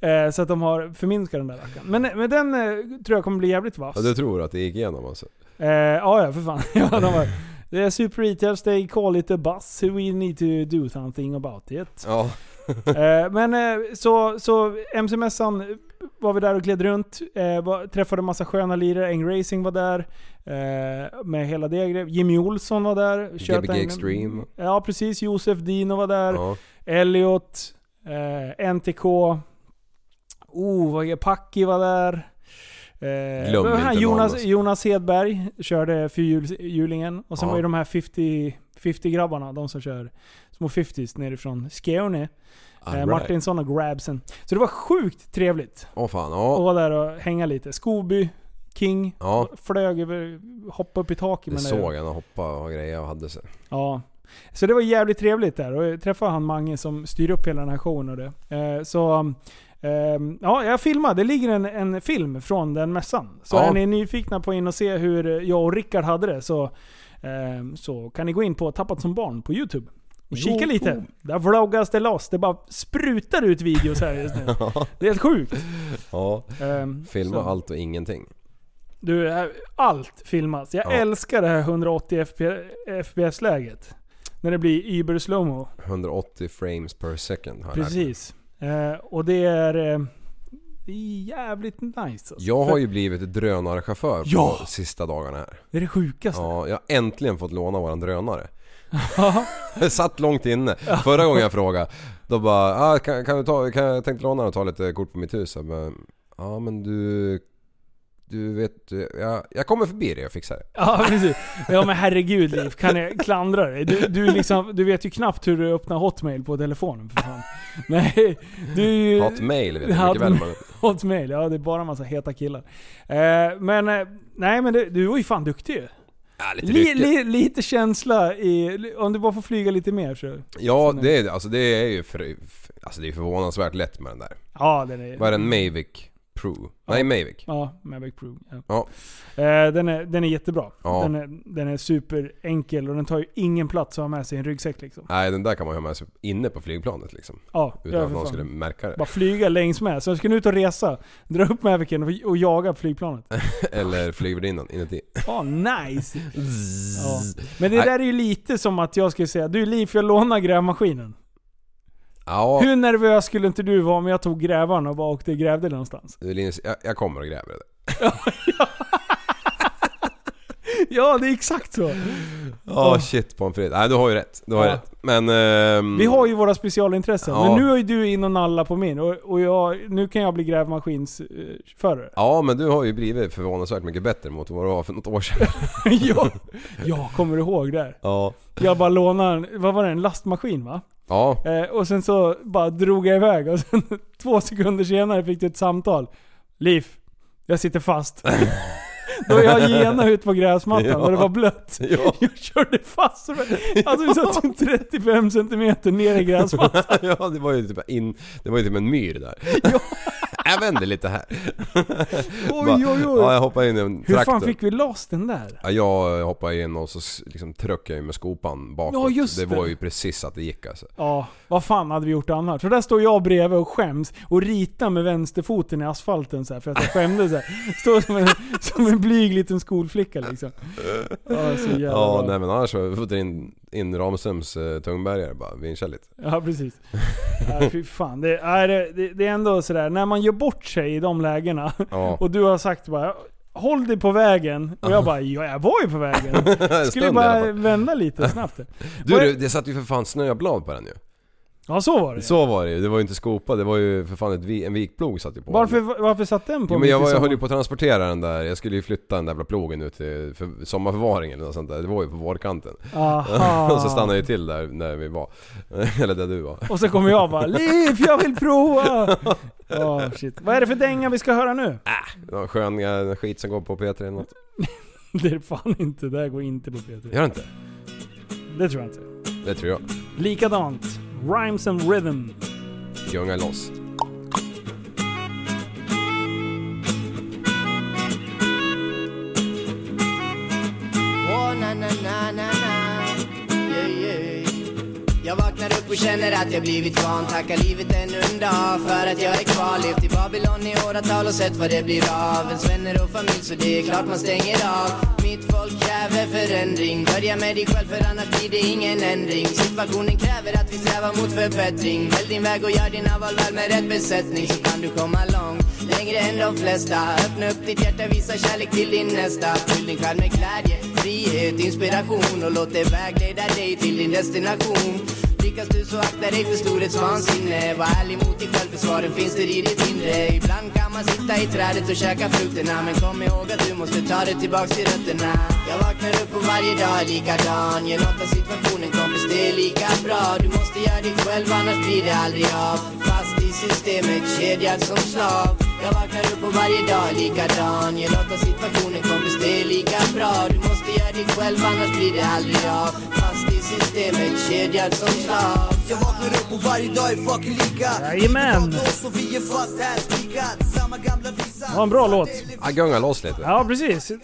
Speaker 5: Eh, så att de har förminskat den där rackaren. Men, eh, men den eh, tror jag kommer bli jävligt vass.
Speaker 6: ja. Du tror att det gick igenom alltså?
Speaker 5: Eh, ja, ja för fan. [laughs] ja, de var, det är super retails, they call it a bus. We need to do something about it.
Speaker 6: Ja. [laughs]
Speaker 5: Eh, men eh, så, så MC-mässan var vi där och gled runt. Eh, var, träffade massa sköna lirare. Eng Racing var där. Eh, med hela det grejen. Jimmy Olsson var där. Kört
Speaker 6: Gbg
Speaker 5: en-
Speaker 6: Extreme.
Speaker 5: Ja precis. Josef Dino var där.
Speaker 6: Ja.
Speaker 5: Elliot. Eh, NTK. Oh, vad är Packi var där. Eh,
Speaker 6: Glöm
Speaker 5: det var
Speaker 6: inte någon,
Speaker 5: Jonas,
Speaker 6: alltså.
Speaker 5: Jonas Hedberg körde fyrhjulingen. Och sen
Speaker 6: Ja.
Speaker 5: var ju de här 50 50-grabbarna, de som kör små 50s nerifrån Skåne.
Speaker 6: All
Speaker 5: Eh,
Speaker 6: right.
Speaker 5: Martinsson och Grabsen. Så det var sjukt trevligt
Speaker 6: Åh fan,
Speaker 5: att
Speaker 6: ja.
Speaker 5: vara där och hänga lite. Scooby, King,
Speaker 6: Ja.
Speaker 5: flög över, hoppade upp i taket.
Speaker 6: Det
Speaker 5: med den
Speaker 6: såg
Speaker 5: där.
Speaker 6: jag när han hoppade och grejer och hade sig.
Speaker 5: Ja. Så det var jävligt trevligt där och jag träffade han Mange som styr upp hela den här showen och det. Eh, så ehm, ja, jag filmade. Det ligger en, en film från den mässan. Så
Speaker 6: Ja.
Speaker 5: är ni nyfikna på att in och se hur jag och Rickard hade det så, ehm, så kan ni gå in på Tappat som barn på Youtube. Och kika lite. Där vloggas det loss. Det bara sprutar ut videos här just nu. Det är helt sjukt.
Speaker 6: [laughs] Ja.
Speaker 5: Ehm,
Speaker 6: Filma
Speaker 5: så.
Speaker 6: allt och ingenting.
Speaker 5: Du, här- allt filmas. Jag
Speaker 6: Ja.
Speaker 5: älskar det här 180 FPS-läget. När det blir Uber slowmo.
Speaker 6: 180 frames per second har jag lärt mig.
Speaker 5: Precis. Eh, och det är eh, det är jävligt nice. Alltså.
Speaker 6: Jag har
Speaker 5: För
Speaker 6: ju blivit drönarchaufför
Speaker 5: Ja!
Speaker 6: på sista dagarna här.
Speaker 5: Det är det sjukaste.
Speaker 6: Ja, jag har äntligen fått låna våran drönare. Jag [laughs] satt långt inne. Förra gången jag frågade, då bara ah, kan, kan du ta, kan jag tänkte låna den och ta lite kort på mitt hus. Jag bara, Ja men du, du vet, jag, jag kommer förbi dig och fixar det.
Speaker 5: Ja, precis. Ja men herregud Liv, kan jag klandra dig? Du, du, liksom, du vet ju knappt hur du öppnar Hotmail på telefonen för fan. Nej, du är ju...
Speaker 6: Hotmail vet jag mycket väl. men-
Speaker 5: Hotmail, ja det är bara en massa heta killar. Eh, men, eh, nej men du, du var ju fan duktig ju.
Speaker 6: lite
Speaker 5: li,
Speaker 6: ryckig.
Speaker 5: li, lite känsla i... Om du bara får flyga lite mer så...
Speaker 6: Ja det är, alltså, det är ju för, alltså, det är förvånansvärt lätt med den där.
Speaker 5: Ja, den är...
Speaker 6: Vad är den? Mavic Pro? Nej Mavic.
Speaker 5: Mm. Ja, Mavic Pro. Ja.
Speaker 6: Ja.
Speaker 5: Eh, den, är, den är jättebra.
Speaker 6: Ja.
Speaker 5: Den, är, den är superenkel och den tar ju ingen plats att ha med sig i en ryggsäck liksom.
Speaker 6: Nej den där kan man ju ha med sig inne på flygplanet liksom.
Speaker 5: Ja,
Speaker 6: Utan
Speaker 5: ja,
Speaker 6: att
Speaker 5: för
Speaker 6: någon
Speaker 5: fan.
Speaker 6: skulle märka det.
Speaker 5: Bara flyga längs med. Så jag ska ut och resa, dra upp Mavicen och, och
Speaker 6: [laughs]
Speaker 5: jaga flygplanet.
Speaker 6: Eller flygvärdinnan inuti.
Speaker 5: Fan, nice! Ja. Men det där är ju lite som att jag skulle säga, du Liv, får jag låna grävmaskinen?
Speaker 6: Ja,
Speaker 5: Hur nervös skulle inte du vara om jag tog grävaren och bara åkte och grävde någonstans?
Speaker 6: du, Linus, jag, jag kommer och gräver det.
Speaker 5: Ja, det är exakt så.
Speaker 6: Ja
Speaker 5: Ja.
Speaker 6: shit på en fredag. Nej du har ju rätt. Du har ju
Speaker 5: Ja.
Speaker 6: rätt. Men... ehm,
Speaker 5: Vi har ju våra specialintressen,
Speaker 6: Ja.
Speaker 5: men nu är ju du in och nalla på min och, och jag, nu kan jag
Speaker 6: [laughs]
Speaker 5: bli grävmaskinsförare.
Speaker 6: Ja men du har ju blivit förvånansvärt mycket bättre mot vad du var för något år sedan.
Speaker 5: ja, jag kommer du ihåg det. här?
Speaker 6: Ja.
Speaker 5: Jag bara lånade, en- vad var det, en lastmaskin va?
Speaker 6: Ja. [laughs]
Speaker 5: Eh, och sen så bara drog jag iväg och sen [laughs] två sekunder senare fick du ett samtal. Liv, jag
Speaker 6: [laughs]
Speaker 5: sitter fast. Då jag gena ut på gräsmattan
Speaker 8: Ja.
Speaker 5: och det var blött.
Speaker 8: Ja.
Speaker 5: Jag körde fast så- Alltså vi
Speaker 6: [laughs]
Speaker 5: satt typ 35 centimeter ner i gräsmattan.
Speaker 6: ja det var ju typ in... Det var ju typ en myr där. [laughs] jag vänder lite här. Bara,
Speaker 5: oj, oj.
Speaker 6: Ja jag hoppar in i en
Speaker 5: Hur
Speaker 6: traktor.
Speaker 5: fan fick vi loss den där?
Speaker 6: Ja, jag hoppade in och så s- liksom tryckte jag ju med skopan bakåt.
Speaker 5: Ja, just
Speaker 6: det
Speaker 5: det.
Speaker 6: var ju precis att det gick alltså.
Speaker 5: Ja, vad fan hade vi gjort annars? Så där står jag bredvid och skäms och ritar med vänsterfoten i asfalten så här för att jag skämdes.
Speaker 6: [laughs]
Speaker 5: Så här. Står som en, som en blyg liten skolflicka liksom. Ja, så jävla
Speaker 6: Ja,
Speaker 5: bra.
Speaker 6: nej men annars har vi fått in, in Ramströms eh, tungbärgare bara, vincha lite. [laughs]
Speaker 5: Ja, precis. Ja, fy fan. Det är, det, det är ändå sådär, när man gör bort sig i de lägena
Speaker 6: Ja.
Speaker 5: och du har sagt bara Håll dig på vägen. Och jag bara, ja jag var ju på
Speaker 6: [laughs]
Speaker 5: vägen.
Speaker 6: En stund
Speaker 5: Skulle
Speaker 6: i alla
Speaker 5: bara
Speaker 6: fall.
Speaker 5: vända lite snabbt.
Speaker 6: Du,
Speaker 5: Vad är-
Speaker 6: du det satt ju för fan snöblad på den ju.
Speaker 5: Ja så var det
Speaker 6: Så var det ju, det var ju inte skopa, det var ju för fan ett, vi- en vikplog satt ju på
Speaker 5: Varför,
Speaker 6: den.
Speaker 5: varför satt den på
Speaker 6: Jo, men
Speaker 5: mitt i
Speaker 6: jag, var, jag höll ju
Speaker 5: sommaren?
Speaker 6: på att transportera den där, jag skulle ju flytta den där jävla plogen ut till för, sommarförvaring eller något sånt där. Det var ju på vårkanten.
Speaker 5: Aha.
Speaker 6: [laughs] Och så stannade jag ju till där, där vi var. [laughs] eller där du var.
Speaker 5: Och så kommer jag bara, Liv jag
Speaker 6: [laughs]
Speaker 5: vill prova! Oh, shit. Vad är det för dänga vi ska höra nu?
Speaker 6: Äh. Någon skön eh, skit som går på P3 eller något.
Speaker 5: [laughs] Det är fan inte, det här går inte på Peter.
Speaker 6: Gör det inte?
Speaker 5: Det tror jag inte.
Speaker 6: Det tror jag.
Speaker 5: Likadant. Rhymes and rhythm.
Speaker 6: Gunga loss.
Speaker 12: Åh, na, na, na, na, na. Yeah, yeah. Jag vaknar upp och känner att jag blivit van Tackar livet ännu en dag för att jag är kvar Levt i Babylon i åratal och sett vad det blir av Ens vänner och familj så det är klart man stänger av Mitt folk kräver förändring Börja med dig själv för annars blir det ingen ändring Situationen kräver att vi strävar mot förbättring Välj din väg och gör dina val väl med rätt besättning Så kan du komma långt, längre än de flesta Öppna upp ditt hjärta, visa kärlek till din nästa Fyll din själ med glädje, frihet, inspiration Och låt det vägleda dig till din destination Lyckas du så akta dig för storhetsvansinne Var ärlig mot dig själv för svaren finns där i ditt inre Ibland kan man sitta i trädet och käka frukterna Men kom ihåg att du måste ta dig tillbaks till rötterna Jag vaknar upp och varje dag är likadan Gör något av situationen kompis, det är lika bra Du måste göra dig själv annars blir det aldrig av Fast i systemet, kedjad som slav Jag vaknar upp och varje dag är likadan Gör något av situationen kompis, det är lika bra Du måste göra dig själv annars blir det aldrig av Fast i systemet, kedjad som slav
Speaker 13: Jag vaknar upp och varje dag är fucking lika Livet
Speaker 5: Jajamän.
Speaker 13: har gått så vi är fast här spikat Samma gamla visa
Speaker 5: Det var en bra låt.
Speaker 6: Han gungar Ah, loss lite.
Speaker 5: Ja, precis. Eh,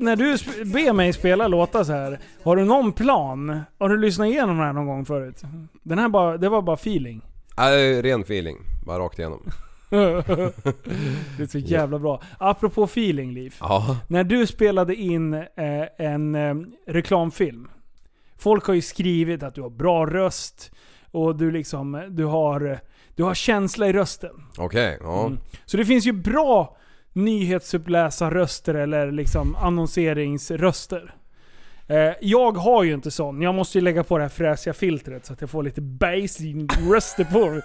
Speaker 5: När du sp- ber mig spela låtar så här, har du någon plan? Har du lyssnat igenom den här någon gång förut? Den här bara, det var bara feeling. [laughs]
Speaker 6: Ja, det är Ah, ren feeling. Bara rakt igenom.
Speaker 5: det är så jävla bra. Apropå feeling, Liv.
Speaker 6: Ja.
Speaker 5: När du spelade in eh, en eh, reklamfilm. Folk har ju skrivit att du har bra röst och du liksom, du har, du har känsla i rösten.
Speaker 6: Okej, ja.
Speaker 5: Mm. Så det finns ju bra nyhetsuppläsarröster eller liksom annonseringsröster. Eh, jag har ju inte sån. Jag måste ju lägga på det här fräsiga filtret så att jag får lite bass-röster på mig.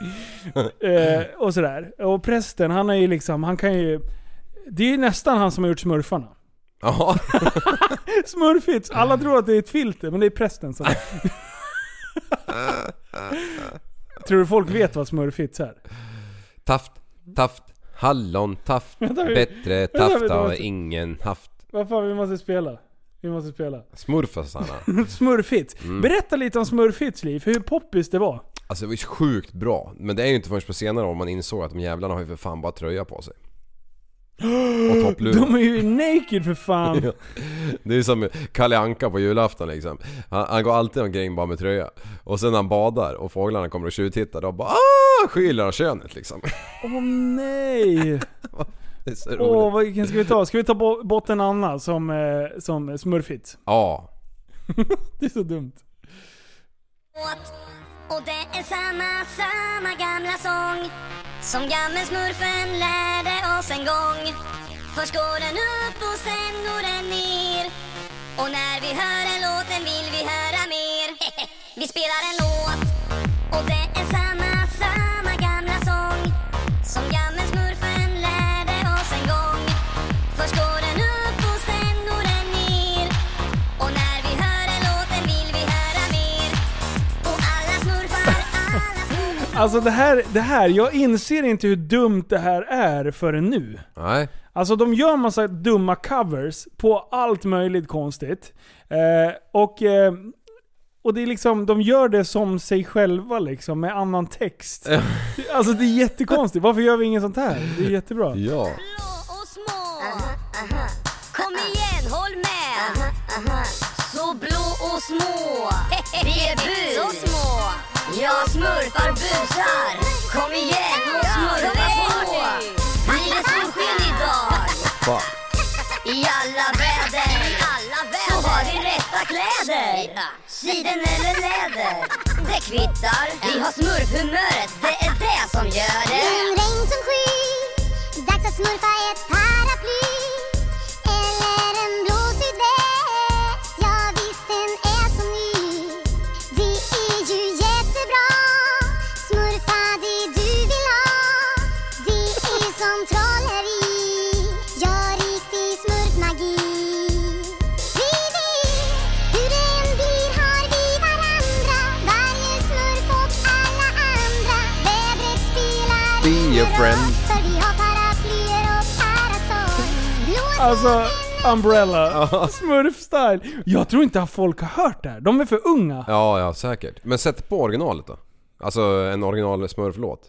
Speaker 5: eh, Och sådär. Och prästen, han är ju liksom, han kan ju... Det är ju nästan han som har gjort smurfarna.
Speaker 6: Ja. [laughs]
Speaker 5: Smurfits! [laughs] Alla tror att det är ett filter, men det är prästen [laughs] som... tror du folk vet vad smurfits är?
Speaker 6: Taft, taft, hallon, taft.
Speaker 5: Vänta, vi-
Speaker 6: Bättre
Speaker 5: vänta,
Speaker 6: taft
Speaker 5: vänta,
Speaker 6: har
Speaker 5: vänta.
Speaker 6: ingen haft.
Speaker 5: Vad fan, vi måste spela. Vi måste spela.
Speaker 6: Smurfasarna.
Speaker 5: Smurfits.
Speaker 6: Mm.
Speaker 5: Berätta lite om Smurfits liv, hur poppis det var.
Speaker 6: Alltså det var ju sjukt bra. Men det är ju inte förrän på senare år man insåg att de jävlarna har ju för fan bara tröja på
Speaker 5: [gasps]
Speaker 6: sig. Och topplur.
Speaker 5: De är ju naked för fan.
Speaker 6: Ja. Det är som Kalle Anka på julafton liksom. Han, han går alltid omkring bara med tröja. Och sen när han badar och fåglarna kommer och tjuvtittar då bara ah, skyller han könet liksom. [laughs]
Speaker 5: Åh [laughs] nej!
Speaker 6: Det är så roligt.
Speaker 5: Åh, vad- vilken ska vi ta? Ska vi ta bo- bort en annan som, eh, som Smurfits?
Speaker 6: Ja.
Speaker 5: Det är så dumt.
Speaker 13: låt Och det är samma, samma gamla sång Som gammelsmurfen lärde oss en gång Först går den upp och sen går den ner Och när vi hör den låten vill vi höra mer Vi spelar en låt Och det är samma, samma gamla sång Som gammelsmurfen lärde oss en gång Först går den upp och sen går den ner Och när vi hör den låten vill vi höra mer
Speaker 5: Alltså det här, det här, jag inser inte hur dumt det här är förrän nu.
Speaker 6: Nej.
Speaker 5: Alltså de gör massa dumma covers på allt möjligt konstigt. Eh, och, eh, och det är liksom, de gör det som sig själva liksom, med annan text. alltså det är jättekonstigt. Varför gör vi inget sånt här? Det är jättebra.
Speaker 6: Ja.
Speaker 13: och små. Kom igen, håll med. Så blå och små. Vi är bus. Så små. Jag smurfar busar. Kom igen och smurfa på. Blir det solsken idag?
Speaker 6: Fan.
Speaker 13: I alla väder. I alla väder. Så har vi rätta kläder. Siden eller läder. Det kvittar. Vi har smurfhumöret. Det är det som gör det.
Speaker 14: regn som sky Dags att smurfa ett paraply Eller en blå sydväst Ja visst den är så ny Det är ju jättebra Smurfa det du vill ha Det är som trolleri Gör riktig smurfmagi Vi vet hur det än blir har vi varandra Varje smurf och alla andra Vädret spelar
Speaker 6: Be your friend.
Speaker 14: för vi har paraplyer och parasoll. Blås
Speaker 5: Alltså, umbrella. Smurf-style. Jag tror inte att folk har hört det här. De är för unga.
Speaker 6: Ja, ja säkert. Men sätt på originalet då. Alltså en original smurflåt.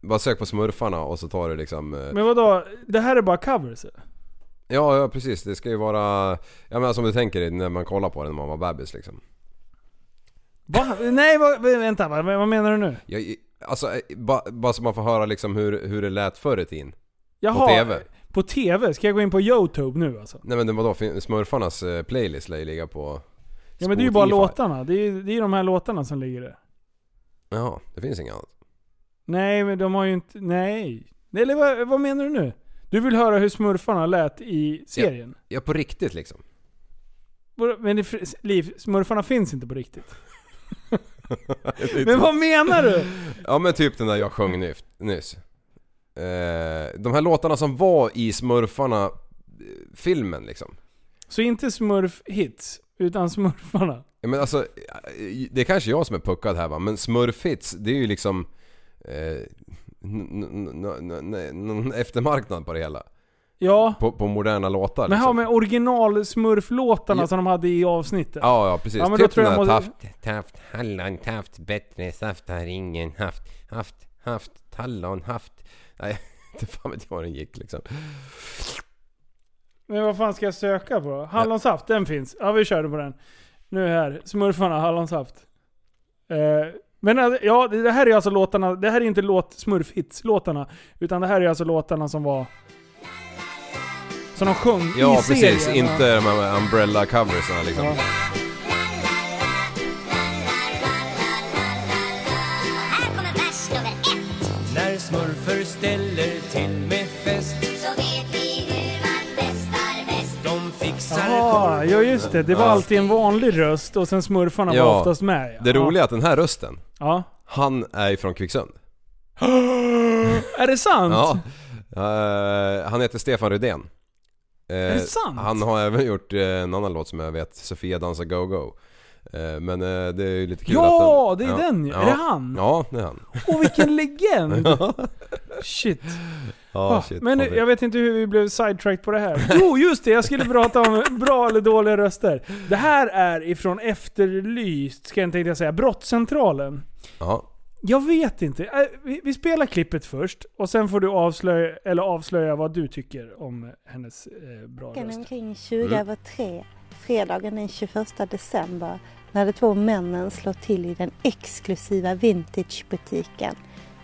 Speaker 6: Bara sök på smurfarna och så tar du liksom... eh,
Speaker 5: Men vadå? Det här är bara covers?
Speaker 6: Ja, ja precis. Det ska ju vara... Ja men som du tänker dig när man kollar på den när man var bebis liksom.
Speaker 5: Va? Nej, vad, vänta. Vad, vad menar du nu?
Speaker 6: Jag, alltså eh, ba- bara så man får höra liksom hur, hur det lät förr i tiden.
Speaker 5: Jaha.
Speaker 6: På TV.
Speaker 5: På TV? Ska jag gå in på Youtube nu alltså?
Speaker 6: Nej men det var då fin- smurfarnas eh, playlist lär ju ligga på...
Speaker 5: Ja men det är ju bara
Speaker 6: Spotify.
Speaker 5: låtarna. Det är ju det är ju de här låtarna som ligger där.
Speaker 6: Jaha, det finns inget annat.
Speaker 5: Nej men de har ju inte... Nej. Eller vad, vad menar du nu? Du vill höra hur smurfarna lät i serien?
Speaker 6: Ja, ja på riktigt liksom.
Speaker 5: Vadå? Men det, fr- Liv, smurfarna finns inte på riktigt.
Speaker 6: [laughs] Det är
Speaker 5: Men
Speaker 6: typ-
Speaker 5: vad menar du?
Speaker 6: Ja men typ den där jag sjöng nyf- nyss. Eh, de här låtarna som var i smurfarna-filmen liksom.
Speaker 5: Så inte smurf-hits, utan smurfarna?
Speaker 6: Ja, men alltså, det är kanske jag som är puckad här va, men smurfits det är ju liksom... Eh, n- n- n- n- n- n- eftermarknad på det hela.
Speaker 5: Ja.
Speaker 6: På, på moderna låtar
Speaker 5: Men
Speaker 6: liksom.
Speaker 5: här med original-smurflåtarna
Speaker 6: Ja.
Speaker 5: som de hade i avsnittet.
Speaker 6: Ja, ja precis.
Speaker 5: Ja, men då
Speaker 6: typ
Speaker 5: tror
Speaker 6: den
Speaker 5: jag
Speaker 6: där
Speaker 5: jag måste...
Speaker 6: taft, taft, hallon, taft, bättre saft har ingen haft, haft, haft, tallon, haft. Nej, [laughs] inte fan vet jag var den gick liksom.
Speaker 5: Men vad fan ska jag söka på då? Hallonsaft, den finns. Ja vi körde på den. Nu här, smurfarna, hallonsaft. Eh, men eh, ja, det det här är alltså låtarna, det här är inte låt smurfhits låtarna Utan det här är alltså låtarna som var... Som de sjöng
Speaker 6: Ja
Speaker 5: i
Speaker 6: precis,
Speaker 5: serien.
Speaker 6: inte de här umbrella coversarna liksom.
Speaker 5: Ja.
Speaker 14: Här kommer vers nummer ett.
Speaker 15: När smurfer ställer till med fest
Speaker 14: Så vet vi hur man bästar bäst.
Speaker 15: De fixar
Speaker 5: Jaha, ja just det. Det var
Speaker 6: Ja.
Speaker 5: alltid en vanlig röst och sen smurfarna var oftast med. ja.
Speaker 6: Det roliga är att den här rösten,
Speaker 5: Ja. [gasps]
Speaker 6: han är ifrån Kvicksund.
Speaker 5: Är det sant?
Speaker 6: Ja. Eh, han heter Stefan Rydén. Eh,
Speaker 5: det sant?
Speaker 6: Han har även gjort eh, en annan låt som jag vet, Sofia dansar go-go. Eh, men eh, det är ju lite kul
Speaker 5: Ja,
Speaker 6: att
Speaker 5: det är den ju. Är det han?
Speaker 6: Ja, det är han.
Speaker 5: Åh vilken legend!
Speaker 6: [laughs] Ja.
Speaker 5: Shit.
Speaker 6: Ja,
Speaker 5: Ah,
Speaker 6: shit.
Speaker 5: men
Speaker 6: Patrik.
Speaker 5: jag vet inte hur vi blev sidetracked på det här. [laughs] Jo, just det! Jag skulle prata om bra eller dåliga röster. Det här är ifrån Efterlyst, ska jag tänkte jag säga, Brottscentralen.
Speaker 6: Ja.
Speaker 5: Jag vet inte. Eh, Vi, vi spelar klippet först, och sen får du avslöja, eller avslöja vad du tycker om hennes eh, bra
Speaker 16: Klockan
Speaker 5: röst.
Speaker 16: omkring 20 över tre, fredagen den 21 december, när de två männen slår till i den exklusiva vintagebutiken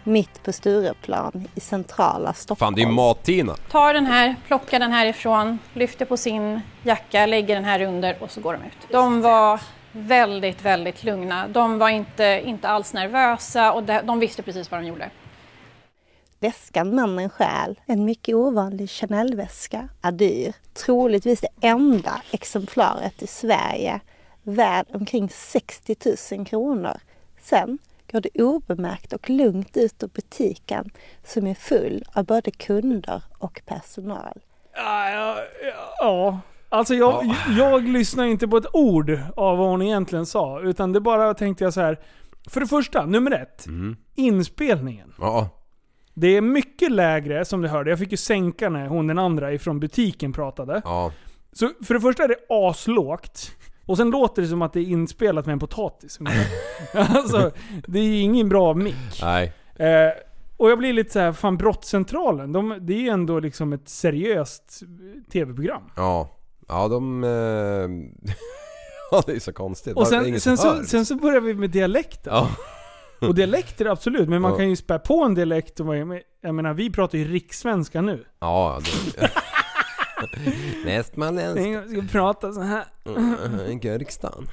Speaker 16: mitt på Stureplan i centrala Stockholm.
Speaker 6: Fan, det är ju Mat-Tina.
Speaker 17: Tar den här, plockar den härifrån, lyfter på sin jacka, lägger den här under och så går de ut. De var väldigt, väldigt lugna. De var inte, inte alls nervösa och de, de visste precis vad de gjorde.
Speaker 16: Väskan mannen stjäl, en mycket ovanlig Chanel-väska, är dyr. Troligtvis det enda exemplaret i Sverige, värd omkring 60 000 kronor. Sen går det obemärkt och lugnt ut ur butiken som är full av både kunder och personal.
Speaker 5: Ja, ja, ja. Alltså jag, jag lyssnar inte på ett ord av vad hon egentligen sa. Utan det bara tänkte jag så här. För det första, nummer ett. Inspelningen.
Speaker 6: Ja.
Speaker 5: Det är mycket lägre som du hörde. Jag fick ju sänka när hon den andra ifrån butiken pratade.
Speaker 6: Ja.
Speaker 5: Så för det första är det aslågt. Och sen låter det som att det är inspelat med en potatis. [laughs] ungefär. alltså, det är ju ingen bra mick.
Speaker 6: Nej.
Speaker 5: Eh, och jag blir lite så här, fan Brottscentralen, de, det är ju ändå liksom ett seriöst eh, tv-program.
Speaker 6: Ja. Ja, de... eh, [laughs] Ja, det är så konstigt.
Speaker 5: Och
Speaker 6: Varför är det
Speaker 5: sen,
Speaker 6: ingen
Speaker 5: sen,
Speaker 6: som
Speaker 5: så,
Speaker 6: hör?
Speaker 5: sen så börjar vi med dialekter.
Speaker 6: Ja.
Speaker 5: Och dialekter absolut, men man
Speaker 6: Ja.
Speaker 5: kan ju spä på en dialekt. Och, vad- jag menar, vi pratar ju rikssvenska nu.
Speaker 6: Ja, det... [laughs] Västmanländsk.
Speaker 5: Jag ska prata så här.
Speaker 6: Mm, Gurkstan.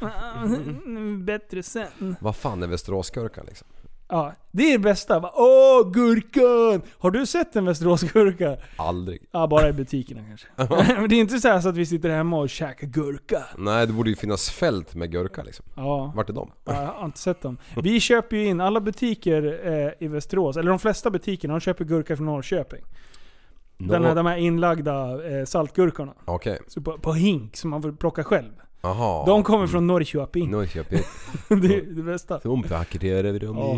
Speaker 5: Bättre sen.
Speaker 6: Vad fan är Västeråsgurkan liksom?
Speaker 5: Ja, det är det bästa. Va, Åh, gurkan! Har du sett en Västeråsgurka?
Speaker 6: Aldrig.
Speaker 5: Ja, bara i butikerna kanske. [laughs] Men det är inte så, här så att vi sitter hemma och käkar gurka.
Speaker 6: Nej, det borde ju finnas fält med gurka liksom.
Speaker 5: Ja.
Speaker 6: Vart är de?
Speaker 5: Ja, Jag har inte sett dem. Vi köper ju in, alla butiker eh, i Västerås, eller de flesta butikerna, de köper gurka från Norrköping.
Speaker 6: Nå-
Speaker 5: Den här, de här inlagda eh, saltgurkorna.
Speaker 6: Okej.
Speaker 5: Så på, på hink, som man får plocka själv.
Speaker 6: Jaha.
Speaker 5: De kommer från Norrköping.
Speaker 6: Norrköping.
Speaker 5: [laughs] det är det bästa.
Speaker 6: De vackrar över dem.
Speaker 5: Ja.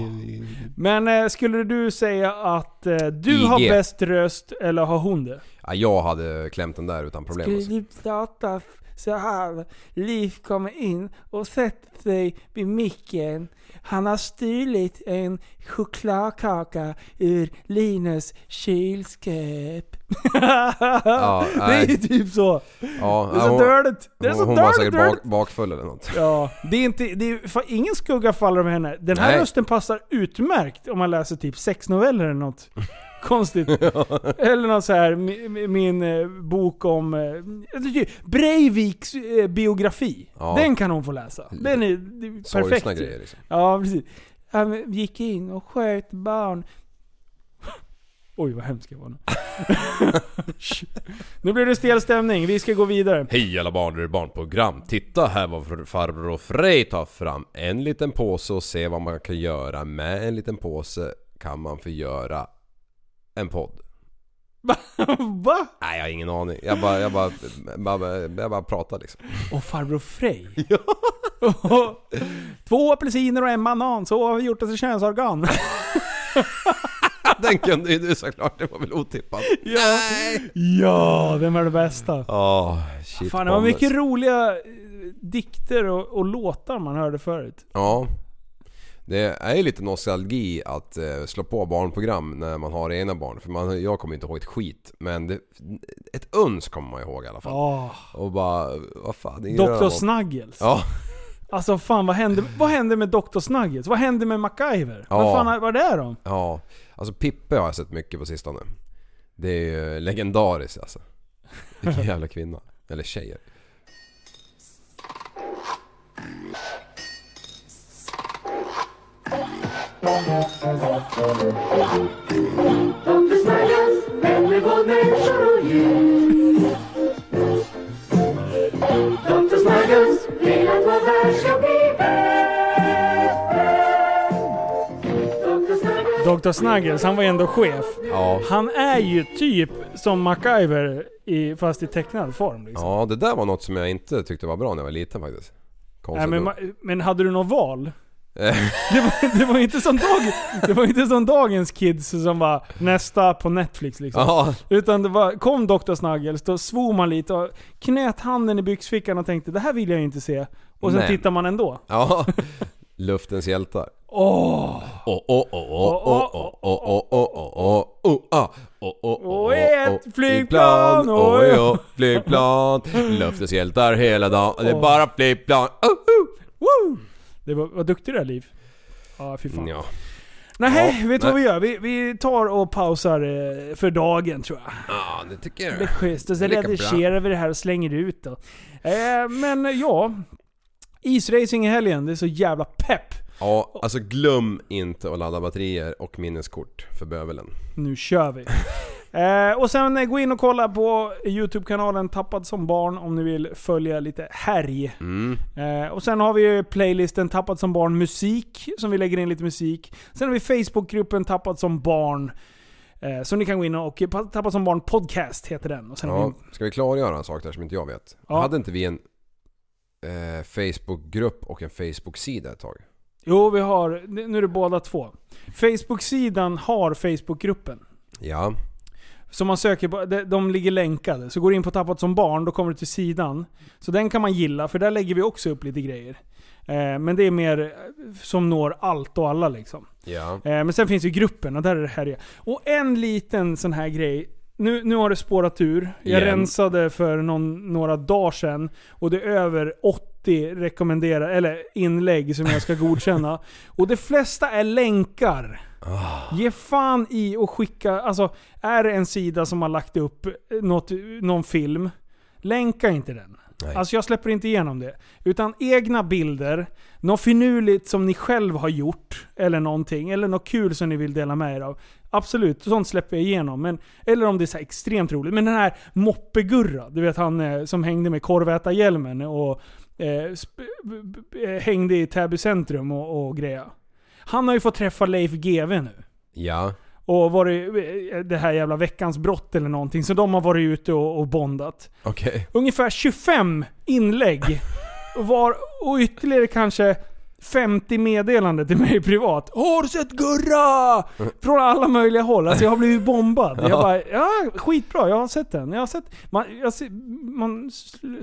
Speaker 5: Men eh, skulle du säga att eh, du
Speaker 6: IG.
Speaker 5: har bäst röst, eller har hon det?
Speaker 6: Ja, jag hade klämt den där utan problem. Alltså.
Speaker 5: du prata så här? Liv kommer in och sätter sig vid micken. Han har stulit en chokladkaka ur Linus kylskåp. [laughs]
Speaker 6: Ja,
Speaker 5: det är ju
Speaker 6: nej.
Speaker 5: typ så.
Speaker 6: Ja,
Speaker 5: det är
Speaker 6: ja,
Speaker 5: så dörligt. Det är
Speaker 6: hon,
Speaker 5: så
Speaker 6: hon var
Speaker 5: dörligt.
Speaker 6: säkert bak,
Speaker 5: dörligt.
Speaker 6: bakfull eller något.
Speaker 5: Ja, det är inte, det är, fan, ingen skugga faller över henne. Den här
Speaker 6: Nej.
Speaker 5: rösten passar utmärkt om man läser typ sexnoveller eller något [laughs]
Speaker 6: [laughs]
Speaker 5: konstigt. Eller något så här, min, min eh, bok om eh, jag tycker Breiviks eh, biografi.
Speaker 6: Ja.
Speaker 5: Den kan hon få läsa. Den är, det är
Speaker 6: Sorgsna
Speaker 5: perfekt.
Speaker 6: grejer, liksom.
Speaker 5: Ja, precis. Han gick in och sköt barn. [laughs] Oj vad hemskt jag var nu. [laughs] nu blir det stel stämning, vi ska gå vidare. [laughs]
Speaker 6: Hej alla barn, det är barnprogram. Titta här vad fr- farbror Frej tar fram. En liten påse och se vad man kan göra. Med en liten påse kan man förgöra en podd.
Speaker 5: Va?
Speaker 6: Nej jag har ingen aning. Jag bara, jag bara, bara, bara, jag bara pratar liksom.
Speaker 5: Och
Speaker 6: [laughs]
Speaker 5: farbror Frej. [laughs] Två apelsiner och en banan, så har vi gjort
Speaker 6: [laughs]
Speaker 5: ett könsorgan.
Speaker 6: Den kunde ju du såklart, det var väl otippat.
Speaker 5: ja. ja, den var det bästa.
Speaker 6: Ja, Ah, shit
Speaker 5: Fan, det var
Speaker 6: bombers.
Speaker 5: mycket roliga eh, dikter och, och låtar man hörde förut.
Speaker 6: Ja. Det är ju lite nostalgi att eh, slå på barnprogram när man har egna barn. För man, jag kommer inte ihåg ett skit. Men det, ett uns kommer man ihåg i alla fall.
Speaker 5: Åh.
Speaker 6: Och bara, vad fan. det är ju
Speaker 5: Dr.
Speaker 6: rövhål.
Speaker 5: Snuggles.
Speaker 6: Ah. Ja.
Speaker 5: Alltså fan vad hände, vad hände med Dr. Snuggles? Vad hände med MacGyver?
Speaker 6: Ja.
Speaker 5: Vad fan var det är om?
Speaker 6: Ja, alltså Pippe har jag sett mycket på sistone. Det är ju legendariskt alltså. Vilken jävla kvinna. Eller tjejer.
Speaker 8: Dr. Snuggles, människor, människor och djur. Dr. Snuggles vill att vår värld ska bli
Speaker 5: Dr. Snuggles, han var ändå chef.
Speaker 6: Ja.
Speaker 5: Han är ju typ som MacGyver i, fast i tecknad form. Liksom.
Speaker 6: Ja, det där var något som jag inte tyckte var bra när jag var liten faktiskt. Konstigt
Speaker 5: Nej, men,
Speaker 6: nog.
Speaker 5: ma- men hade du något val?
Speaker 6: [laughs]
Speaker 5: Det var, det var ju inte som dag, det var ju inte som dagens kids som var nästa på Netflix liksom.
Speaker 6: Ja.
Speaker 5: Utan det var, kom Dr. Snuggles, då svor man lite och knöt handen i byxfickan och tänkte det här vill jag ju inte se. Och sen
Speaker 6: Nej.
Speaker 5: tittar man ändå.
Speaker 6: Ja, luftens hjältar.
Speaker 5: Åh!
Speaker 6: Åh, åh, åh, åh, åh, åh, åh, åh, åh, åh, åh, ah. Åh, åh, åh,
Speaker 5: Och ett
Speaker 6: åh,
Speaker 5: flygplan,
Speaker 6: åh,
Speaker 5: oj,
Speaker 6: åh, flygplan. Luftens hjältar hela dagen. Det är
Speaker 5: Åh.
Speaker 6: bara flygplan. Oh, oh.
Speaker 5: Woo! Det var, vad duktig du är Liv. Ja, fy fan.
Speaker 6: Ja.
Speaker 5: Nej, vet du vad vi
Speaker 6: nej.
Speaker 5: gör? Vi, vi tar och pausar eh, för dagen tror jag.
Speaker 6: Ja, det tycker jag.
Speaker 5: Det är schysst. Och så
Speaker 6: Det är lika
Speaker 5: redigerar vi det här och slänger ut då. Eh, men eh, ja. Isracing i helgen, det är så jävla pepp.
Speaker 6: Ja, alltså glöm inte att ladda batterier och minneskort för bövelen.
Speaker 5: Nu
Speaker 6: [laughs]
Speaker 5: kör vi. Eh, och sen eh, gå in och kolla på Youtube-kanalen Tappad som barn om ni vill följa lite härj.
Speaker 6: Mm.
Speaker 5: Eh, och sen har vi ju playlisten Tappat som barn musik, som vi lägger in lite musik. Sen har vi Facebookgruppen Tappat som barn. Eh, så ni kan gå in och Tappat som barn podcast heter den. Och sen har
Speaker 6: Ja,
Speaker 5: vi,
Speaker 6: ska vi klargöra en sak där som inte jag vet?
Speaker 5: Ja.
Speaker 6: Hade inte vi en eh, Facebookgrupp och en Facebooksida ett tag?
Speaker 5: jo, vi har, nu är det båda två. Facebook-sidan har Facebookgruppen.
Speaker 6: Ja.
Speaker 5: Så man söker på, de, de ligger länkade. Så går du in på Tappat som barn, då kommer du till sidan. Så den kan man gilla, för där lägger vi också upp lite grejer. Eh, men det är mer eh, som når allt och alla liksom.
Speaker 6: Ja.
Speaker 5: Eh, men sen finns ju gruppen och där är det här. Och en liten sån här grej. Nu, nu har det spårat ur. Jag
Speaker 6: Igen.
Speaker 5: rensade för någon, några dagar sedan och det är över 80 rekommendera, eller inlägg som jag
Speaker 6: [laughs]
Speaker 5: ska godkänna. och de flesta är länkar.
Speaker 6: Ah.
Speaker 5: Ge fan i och skicka, alltså är det en sida som har lagt upp eh, något, någon film, länka inte den.
Speaker 6: Nej.
Speaker 5: Alltså jag släpper inte igenom det. Utan egna bilder, något finurligt som ni själv har gjort, eller någonting, eller något kul som ni vill dela med er av. Absolut, sånt släpper jag igenom. Men, eller om det är så här extremt roligt. Men den här Moppegurra, du vet han eh, som hängde med korvätarhjälmen och eh, sp- b- b- eh, hängde i Täby centrum och, och grejer. Han har ju fått träffa Leif GW nu.
Speaker 6: Ja.
Speaker 5: Och varit eh, det här jävla veckans brott eller någonting. Så de har varit ute och, och bondat.
Speaker 6: Okej.
Speaker 5: [laughs] Ungefär 25 inlägg. Och Var, och ytterligare kanske 50 meddelanden till mig privat. Åh, har du sett Gurra? Från alla möjliga håll. Alltså jag har blivit bombad.
Speaker 6: [laughs]
Speaker 5: Jag bara, ja skitbra, jag har sett den. Jag har sett, man, jag, se- man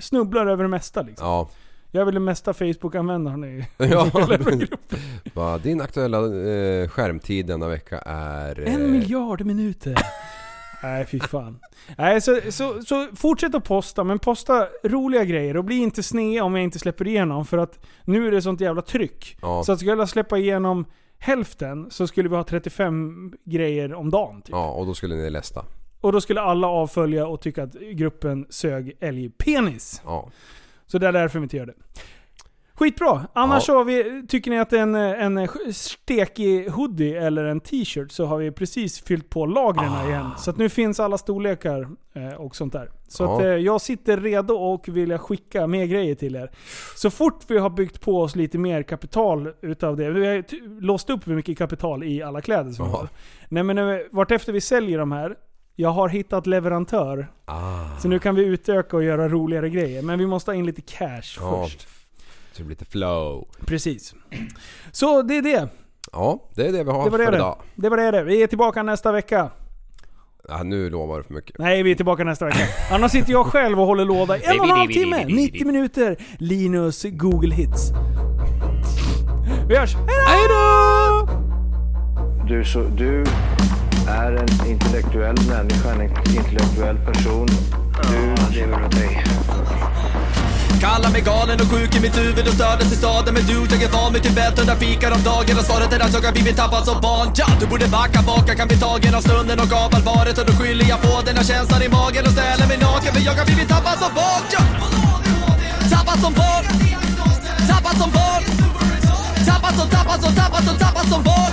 Speaker 5: snubblar över det mesta liksom.
Speaker 6: Ja. [laughs]
Speaker 5: Jag är väl den mesta Facebook-användaren i
Speaker 6: Ja,
Speaker 5: hela
Speaker 6: precis. Bara, din aktuella eh, skärmtid denna vecka är... eh,
Speaker 5: En miljard minuter. [laughs] Nej fy fan. Nej, så, så, så fortsätt att posta, men posta roliga grejer och bli inte sned om jag inte släpper igenom för att nu är det sånt jävla tryck.
Speaker 6: Ja.
Speaker 5: Så att skulle jag släppa igenom hälften så skulle vi ha 35 grejer om dagen. Typ.
Speaker 6: Ja, och då skulle ni lästa.
Speaker 5: Och då skulle alla avfölja och tycka att gruppen sög älgpenis.
Speaker 6: Ja.
Speaker 5: Så det är därför vi inte gör det. Skitbra! Annars
Speaker 6: Ja.
Speaker 5: så har vi, tycker ni att en, en stekig hoodie eller en t-shirt så har vi precis fyllt på lagren
Speaker 6: Ah.
Speaker 5: igen. Så att nu finns alla storlekar eh, och sånt där. Så
Speaker 6: Ja.
Speaker 5: att, eh, jag sitter redo och vill jag skicka mer grejer till er. Så fort vi har byggt på oss lite mer kapital utav det. Vi har ju ty- låst upp hur mycket kapital i alla kläder som vi har. Nej men eh, vartefter vi säljer de här, jag har hittat leverantör.
Speaker 6: Ah.
Speaker 5: Så nu kan vi utöka och göra roligare grejer. Men vi måste ha in lite cash
Speaker 6: Ja.
Speaker 5: först.
Speaker 6: [laughs] Så det blir lite flow.
Speaker 5: Precis. Så det är det.
Speaker 6: Ja, det är det vi har
Speaker 5: Det var det
Speaker 6: för
Speaker 5: det.
Speaker 6: idag.
Speaker 5: Det var det det. Vi är tillbaka nästa vecka.
Speaker 6: Ja, nu lovar du för mycket.
Speaker 5: Nej, vi är tillbaka nästa vecka. Annars sitter jag själv och håller låda i en och en halv timme. 90 minuter. Linus Google Hits. Vi hörs! Hej då!
Speaker 3: Du, så, du är en intellektuell människa, en intellektuell person. Du lever åt dig.
Speaker 1: Kallar mig galen och sjuk i mitt huvud och stördes i staden Men du, jag är van vid Tibet och där fikar om dagen Och svaret är att jag har blivit tappad som barn ja, Du borde backa baka, kan bli tagen av stunden och av allvaret Och då skyller jag på den här känslan i magen och ställer mig naken För jag har blivit tappad som barn ja. Tappad som barn Tappad som barn Tappad som, tappad som, tappad som, tappad som barn